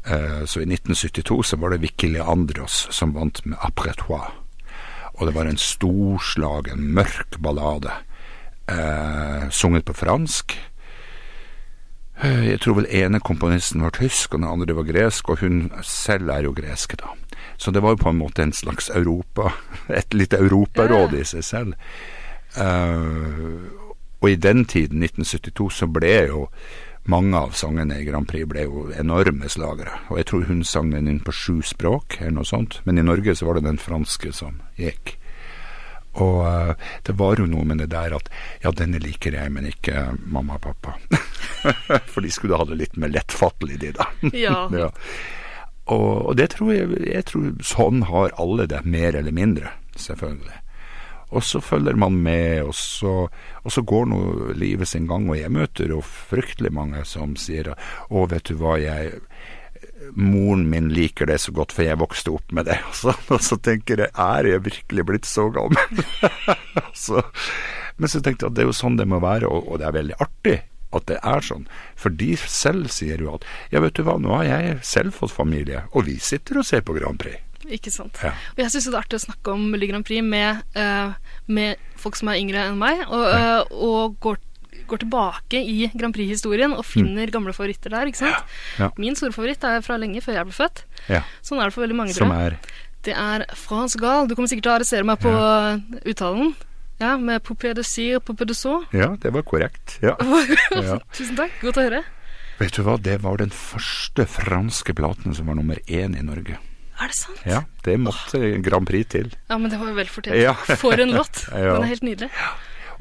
G: Eh, Så i 1972 så var det Vicky Leandros som vant med Après Trois. Og det var en storslagen, mørk ballade, eh, sunget på fransk. Eh, Jeg tror vel ene komponisten var tysk, og den andre var gresk, og hun selv er jo gresk, da. Så det var jo på en måte en slags Europa, et lite europaråd i seg selv. Eh, og i den tiden, 1972, så ble jo mange av sangene i Grand Prix ble jo enorme slagere. Og jeg tror hun sang den inn på sju språk, eller noe sånt. Men i Norge så var det den franske som gikk. Og eh, det var jo noe med det der at ja, denne liker jeg, men ikke eh, mamma og pappa. For de skulle ha det litt mer lettfattelig, de da.
C: Ja.
G: Ja. Og, og det tror jeg, jeg tror sånn har alle det, mer eller mindre, selvfølgelig. Og så følger man med, og så, og så går nå livet sin gang. Og jeg møter jo fryktelig mange som sier å, vet du hva, jeg Moren min liker det så godt, for jeg vokste opp med det. Og så, og så tenker jeg, er jeg virkelig blitt så gammel? så, men så tenkte jeg at det er jo sånn det må være, og, og det er veldig artig at det er sånn. For de selv sier jo at ja, vet du hva, nå har jeg selv fått familie, og vi sitter og ser på Grand Prix.
C: Ikke sant.
G: Ja.
C: Og jeg syns det er artig å snakke om Melodi Grand Prix med, eh, med folk som er yngre enn meg, og, eh, og går, går tilbake i Grand Prix-historien og finner gamle favoritter der, ikke sant.
G: Mm. Ja.
C: Min store favoritt er fra lenge før jeg ble født.
G: Ja,
C: Sånn er det for veldig mange,
G: som
C: tror jeg.
G: er
C: Det er France Gall. Du kommer sikkert til å arrestere meg på eh, uttalen. Ja, med Poupée de Cire, Poupée de Saux.
G: Ja, det var korrekt. Ja. Ja.
C: Tusen takk, godt å høre.
G: Vet du hva, det var den første franske platen som var nummer én i Norge.
C: Er det sant?
G: Ja, det måtte Grand Prix til.
C: Ja, men det var jo vel fortjent.
G: Ja.
C: For en låt.
G: Ja.
C: Den er helt nydelig.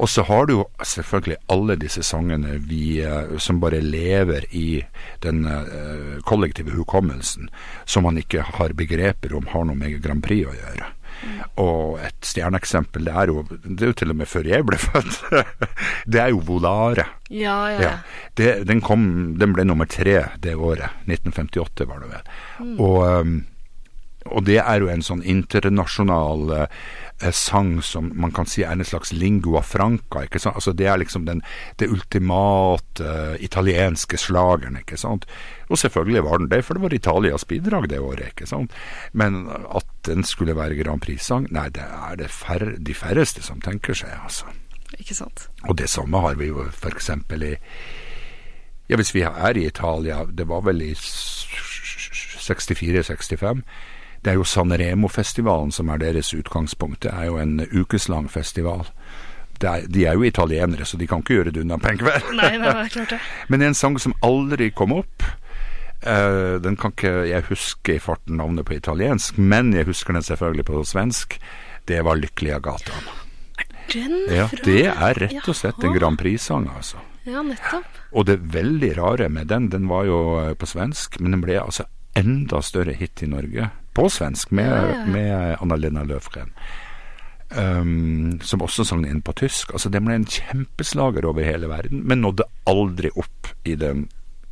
G: Og så har du jo selvfølgelig alle disse sangene vi, eh, som bare lever i den eh, kollektive hukommelsen, som man ikke har begreper om har noe med Grand Prix å gjøre. Og et stjerneeksempel, det er jo det er jo til og med før jeg ble født, det er jo Volare.
C: Ja, ja, ja.
G: Ja. Det, den, kom, den ble nummer tre det året. 1958 var det vel. Og, ehm, og det er jo en sånn internasjonal eh, eh, sang som man kan si er en slags lingua franca. ikke sant? Altså Det er liksom den, det ultimate eh, italienske slageren. ikke sant? Og selvfølgelig var den det, for det var Italias bidrag det året. ikke sant? Men at den skulle være Grand Prix-sang, nei, det er det fær de færreste som tenker seg, altså.
C: Ikke sant.
G: Og det samme har vi jo f.eks. i Ja, hvis vi er i Italia, det var vel i 64-65 Det er jo Sanremo-festivalen som er deres utgangspunkt. Det er jo en ukeslang festival. Det er, de er jo italienere, så de kan ikke gjøre det unna på en kveld.
C: Nei, nei, nei, klart det.
G: Men det er en sang som aldri kom opp. Eh, den kan ikke jeg huske i farten navnet på italiensk, men jeg husker den selvfølgelig på svensk. Det var 'Lykkelige gatan'.
C: Den
G: Ja,
C: fra
G: det er rett og slett en
C: Jaha.
G: Grand Prix-sang, altså.
C: Ja, nettopp.
G: Og det veldig rare med den, den var jo eh, på svensk, men den ble altså enda større hit i Norge på svensk med,
C: Ja.
G: med eh, Anna-Lena Løfgren. Um, som også sang den inn på tysk. Altså Den ble en kjempeslager over hele verden, men nådde aldri opp i den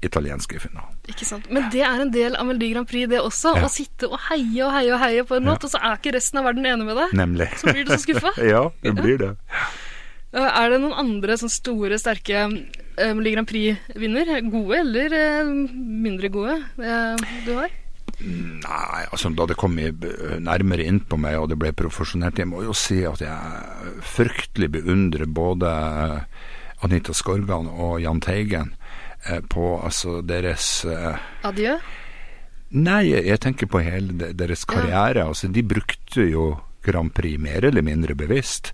G: italienske finalen.
C: Ikke sant. Men det er en del av Melodi Grand Prix, det også.
G: Ja.
C: Å sitte og heie og heie og heie på en låt, og så er ikke resten av verden enig med deg.
G: Nemlig.
C: Så blir du så skuffa.
G: ja, det blir det.
C: Eh, Er det noen andre sånn store, sterke eh, Melodi Grand Prix-vinner? Gode eller eh, mindre gode eh, du har?
G: Nei, altså da det kom i, eh, nærmere inn på meg og det ble profesjonelt Jeg må jo si at jeg fryktelig beundrer både eh, Anita Skorgan og Jahn Teigen eh, på altså deres eh,
C: Adjø.
G: Nei, jeg tenker på hele de- deres karriere. Altså, de brukte jo Grand Prix mer eller mindre bevisst.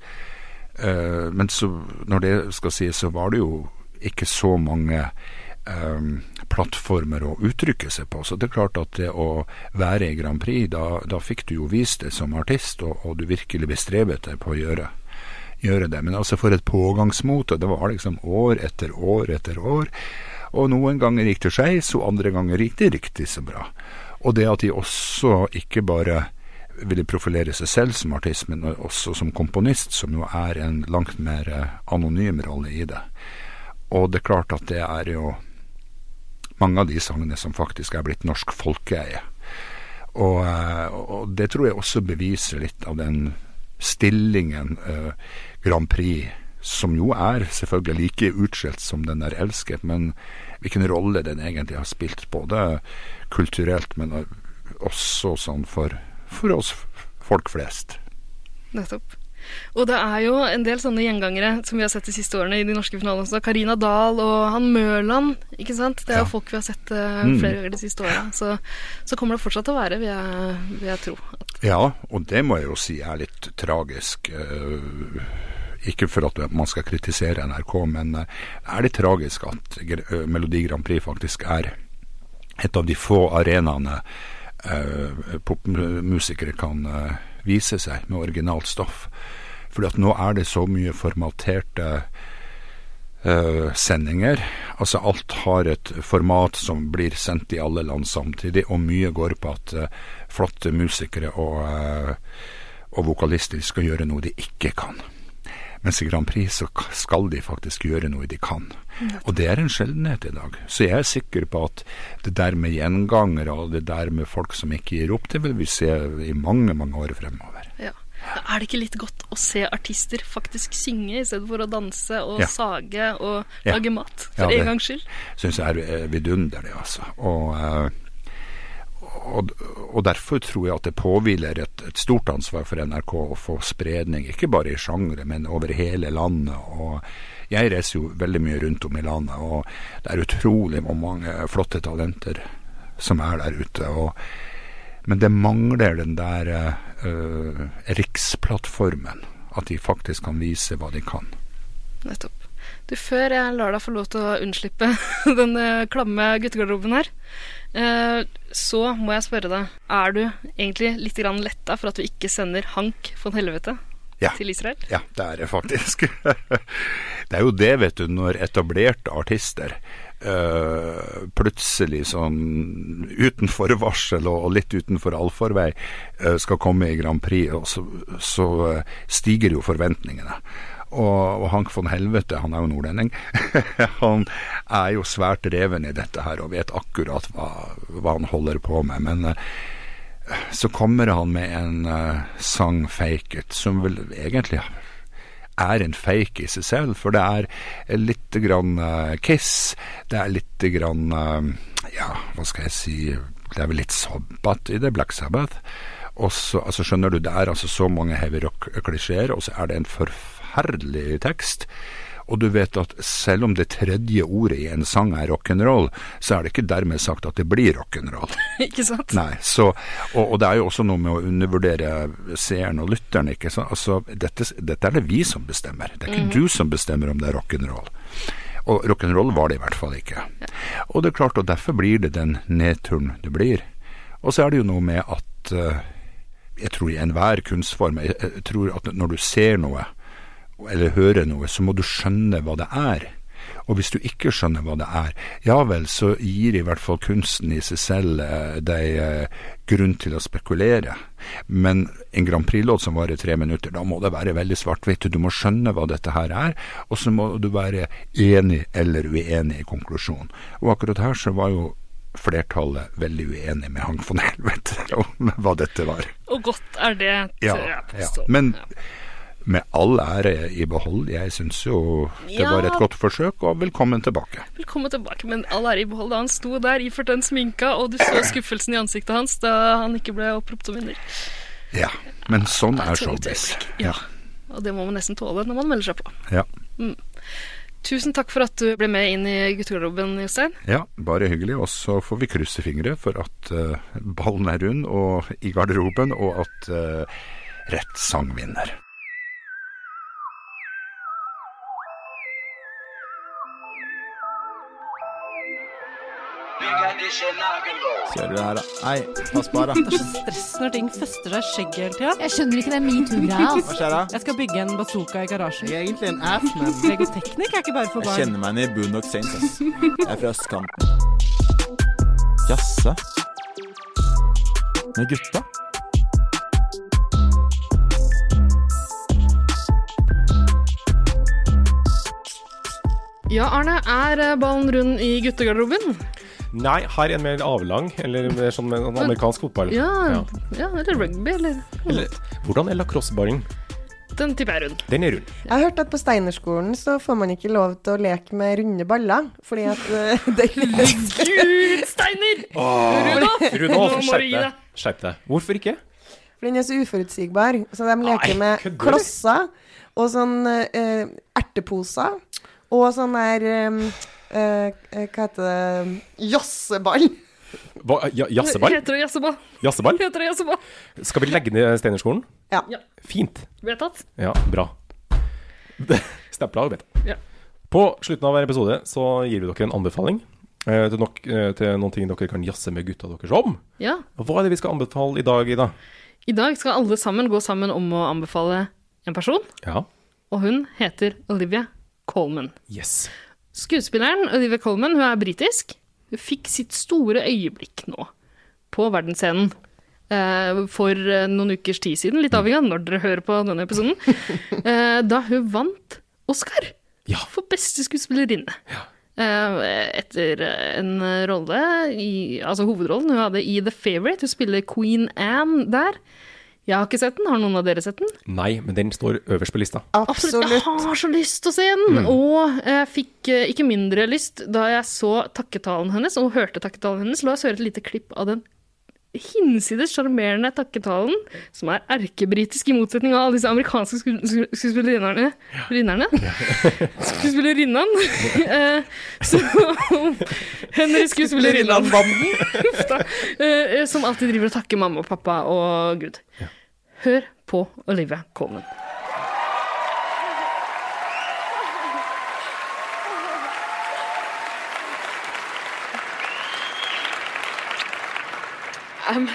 G: Eh, men så, når det skal sies, så var det jo ikke så mange em, plattformer å uttrykke seg på. Så det er klart at det å være i Grand Prix, da, da fikk du jo vist det som artist, og, og du virkelig bestrebet deg på å gjøre, gjøre det. Men altså for et pågangsmot, og det var liksom år etter år etter år. Og noen ganger gikk det skeis, og andre ganger gikk det riktig så bra. Og det at de også ikke bare ville profilere seg selv som artist, men også som komponist, som jo er en langt mer eh, anonym rolle i det. Og det er klart at det er jo mange av de sangene som faktisk er blitt norsk folkeeie. Og, eh, og det tror jeg også beviser litt av den stillingen eh, Grand Prix, som jo er selvfølgelig like utskjelt som den er elsket, men hvilken rolle den egentlig har spilt, både kulturelt, men eh, også sånn for, for oss f- folk flest.
C: Nettopp. Og det er jo en del sånne gjengangere som vi har sett de siste årene i de norske finalene også. Karina Dahl og han Mørland, ikke sant. Det er jo
G: Ja.
C: folk vi har sett eh,
G: Mm.
C: flere ganger de siste årene. Så, så kommer det fortsatt til å være, vil jeg, vil jeg tro.
G: Ja, og det må jeg jo si er litt tragisk. eh, Ikke for at man skal kritisere NRK, men eh, det er litt tragisk at Gr- eh, Melodi Grand Prix faktisk er et av de få arenaene eh, popmusikere kan eh, vise seg med originalt stoff. Fordi at nå er det så mye formaterte eh, sendinger. Altså alt har et format som blir sendt i alle land samtidig, og mye går på at eh, flotte musikere og, eh, og vokalister skal gjøre noe de ikke kan. Mens i Grand Prix så k- skal de faktisk gjøre noe de kan. Og det er en sjeldenhet i dag. Så jeg er sikker på at det der med gjengangere og det der med folk som ikke gir opp, det vil vi se i mange, mange år fremover.
C: Ja. Er det ikke litt godt å se artister faktisk synge i stedet for å danse og
G: Ja.
C: sage og
G: Ja.
C: lage mat,
G: Ja,
C: for
G: det-
C: en gangs skyld?
G: syns jeg er eh, vidunderlig, altså. Og, eh, og, og derfor tror jeg at det påhviler et, et stort ansvar for NRK å få spredning, ikke bare i sjangre, men over hele landet. og jeg reiser jo veldig mye rundt om i landet, og det er utrolig hvor mange flotte talenter som er der ute. Og, men det mangler den der eh, eh, riksplattformen, at de faktisk kan vise hva de kan.
C: Nettopp. Du, før jeg lar deg få lov til å unnslippe den eh, klamme guttegarderoben her, eh, så må jeg spørre deg Er du egentlig litt grann letta for at vi ikke sender Hank von Helvete
G: Ja.
C: til Israel?
G: Ja, det er det faktisk. det er jo det, vet du, når etablerte artister eh, plutselig sånn uten forvarsel og, og litt utenfor allfarvei eh, skal komme i Grand Prix, og så, så eh, stiger jo forventningene. Og, og Hank von Helvete, han er jo nordlending, han er jo svært reven i dette her og vet akkurat hva, hva han holder på med. Men eh, så kommer han med en eh, sang 'Fake It', som vel egentlig er en fake i seg selv, for det er litt grann eh, Kiss, det er litt grann eh, Ja, hva skal jeg si Det er vel litt Sabbat i det, Black Sabbath. Og så, altså Skjønner du, det er altså så mange heavy rock-klisjeer, og så er det en forferdelig tekst. Og du vet at selv om det tredje ordet i en sang er rock'n'roll, så er det ikke dermed sagt at det blir rock'n'roll.
C: ikke sant?
G: Nei, så, og, og det er jo også noe med å undervurdere seeren og lytteren. Ikke? sant? altså, dette, dette er det vi som bestemmer. Det er ikke du som bestemmer om det er rock'n'roll. Og rock'n'roll var det i hvert fall ikke. Og det er klart, og derfor blir det den nedturen det blir. Og så er det jo noe med at eh, jeg tror i enhver kunstform jeg, jeg tror at når du ser noe eller hører noe, så må du skjønne hva det er. Og hvis du ikke skjønner hva det er, ja vel, så gir i hvert fall kunsten i seg selv eh, deg eh, grunn til å spekulere. Men en Grand Prix-låt som varer tre minutter, da må det være veldig svart-hvitt. Du må skjønne hva dette her er, og så må du være enig eller uenig i konklusjonen. Og akkurat her så var jo flertallet veldig uenig med Hank von Helvete om hva dette var.
C: Og godt er det,
G: Ja,
C: tør jeg
G: ja.
C: påstå.
G: Men
C: Ja.
G: med all ære i behold, jeg syns jo det
C: Ja.
G: var et godt forsøk, og velkommen tilbake.
C: Velkommen tilbake, men all ære i behold. da Han sto der iført den sminka, og du så skuffelsen i ansiktet hans da han ikke ble oppropt som vinner.
G: Ja, men sånn er
C: Et tungt
G: showbiz.
C: øyeblikk. Ja. Og det må man nesten tåle når man melder seg på.
G: Ja.
C: Tusen takk for at du ble med inn i guttegarderoben, Jostein.
G: ja, bare hyggelig. Og så får vi krysse fingre for at eh, ballen er rund og i garderoben, og at eh, rett sang vinner.
H: Kjører du det her, da? Nei, pass på her, da.
I: Det er så stress når ting fester seg i skjegget hele tida.
J: Jeg skjønner ikke den metoo-greia.
E: altså.
H: Hva skjer da?
I: Jeg skal bygge en bazooka i garasjen.
H: Jeg er egentlig en ass, men
I: Legoteknikk er ikke bare for
H: Jeg
I: barn.
H: kjenner meg igjen i Boondock Saints, ass. Jeg er fra østkanten. Jasse? Med gutta?
C: Ja, Arne, er eh, ballen rund i guttegarderoben?
A: Nei, her er en mer avlang, eller mer sånn med en amerikansk fotball.
C: Ja, ja, eller rugby, eller
A: Eller, hvordan er lacrosseballen?
C: Den tipper jeg er rund.
A: Den er rund.
B: Jeg har hørt at på Steinerskolen så får man ikke lov til å leke med runde baller, fordi at eh, det er litt
C: Gud, Steiner! Rudolf!
A: Rudolf,
C: Nå må du
A: skjerp
C: gi
A: deg.
C: deg.
A: Skjerp deg. Hvorfor ikke?
B: For den er så uforutsigbar. Så de leker
A: Nei,
B: med
A: kødder du?
B: klosser og sånn eh, erteposer og sånn der eh, eh, Hva heter det? Jasseball.
A: Hva, ja, jasseball?
C: Heter det jazzeball?
A: jasseball?
C: Heter det jazzeball?
A: Skal vi legge ned Steinerskolen?
B: Ja.
C: Ja.
A: Fint.
C: Vedtatt.
A: Ja, bra. Det- Stempla og beta.
C: Ja.
A: På slutten av hver episode så gir vi dere en anbefaling eh, til, nok, eh, til noen ting dere kan jazze med gutta deres om.
C: Ja.
A: Og Hva er det vi skal anbefale i dag, Ida?
C: I dag skal alle sammen gå sammen om å anbefale en person,
A: Ja.
C: og hun heter Olivia Colman.
A: Yes.
C: Skuespilleren Olivia Colman hun er britisk. Hun fikk sitt store øyeblikk nå, på verdensscenen. eh, For eh, noen ukers tid siden, litt avhengig av når dere hører på denne episoden, eh, da hun vant Oscar
A: Ja.
C: for beste skuespillerinne. Eh, Etter en rolle, i, altså hovedrollen hun hadde i The Favourite. Hun spiller Queen Anne der. Jeg har ikke sett den, har noen av dere sett den?
A: Nei, men den står øverst på lista.
C: Absolutt. Jeg
B: Absolutt.
C: har så lyst til å se den! Og jeg fikk eh, ikke mindre lyst da jeg så takketalen hennes, og hørte takketalen hennes. La oss høre et lite klipp av den hinsides sjarmerende takketalen, som er erkebritisk i motsetning av alle disse amerikanske sku- sku- skuespillerinnerne rinnerne? Skuespillerinnan. Eh, Så Henry skuespillerinnan. Uff da. Eh, Som alltid driver og takker mamma og pappa og Gud. Hør på Olivia Colman.
K: Um,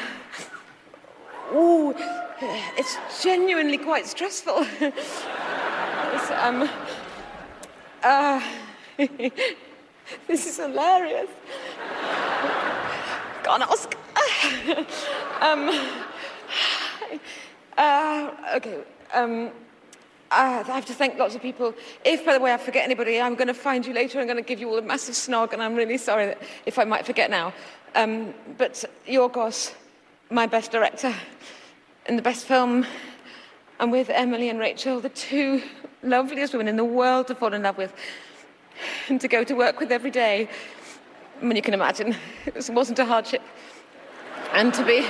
K: Oh, it's genuinely quite stressful. It's, um, uh, this is hilarious. Can't ask. um, uh, okay. Um, uh, I have to thank lots of people. If, by the way, I forget anybody, I'm going to find you later. I'm going to give you all a massive snog, and I'm really sorry that, if I might forget now. Um, but Yorgos, my best director, and the best film, and with Emily and Rachel, the two loveliest women in the world to fall in love with and to go to work with every day. I mean, you can imagine, it wasn't a hardship. And to be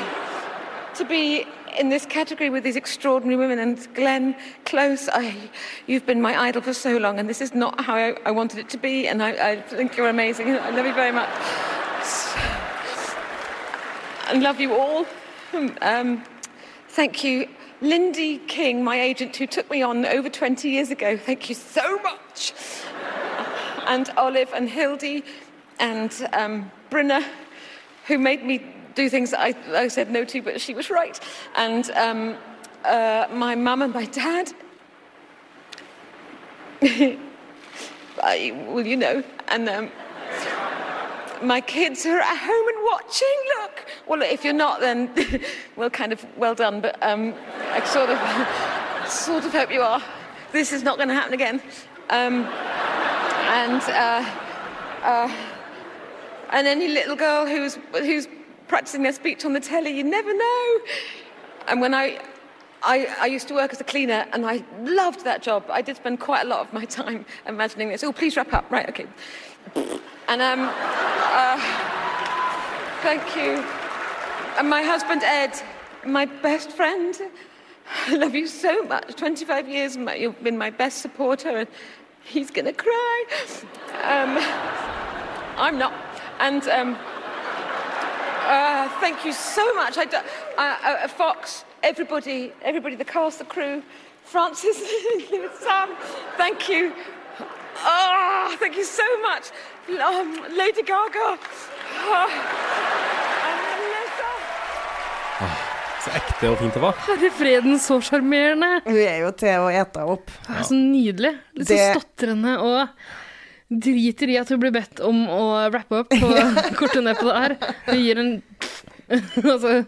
K: to be in this category with these extraordinary women. And Glenn Close, I, you've been my idol for so long, and this is not how I, I wanted it to be. And I, I think you're amazing. I love you very much. And love you all. Um, thank you. Lindy King, my agent who took me on over 20 years ago, thank you so much. And Olive and Hildy and um, Brynna, who made me do things I, I said no to, but she was right. And um, uh, my mum and my dad. I, well, you know. And um, my kids who are at home and watching. Look. Well, look, if you're not, then well, kind of well done. But um, I sort of, sort of hope you are. This is not going to happen again. Um, and. Uh, and any little girl who's who's practicing their speech on the telly, you never know. And when I, I, I used to work as a cleaner, and I loved that job. I did spend quite a lot of my time imagining this. Oh, please wrap up, right? Okay. And um, uh, thank you. And my husband Ed, my best friend. I love you so much. 25 years, my, you've been my best supporter, and he's gonna cry. Um, I'm not. And um, uh, thank you so much. I do, uh, uh, Fox, everybody, everybody, the cast, the crew, Francis, Lewis, Sam, thank you. Ah, thank you so much. Um, Lady Gaga,
A: Så ekte og fint det var.
C: Herre freden, så sjarmerende.
B: Hun er jo til å ete opp.
C: Ja. Så nydelig. Litt så
B: Det-
C: stotrende og driter i at hun blir bedt om å wrappe opp på kortet nedpå der. Hun gir en altså,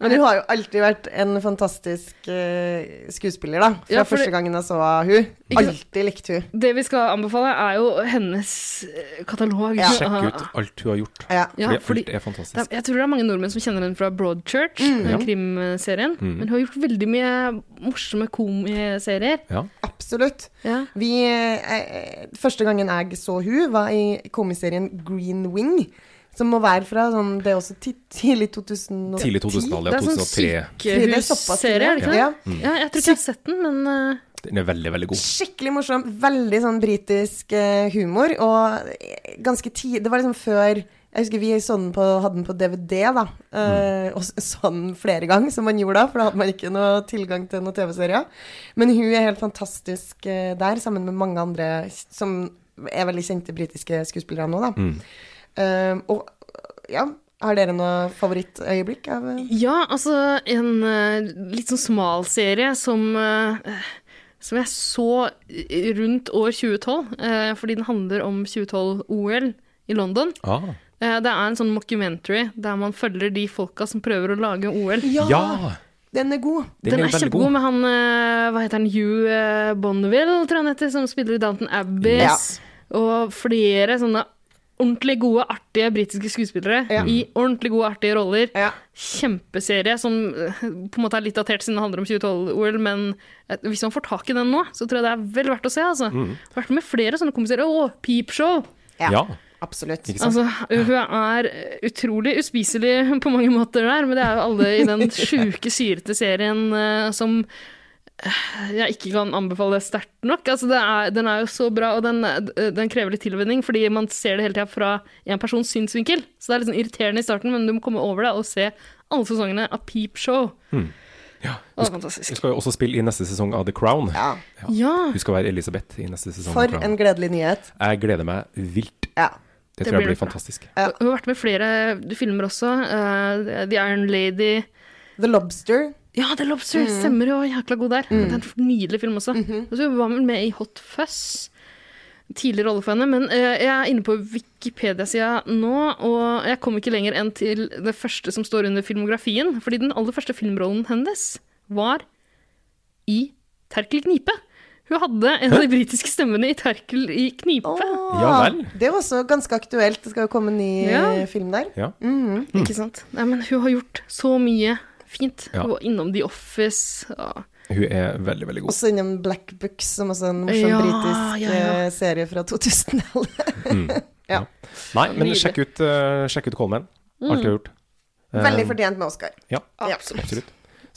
B: Men hun har jo alltid vært en fantastisk eh, skuespiller, da. Fra
C: Ja, for det-
B: første gangen jeg så hun.
C: Ikke sant?
B: Alltid likte hun.
C: Det vi skal anbefale, er jo hennes eh, katalog.
B: Ja.
A: Sjekk ut alt hun har gjort.
B: Ja.
C: Ja,
A: fordi,
C: fordi-
A: alt er
C: Det
A: fantastisk.
C: er- Jeg tror det er mange nordmenn som kjenner henne fra Broadchurch,
B: Mm.
C: den
A: Ja.
C: krimserien.
A: Mm.
C: Men hun har gjort veldig mye morsomme komiserier.
A: Ja.
B: Absolutt. Vi, eh, første gangen jeg så hun var i komiserien Green Wing. Som må være fra sånn Det er også ti, tidlig 2010.
A: Tidlig 2000-tallet, ja,
C: Det er sånn
A: 2003.
B: Det er såpass
C: sykehusserie, er det ikke det?
B: tidlig, ja.
A: Mm.
C: Ja, jeg tror ikke jeg har sett den, men eh,
A: Den er veldig, veldig god.
B: Skikkelig morsom. Veldig sånn britisk eh, humor. Og eh, ganske tid Det var liksom før Jeg husker vi så den på, hadde den på DVD, da. eh, Og s- så den flere ganger, som man gjorde da, for da hadde man ikke noe tilgang til noen TV-serier. Men hun er helt fantastisk eh, der, sammen med mange andre s- som er veldig kjente britiske skuespillere nå, da.
A: Mm.
B: Eh, og ja, har dere noe favorittøyeblikk av eh,
C: Ja, altså en eh, litt sånn smal serie som eh, som jeg så i- rundt år 2012, eh, fordi den handler om 2012-OL i London.
A: Ah.
C: Eh, Det er en sånn mockumentary der man følger de folka som prøver å lage OL.
A: Ah, Ja!
B: Den er god.
C: Den, er, kjempegod med han eh, Hva heter han? Hugh eh, Bonneville, tror jeg han heter, som spiller i Downton Abbey.
B: Yes.
C: Og flere sånne ordentlig gode, artige britiske skuespillere i ordentlig gode, artige roller. Kjempeserie som eh, på en måte er litt datert siden det handler om 2012-OL, men eh, hvis man får tak i den nå, så tror jeg det er vel verdt å se. Altså.
A: Mm.
C: Vært med flere sånne komiserier. Å, Peep Show!
A: Ja.
B: Absolutt.
A: Ikke sant?
C: Altså, hun er utrolig uspiselig på mange måter der, men det er jo alle i den sjuke, syrete serien eh, som eh, jeg ikke kan anbefale sterkt nok. Altså, det er, den er jo så bra, og den, eh, den krever litt tilvenning, fordi man ser det hele tida fra én persons synsvinkel. Så det er litt sånn irriterende i starten, men du må komme over det og se alle sesongene av Peep Show.
A: Mm. Ja.
C: Å, det er fantastisk.
A: Hun skal jo også spille i neste sesong av The Crown.
B: Ja.
C: Ja.
A: Hun skal være Elisabeth i neste sesong. av
B: For
A: The Crown.
B: en gledelig nyhet.
A: Jeg gleder meg vilt.
B: Ja.
A: Det
C: Det
A: tror jeg
C: blir
A: blir
C: bra.
A: fantastisk.
C: Hun har vært med i flere filmer også. eh, The Iron Lady.
B: The Lobster.
C: Ja, The Lobster
B: Mm.
C: stemmer jo. Jækla god der. Det er en nydelig film også. Og så var hun med i Hot Fuzz. Tidlig rolle for henne. Men eh, jeg er inne på Wikipedia-sida nå, og jeg kom ikke lenger enn til det første som står under filmografien. Fordi den aller første filmrollen hennes var i Terkel Knipe. Hun hadde en av de britiske stemmene i Terkel i Knipe.
A: Ja vel.
B: Det er også ganske aktuelt. Det skal jo komme en ny
C: Ja.
B: eh, film der.
A: Ja.
C: Mm.
B: Mhm.
C: Ikke sant? Nei, men hun har gjort så mye fint.
A: Ja.
C: Hun var innom The Office. Ja.
A: Hun er veldig, veldig god.
B: Også innom Black Books, som også er en morsom
C: Ja,
B: britisk
C: ja, ja.
B: eh, serie fra 2000-tallet.
A: Nei, men
C: Nydelig. Mm.
A: sjekk ut, uh, sjekk ut Coleman. Alt hun har gjort. Eh,
B: Veldig fortjent med Oscar.
A: Ja,
B: Ja.
A: absolutt.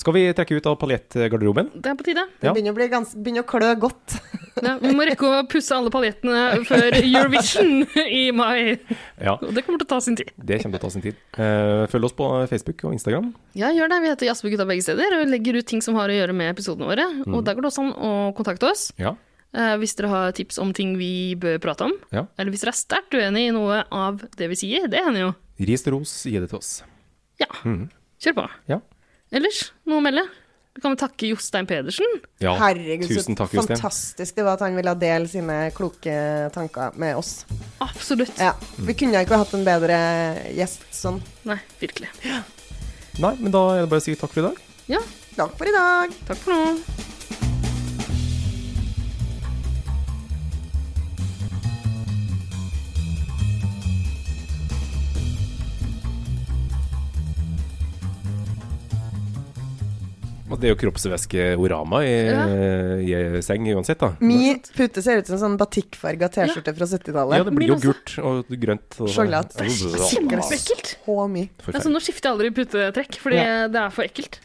A: Skal vi trekke ut av paljettgarderoben?
C: Det er på tide.
B: Det
A: Ja.
B: begynner å, bli gans begynner å klø godt.
C: Ja, vi må rekke å pusse alle paljettene før Eurovision i mai.
A: Ja,
C: Og det kommer til å ta sin tid.
A: det kommer til å ta sin tid. Eh, følg oss på Facebook og Instagram.
C: Ja, gjør det. Vi heter Jazzbegutta begge steder og legger ut ting som har å gjøre med episodene våre.
A: Mm.
C: Og der går det også an å kontakte oss
A: Ja.
C: eh, hvis dere har tips om ting vi bør prate om.
A: Ja.
C: Eller hvis dere er sterkt uenig i noe av det vi sier. Det hender jo.
A: Ris til ros, gi det til oss.
C: Ja, kjør på.
A: Mm. Ja.
C: Ellers, noe å melde? Vi kan vel takke Jostein Pedersen.
A: Ja,
B: Herregud, så
A: tusen takk, Jostein.
B: fantastisk det var at han ville dele sine kloke tanker med oss.
A: Mm.
C: Absolutt.
B: Ja. Vi kunne ikke hatt en bedre gjest sånn.
C: Nei, virkelig.
A: Nei, men da er det bare å si takk for i dag.
C: Ja,
B: Takk for i dag.
C: takk for nå.
A: Og det er jo kroppsvæskeorama i, i seng uansett, da.
B: Min pute ser ut som en sånn batikkfarga T-skjorte fra
A: Ja,
B: 70-tallet.
A: det blir jo gult og grønt. Og
B: Skjoldete.
A: Ja, det blir bra.
C: Kjempeekkelt.
B: Så mye.
C: Altså, nå skifter jeg aldri putetrekk, fordi det er for ekkelt.